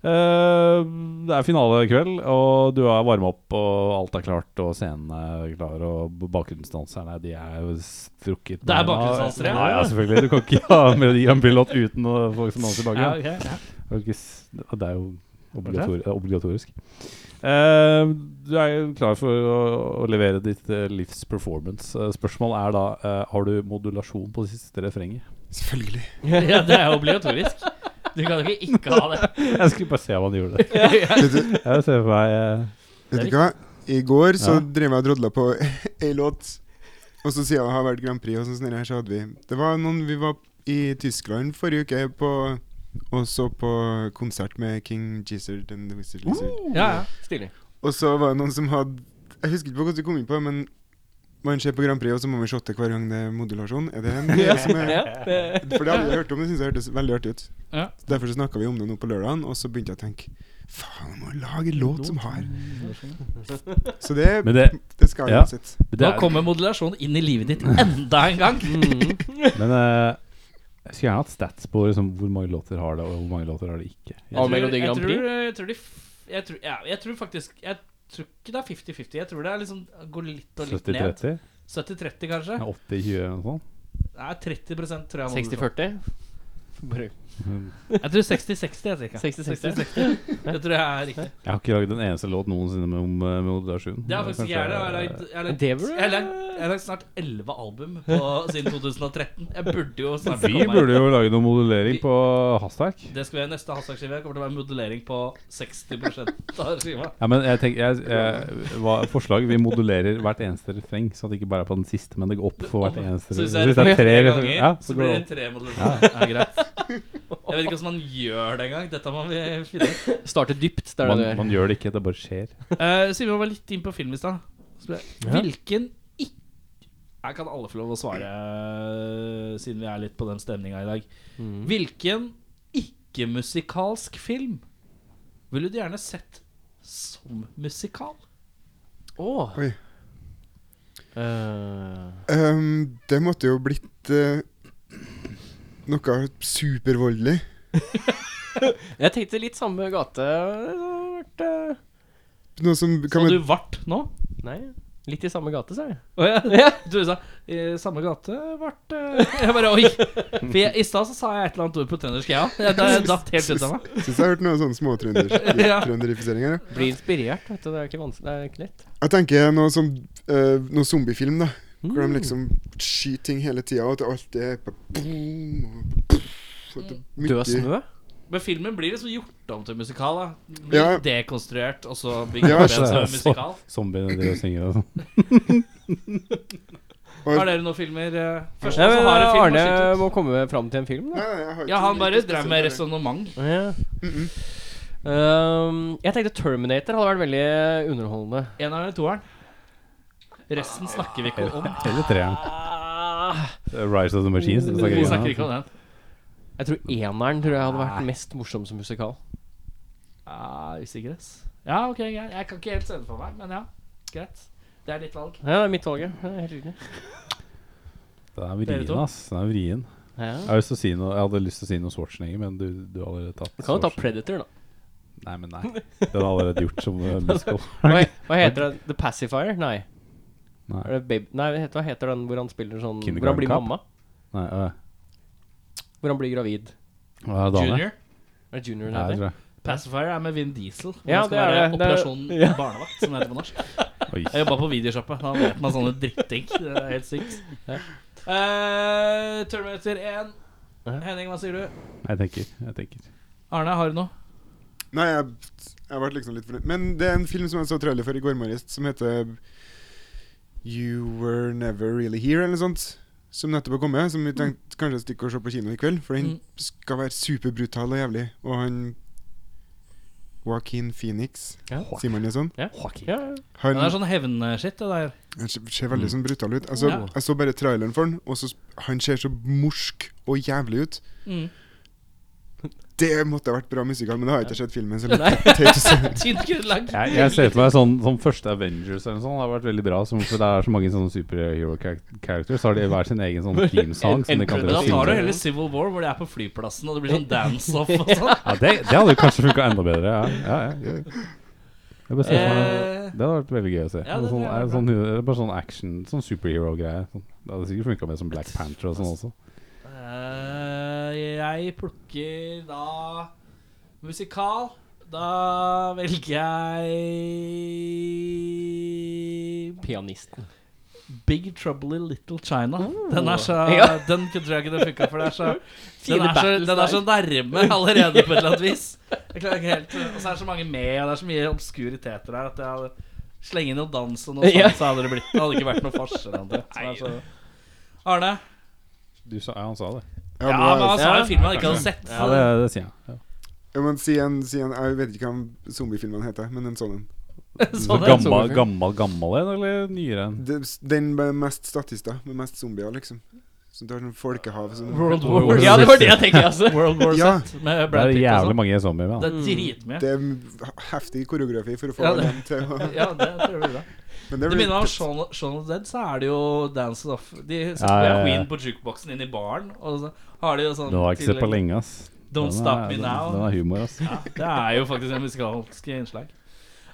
[SPEAKER 1] Eh, det er finalekveld, og du har varma opp, og alt er klart, og scenen er klar, og b- bakgrunnsdanserne de er jo strukket.
[SPEAKER 5] Det er
[SPEAKER 1] beina.
[SPEAKER 5] bakgrunnsdansere, ja.
[SPEAKER 1] Ja, ja, selvfølgelig. Du kan ikke ha Melodi Grand Prix-låt uten å- folk som danser i
[SPEAKER 5] Ja,
[SPEAKER 1] bakgrunnen.
[SPEAKER 5] ok, ja.
[SPEAKER 1] Det er jo ikke s- Det er jo obligator det er obligatorisk. Eh, du er jo klar for å, å levere ditt eh, livs performance. Eh, spørsmålet er da eh, Har du modulasjon på det siste refrenget?
[SPEAKER 4] Selvfølgelig.
[SPEAKER 5] ja, det er obligatorisk. Du kan jo ikke ikke ha det.
[SPEAKER 1] Jeg skulle bare se om han gjorde det.
[SPEAKER 4] Vet du,
[SPEAKER 1] Jeg ser for meg eh,
[SPEAKER 4] vet du hva? I går så
[SPEAKER 1] Ja.
[SPEAKER 4] drev jeg og drodla på ei låt, og så siden det har vært Grand Prix, og sånn sånn her, så hadde vi Det var noen Vi var i Tyskland forrige uke på og så på konsert med King Gizzard and the Wizard Lizard.
[SPEAKER 5] Ja, ja.
[SPEAKER 3] Stilig.
[SPEAKER 4] Og så var det noen som hadde Jeg husker ikke på hvordan vi kom inn på det, men man ser på Grand Prix, og så må vi shotte hver gang det er modulasjon. Er det en greie som er
[SPEAKER 3] Ja, det-
[SPEAKER 4] For det hadde jeg hørt om, det synes jeg hørtes veldig artig ut.
[SPEAKER 5] Ja.
[SPEAKER 4] Derfor så snakka vi om det nå på lørdagen, og så begynte jeg å tenke Faen, jeg må lage en låt som har Så det,
[SPEAKER 1] Men det,
[SPEAKER 4] det skal jeg
[SPEAKER 1] ja.
[SPEAKER 4] uansett.
[SPEAKER 1] det
[SPEAKER 5] Nå
[SPEAKER 1] er,
[SPEAKER 5] kommer modulasjon inn i livet ditt enda en gang.
[SPEAKER 3] Mm.
[SPEAKER 1] Men eh, jeg skulle gjerne hatt stats på liksom, hvor mange låter har det, og hvor mange låter har det ikke. Jeg,
[SPEAKER 3] Av Melodi
[SPEAKER 5] jeg
[SPEAKER 3] Grand
[SPEAKER 5] tror,
[SPEAKER 3] Prix?
[SPEAKER 5] jeg tror, de, f- jeg tror, ja, jeg tror faktisk Jeg tror ikke det er 50-50. Jeg tror det er liksom går litt og litt ned.
[SPEAKER 1] 70-30?
[SPEAKER 5] 70-30, kanskje?
[SPEAKER 1] Ja, 80-20 eller noe sånt?
[SPEAKER 5] Nei, 30 tror jeg. må du få.
[SPEAKER 3] 60-40? Bare-
[SPEAKER 5] Jeg tror 60-60. jeg cirka.
[SPEAKER 3] 60-60.
[SPEAKER 5] 60-60. Det tror jeg er riktig.
[SPEAKER 1] Jeg har ikke lagd en eneste låt noensinne med om eh, modulasjon.
[SPEAKER 5] Det har faktisk ikke jeg. Jeg har lagd- jeg har lagd-
[SPEAKER 3] Det burde-
[SPEAKER 5] jeg har lagd jeg har lagd snart 11 album på, siden 2013. Jeg burde jo snart
[SPEAKER 1] Vi
[SPEAKER 5] komme
[SPEAKER 1] burde jo lage noe modulering
[SPEAKER 5] Vi-
[SPEAKER 1] på hastverk.
[SPEAKER 5] Det skal være neste hashtag-skive. Kommer til å være modellering på 60 av skiva.
[SPEAKER 1] Ja, men jeg tenker, jeg, jeg, hva, forslag, Vi modulerer hvert eneste refreng, så det ikke bare er på den siste, men det går opp for hvert eneste
[SPEAKER 5] Så hvis
[SPEAKER 1] refreng.
[SPEAKER 5] det er tre ganger,
[SPEAKER 1] refreng- ja,
[SPEAKER 5] så
[SPEAKER 1] så går
[SPEAKER 5] blir
[SPEAKER 1] det
[SPEAKER 5] det
[SPEAKER 1] opp.
[SPEAKER 5] tre modellasjoner. Ja. greit. Jeg vet ikke hvordan man gjør det engang. Dette må vi finne ut.
[SPEAKER 3] Starte dypt, det er det
[SPEAKER 1] Man,
[SPEAKER 3] du gjør.
[SPEAKER 1] man gjør det ikke, det bare skjer.
[SPEAKER 5] Eh, Siden vi var litt inn på film i stad så ble jeg- Hvilken ikke Her kan alle få lov å svare, siden vi er litt på den stemninga i dag. Mm. Hvilken ikke-musikalsk film ville du gjerne sett som musikal?
[SPEAKER 3] Åh.
[SPEAKER 4] Oi.
[SPEAKER 3] Eh,
[SPEAKER 4] Ehm, det måtte jo blitt eh, noe supervoldelig.
[SPEAKER 3] jeg tenkte litt samme gate. Det hadde vært, eh,
[SPEAKER 4] Noe som
[SPEAKER 5] Så
[SPEAKER 4] kan
[SPEAKER 5] du
[SPEAKER 4] man,
[SPEAKER 5] vart nå?
[SPEAKER 3] Nei. Litt i samme gate, sa jeg.
[SPEAKER 5] Å ja. Jeg trodde du sa i samme gate vart eh, Jeg bare oi. For jeg, i stad så sa jeg et eller annet ord på trøndersk, jeg òg. Det datt helt ut av meg.
[SPEAKER 4] Syns jeg har hørt noe sånn
[SPEAKER 5] Ja.
[SPEAKER 4] småtrønderifisering her. ja.
[SPEAKER 3] Blir inspirert, vet du. Det er ikke vanskelig, det er ikke lett.
[SPEAKER 4] Jeg tenker noe som eh, Noe zombiefilm, da. Hvor de liksom skyter ting hele tida, og at alt er på boom, og
[SPEAKER 5] Mm.
[SPEAKER 4] så at det er mye-
[SPEAKER 3] Død snø?
[SPEAKER 5] Men filmen blir liksom gjort om til musikal. da Blir
[SPEAKER 4] Ja.
[SPEAKER 5] Dekonstruert, og så bygger
[SPEAKER 4] Ja,
[SPEAKER 5] det
[SPEAKER 1] så-
[SPEAKER 5] opp igjen som en
[SPEAKER 1] så-
[SPEAKER 5] musikal.
[SPEAKER 1] Zombiene de synger og sånn.
[SPEAKER 4] Og,
[SPEAKER 5] Har dere noen filmer? eh, Første
[SPEAKER 3] Ja,
[SPEAKER 5] som
[SPEAKER 3] men
[SPEAKER 5] har en film,
[SPEAKER 3] Arne
[SPEAKER 5] og skyter ut.
[SPEAKER 3] må komme fram til en film, da.
[SPEAKER 4] Nei, nei, jeg har
[SPEAKER 5] Ja,
[SPEAKER 4] ikke
[SPEAKER 5] han
[SPEAKER 4] noe
[SPEAKER 5] bare
[SPEAKER 4] spesielt å
[SPEAKER 5] drev med
[SPEAKER 4] gjøre.
[SPEAKER 5] resonnement.
[SPEAKER 3] Ja.
[SPEAKER 4] Mm, mm.
[SPEAKER 3] Ehm, jeg tenkte Terminator hadde vært veldig underholdende.
[SPEAKER 5] En eller toeren. Resten snakker vi ikke om.
[SPEAKER 1] Eller treeren. Rise of the Machines. det
[SPEAKER 5] Ah. Vi
[SPEAKER 1] snakker
[SPEAKER 5] snakker
[SPEAKER 1] jeg ikke
[SPEAKER 5] ikke
[SPEAKER 1] om.
[SPEAKER 5] om den.
[SPEAKER 3] Jeg tror eneren tror jeg hadde vært mest morsom som musikal.
[SPEAKER 5] Ah, Usikker, ass. Ja, ok, greit. Jeg kan ikke helt se det for meg, men ja. Greit. Det er ditt valg.
[SPEAKER 3] Ja, det er mitt valg, ja. Det er Helt riktig.
[SPEAKER 1] Den er
[SPEAKER 5] Dere to?
[SPEAKER 1] vrien, ass. Den er vrien. Jeg,
[SPEAKER 3] Ja.
[SPEAKER 1] har lyst til å si noe, jeg hadde lyst til å si noe Schwarzenegger, men du, du har allerede tatt
[SPEAKER 3] Du kan jo ta
[SPEAKER 1] Schwarzenegger.
[SPEAKER 3] Predator, da.
[SPEAKER 1] Nei, men nei. Den er allerede gjort som uh, musical.
[SPEAKER 3] Hva, hva heter det? The Pacifier? Nei.
[SPEAKER 1] Nei.
[SPEAKER 3] Er det Babe? Nei, hva heter- hva heter den hvor han spiller sånn Hvor han
[SPEAKER 1] Kindergarten
[SPEAKER 3] blir
[SPEAKER 1] Cop?
[SPEAKER 3] mamma?
[SPEAKER 1] nei øh.
[SPEAKER 3] Hvor han blir gravid.
[SPEAKER 1] Hva er det dame?
[SPEAKER 5] Junior.
[SPEAKER 3] Er det junior den
[SPEAKER 1] Nei, jeg
[SPEAKER 3] heter?
[SPEAKER 1] tror jeg.
[SPEAKER 5] Pacifier er med Vin Diesel. hvor
[SPEAKER 3] Ja,
[SPEAKER 5] han skal
[SPEAKER 3] det er
[SPEAKER 5] være
[SPEAKER 3] det. Det er-
[SPEAKER 5] Operasjon
[SPEAKER 3] ja.
[SPEAKER 5] Barnevakt, som det heter på norsk. Jeg
[SPEAKER 1] Oi.
[SPEAKER 5] jobba på videosjappe. Da vet man sånne dritting. Det er helt sykt.
[SPEAKER 3] Ja.
[SPEAKER 5] Eh, Terminator 1.
[SPEAKER 3] Ja.
[SPEAKER 5] Henning, hva sier du?
[SPEAKER 1] Jeg tenker. Jeg tenker.
[SPEAKER 5] Arne, har du noe?
[SPEAKER 4] Nei, jeg, jeg ble liksom litt fornøyd. Men det er en film som jeg så trailer for i går morges, som heter You Were Never Really Here, eller noe sånt. Som nettopp har kommet. Som vi tenkte kanskje stikke og se på kino i kveld. For den
[SPEAKER 5] Mm.
[SPEAKER 4] skal være superbrutal og jævlig. Og han Joaquin Phoenix,
[SPEAKER 3] Ja.
[SPEAKER 4] sier man det sånn?
[SPEAKER 3] Ja. Ja.
[SPEAKER 4] Han
[SPEAKER 5] Det er sånn hevnskitt, det der.
[SPEAKER 4] han ser ser veldig sånn brutal ut. Altså,
[SPEAKER 5] Ja.
[SPEAKER 4] Jeg så bare traileren for han, og så s- han ser så morsk og jævlig ut.
[SPEAKER 5] Mm.
[SPEAKER 4] Det måtte ha vært bra musikal, men det har jeg ikke sett filmen. Så litt teit å se.
[SPEAKER 5] Tynt grunnlag.
[SPEAKER 1] Jeg, jeg ser for meg sånn som første Avengers eller noe sånt. Det har vært veldig bra. Som, for det er så mange sånne superhero-characters. Så har de hver sin egen sånn theme-sang. som de kan
[SPEAKER 5] Men da
[SPEAKER 1] synge.
[SPEAKER 5] tar du heller Civil War, hvor de er på flyplassen og det blir sånn dance-off og sånn.
[SPEAKER 1] Ja, det, det hadde jo kanskje funka enda bedre. Ja, ja, ja. Jeg bare ser for
[SPEAKER 5] Eh.
[SPEAKER 1] meg, det hadde vært veldig gøy å se.
[SPEAKER 5] Ja, det
[SPEAKER 1] sånn,
[SPEAKER 5] tror jeg er
[SPEAKER 1] sånn, bare sånn action, sånn superhero-greie. Sånn. Det hadde sikkert funka med som Black Panther og sånn også.
[SPEAKER 5] Eh, jeg plukker da musikal. Da velger jeg
[SPEAKER 3] Pianisten.
[SPEAKER 5] Big Trouble in Little China. Den er så
[SPEAKER 3] Ja.
[SPEAKER 5] Den kunne tror jeg ikke det funka for. Det er så
[SPEAKER 3] Fine
[SPEAKER 5] den er, så,
[SPEAKER 3] battles
[SPEAKER 5] den er
[SPEAKER 3] der.
[SPEAKER 5] så nærme allerede på et eller annet vis. Jeg klarer ikke helt Og så er det så mange med, og det er så mye obskuriteter her at jeg hadde Slenge inn noe dans og noe
[SPEAKER 3] Ja.
[SPEAKER 5] sånt, så hadde det blitt Det hadde ikke vært noe forskjell. omtrent. Så det er så- Arne?
[SPEAKER 1] Du sa, ja, han sa det.
[SPEAKER 4] Ja, nå
[SPEAKER 5] Ja,
[SPEAKER 4] er-
[SPEAKER 5] men altså, han sa
[SPEAKER 3] Ja.
[SPEAKER 5] jo filmen han ikke hadde sett.
[SPEAKER 1] Ja,
[SPEAKER 5] så-
[SPEAKER 1] det, det sier jeg. Ja.
[SPEAKER 4] Ja, men si en, si en Jeg vet ikke hva zombiefilmene heter, men en sånn en.
[SPEAKER 1] Så
[SPEAKER 3] det er
[SPEAKER 1] gammel,
[SPEAKER 3] en sommerfilm.
[SPEAKER 1] gammel, gammel en, eller nyere en?
[SPEAKER 4] Det- Den med mest statister, med mest zombier, liksom. Som tar sånn folkehav sånn.
[SPEAKER 5] World War Z.
[SPEAKER 3] Ja, det var det jeg tenkte, altså.
[SPEAKER 5] World War
[SPEAKER 4] Ja.
[SPEAKER 5] Z med
[SPEAKER 1] Det
[SPEAKER 5] Brad
[SPEAKER 1] er
[SPEAKER 5] Pitt og
[SPEAKER 1] jævlig
[SPEAKER 5] sånn.
[SPEAKER 1] mange zombier med.
[SPEAKER 5] Det
[SPEAKER 1] da.
[SPEAKER 5] er dritmye.
[SPEAKER 4] Det er heftig koreografi for å få
[SPEAKER 5] Ja, det-
[SPEAKER 4] dem til å
[SPEAKER 5] Ja, det tror jeg blir bra.
[SPEAKER 4] Men
[SPEAKER 5] Det
[SPEAKER 4] blir-
[SPEAKER 5] minner meg om Shaun, Shaun of the Dead, så er det jo Dance It Off. De setter
[SPEAKER 1] Ja, ja, ja.
[SPEAKER 5] Queen på jukeboksen inn i baren, og så har de jo sånn
[SPEAKER 1] Den har jeg ikke sett på
[SPEAKER 5] tillegg-
[SPEAKER 1] lenge, ass.
[SPEAKER 5] Don't
[SPEAKER 1] Den
[SPEAKER 5] Stop
[SPEAKER 1] er-
[SPEAKER 5] Me
[SPEAKER 1] den-
[SPEAKER 5] Now.
[SPEAKER 1] Den er humor, ass.
[SPEAKER 5] Ja, det er jo faktisk en musikalsk innslag.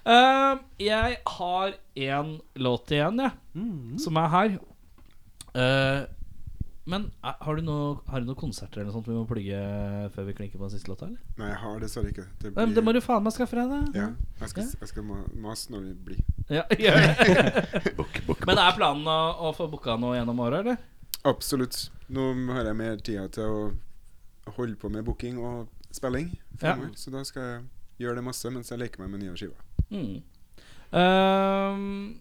[SPEAKER 5] Ehm, jeg har én låt igjen, jeg,
[SPEAKER 4] Mm.
[SPEAKER 5] som er her. Eh, men eh, har du, noe, har du noen konserter eller noe sånt vi må plugge før vi klinker på den siste låta? eller?
[SPEAKER 4] Nei, jeg har dessverre ikke det.
[SPEAKER 5] Ja, men Det må du faen meg skaffe deg, da.
[SPEAKER 4] ja, jeg skal,
[SPEAKER 5] Ja.
[SPEAKER 4] jeg skal ma- mase når det blir.
[SPEAKER 5] Ja, gjør det. Men er planen å, å få booka noe gjennom året, eller?
[SPEAKER 4] Absolutt. Nå har jeg mer tida til å holde på med booking og spilling fremover, så da skal jeg gjøre det masse mens jeg leker meg med nye skiver.
[SPEAKER 5] Mm. Ehm,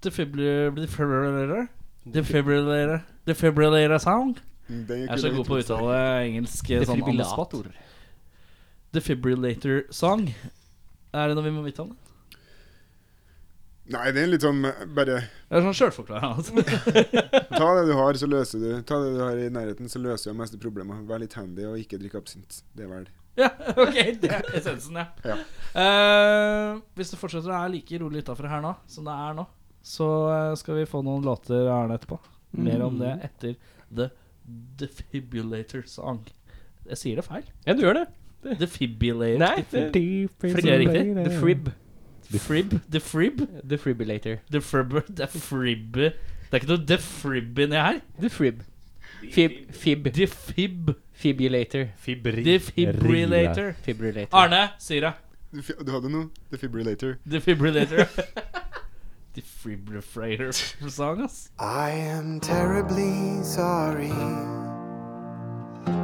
[SPEAKER 5] defibrillator Defibrillator Defibrillator Defibrillator sound.
[SPEAKER 4] Mm, Den er
[SPEAKER 5] Jeg er så
[SPEAKER 4] kul.
[SPEAKER 5] god på å uttale engelsk eh, sånn on the spot.
[SPEAKER 3] Defibrillator.
[SPEAKER 5] Defibrillator song. Er det noe vi må vite om det?
[SPEAKER 4] Nei, det er litt sånn eh, bare
[SPEAKER 5] Det er sånn sjølforklarende. Altså.
[SPEAKER 4] Ta det du har, så løser du Ta det du har i nærheten, så løser du de meste problemer. Vær litt handy og ikke drikk absint. Det er vel
[SPEAKER 5] ja, ok, det er essensen, ja.
[SPEAKER 4] Ja.
[SPEAKER 5] Eh, hvis det fortsetter å være like rolig utafor her nå som det er nå, så eh, skal vi få noen låter av Arne etterpå. Mer om det etter The Defibrillator song. Jeg sier det feil.
[SPEAKER 3] Ja, du gjør det.
[SPEAKER 5] Defibrillator.
[SPEAKER 3] Nei, det,
[SPEAKER 5] Fordi det er riktig.
[SPEAKER 3] The Frib.
[SPEAKER 5] Frib? The Frib?
[SPEAKER 3] Defibrillator.
[SPEAKER 5] The Frib The Frib Det er ikke noe The Frib inni her.
[SPEAKER 3] The frib. Fib. Fib.
[SPEAKER 5] The Fib.
[SPEAKER 3] Fibulator.
[SPEAKER 5] The Fibrillator.
[SPEAKER 3] Fibrillator.
[SPEAKER 5] Arne sier det.
[SPEAKER 4] Du, fi- du hadde noe? Defibrillator.
[SPEAKER 5] The Fibrillator. The Fibrifrayer-sang, ass.
[SPEAKER 6] I am terribly sorry.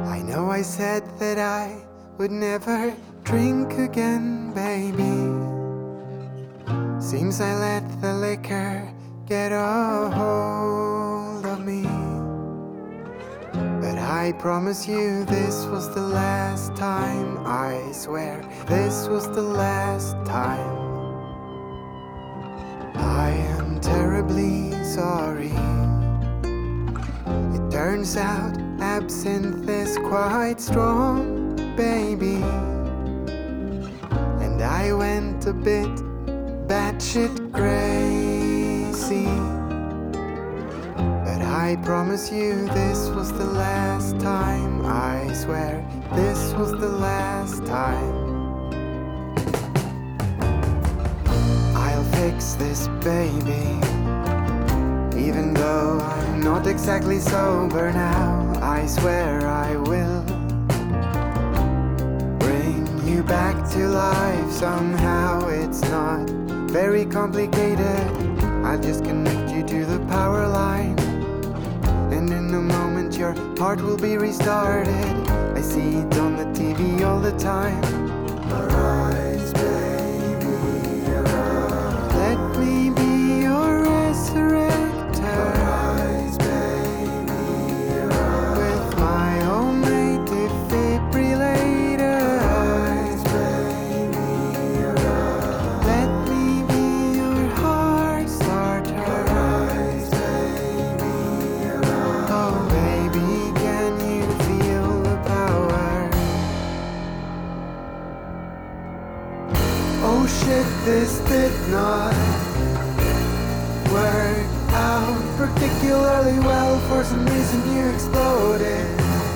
[SPEAKER 6] I know I said that I would never drink again, baby. Seems I let the liquor get a hold of me. But I promise you, this was the last time. I swear, this was the last time. I am terribly sorry. It turns out absinthe is quite strong, baby. And I went a bit batshit crazy. But I promise you, this was the last time. I swear, this was the last time. I'll fix this baby. Even though I'm not exactly sober now, I swear I will bring you back to life somehow. It's not very complicated. I'll just connect you to the power line. And in a moment, your heart will be restarted. I see it on the TV all the time. Arise, baby, arise. Let me be your resurrector. Arise, baby, arise. With my homemade defibrillator. Arise, baby, arise. Let me be your heart starter. Arise, baby, arise. Oh, baby, can you feel the power? Oh shit, this did not work out particularly well. For some reason, you exploded.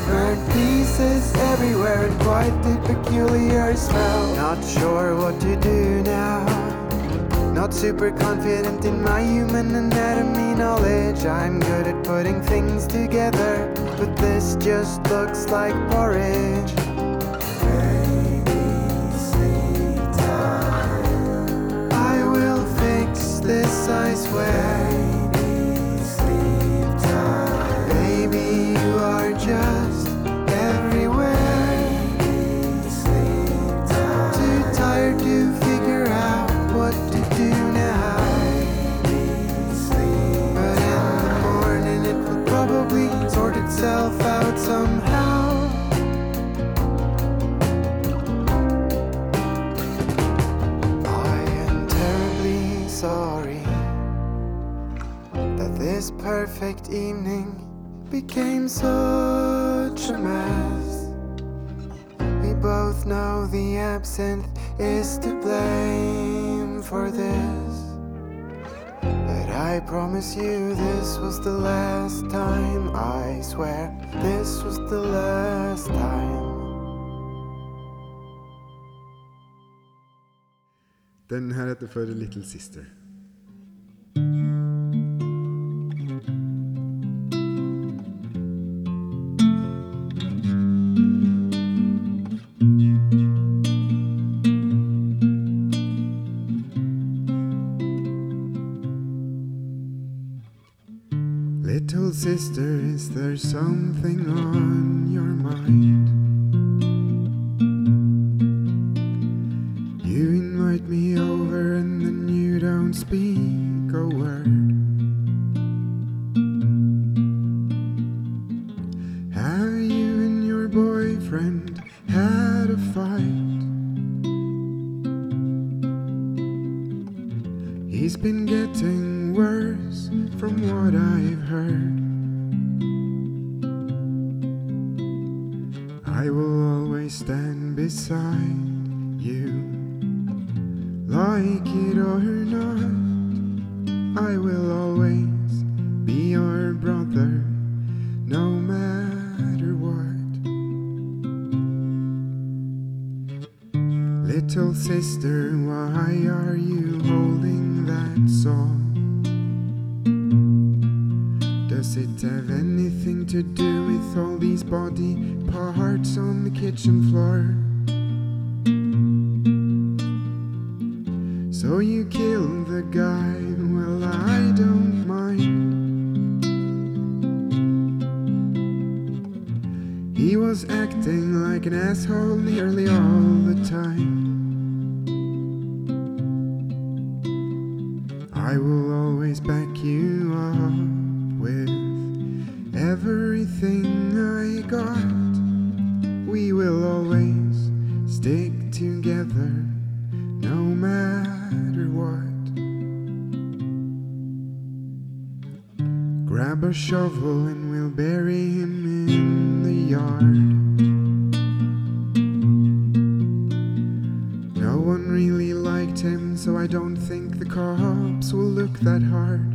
[SPEAKER 6] Burnt pieces everywhere and quite the peculiar smell. Not sure what to do now. Not super confident in my human anatomy knowledge. I'm good at putting things together, but this just looks like porridge. I will fix this, I swear. Baby, you are just everywhere. Too tired to figure out what to do now. But in the morning, it will probably sort itself out somehow. I am terribly sorry that this perfect evening became such a mess. We both know the absinthe is to blame for this. But I promise you, this was the last time. I swear, this was the last time.
[SPEAKER 4] Den her heter for Little Sister. Little sister, is there something on your mind? You invite me over and then you don't speak a word. Have you and your boyfriend had a fight? He's been getting worse from what I've heard. I will always stand beside you. Like it or not, I will always be your brother, no matter what.
[SPEAKER 6] Little sister, why are you holding that saw? Does it have anything to do with all these body parts on the kitchen floor? So you killed the guy, well, I don't mind. He was acting like an asshole nearly all the time. I will always back you up with everything I got. We will always stick together no matter what. Grab a shovel and we'll bury him in the yard. No one really liked him, so I don't think the cops will look that hard.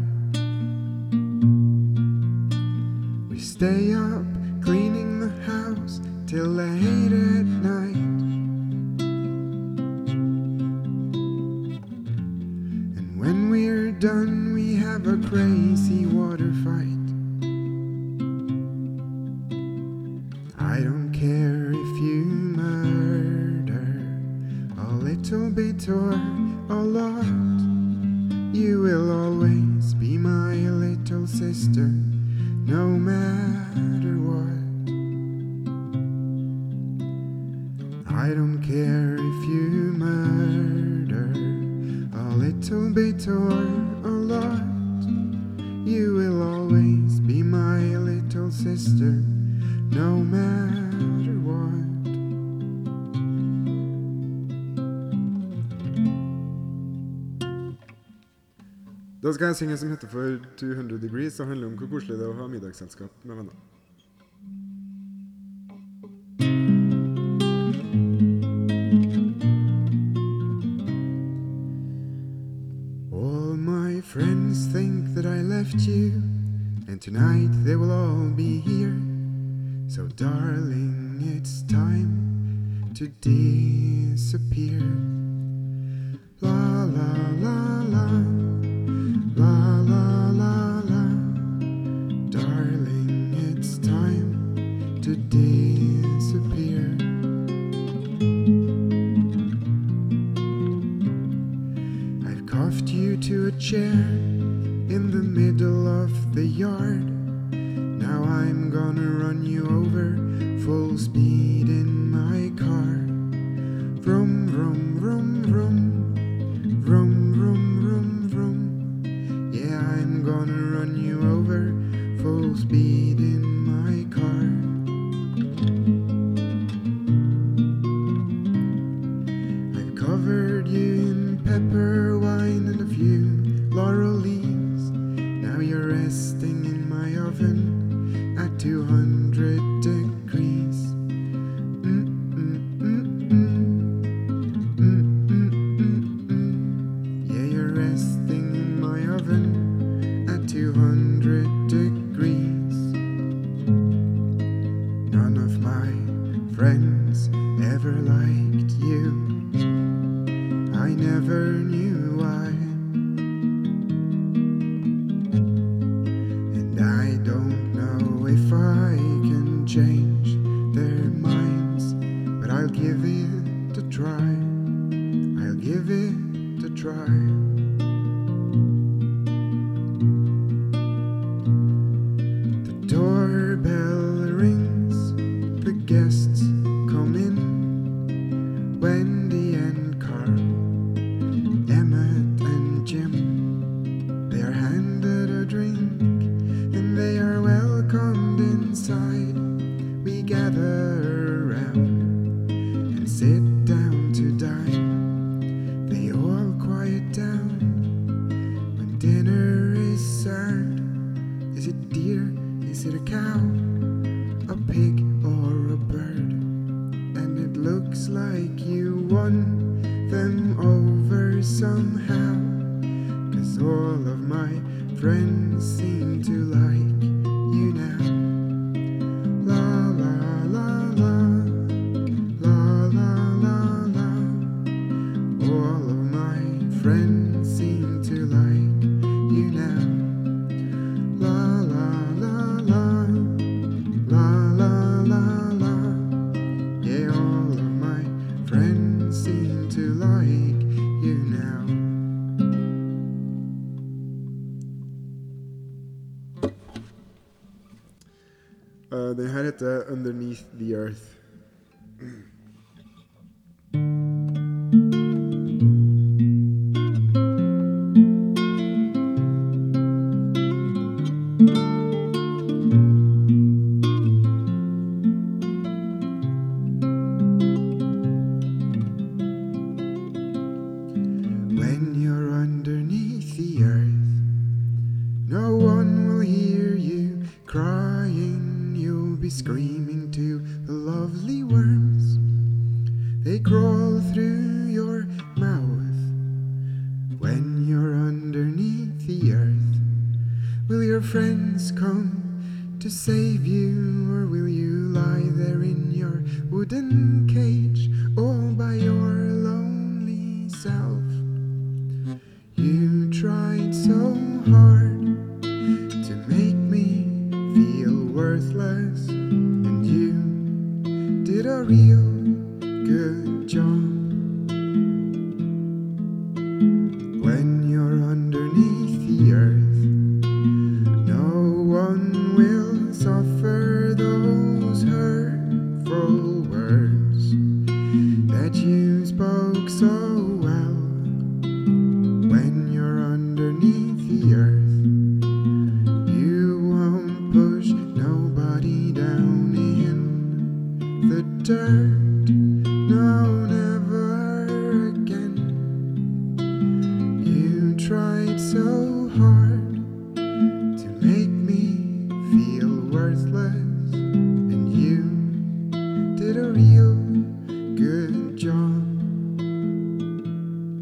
[SPEAKER 6] We stay up cleaning the house till late at night. And when we're done, we have a crazy water fight. I don't care if you murder a little bit or a lot. You will always be my little sister, no matter what. I don't care if you murder a little bit or a lot. You will always be my little sister, no matter what.
[SPEAKER 4] Da skal jeg synge en som heter for 200 Degrees, som handler om hvor koselig det er å ha middagsselskap med venner.
[SPEAKER 6] All my friends think that I left you, and tonight they will all be here. So, darling, it's time to disappear. La la la la, la la la la. Darling, it's time to disappear. I've cuffed you to a chair in the middle of the yard. Now I'm gonna run you over full speed in my car. Vroom, vroom, vroom, vroom. Vroom, vroom, vroom, vroom. Yeah, I'm gonna run you over full speed in my car. I've covered you in pepper wine and a few laurel leaves. Now you're resting in my oven at 200 degrees. Mm-mm-mm-mm. Mm-mm-mm-mm. Yeah, you're resting in my oven at 200 degrees. None of my friends ever liked you. I never knew why. And I don't know if I can change their minds, but I'll give it a try. I'll give it a try. The doorbell rings, the guests come in. Wendy and Carl. Emmett and Jim. They are handed a drink and they are welcomed inside. We gather around and sit down to dine. They all quiet down when dinner is served. Is it deer? Is it a cow? A pig or a bird? And it looks like you won them over somehow. Cause all of my friends seem to like you now. La la la la. La la la la.
[SPEAKER 4] Underneath the Earth.
[SPEAKER 6] When you're underneath the earth, no one will hear you crying. You'll be screaming to the lovely worms. They crawl through your mouth. When you're underneath the earth, will your friends come to save you, or will you lie there in your wooden cage all by your lonely self? You tried so hard to make me feel worthless, and you did a real good job. When you're underneath the earth, no one will suffer those hurtful words that you spoke so well. When you're underneath the earth, you won't push nobody down in the dirt. No, never again. You tried so hard to make me feel worthless, and you did a real good job.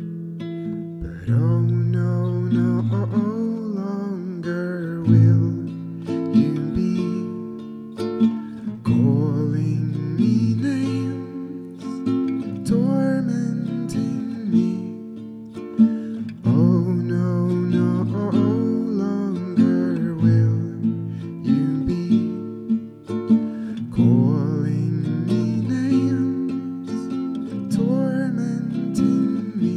[SPEAKER 6] But oh no, no uh, longer will you be calling me names, tormenting me. Oh no, no uh, longer will you be calling me names, tormenting me.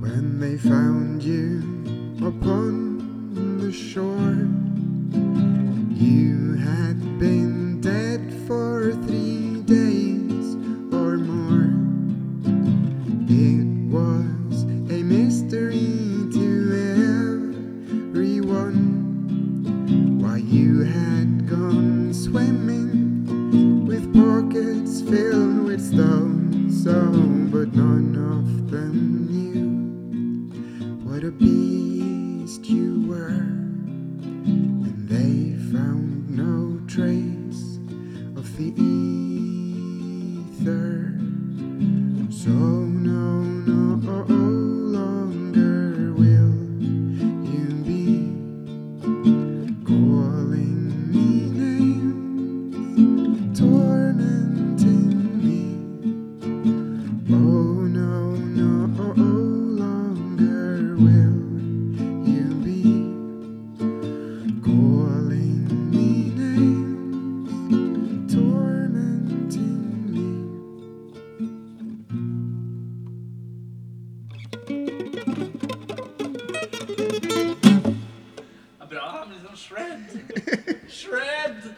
[SPEAKER 6] when they found you upon the shore. You had been dead for three days or more. It was a mystery to everyone why you had gone swimming with pockets filled with stones, so but none of them knew what a beast you were, and they found no trace of the ether. So no, no longer will you be calling me names tormenting me. Oh no, no oh, longer will you be calling me names, tormenting me.
[SPEAKER 5] Bra, men liksom shred. Shred!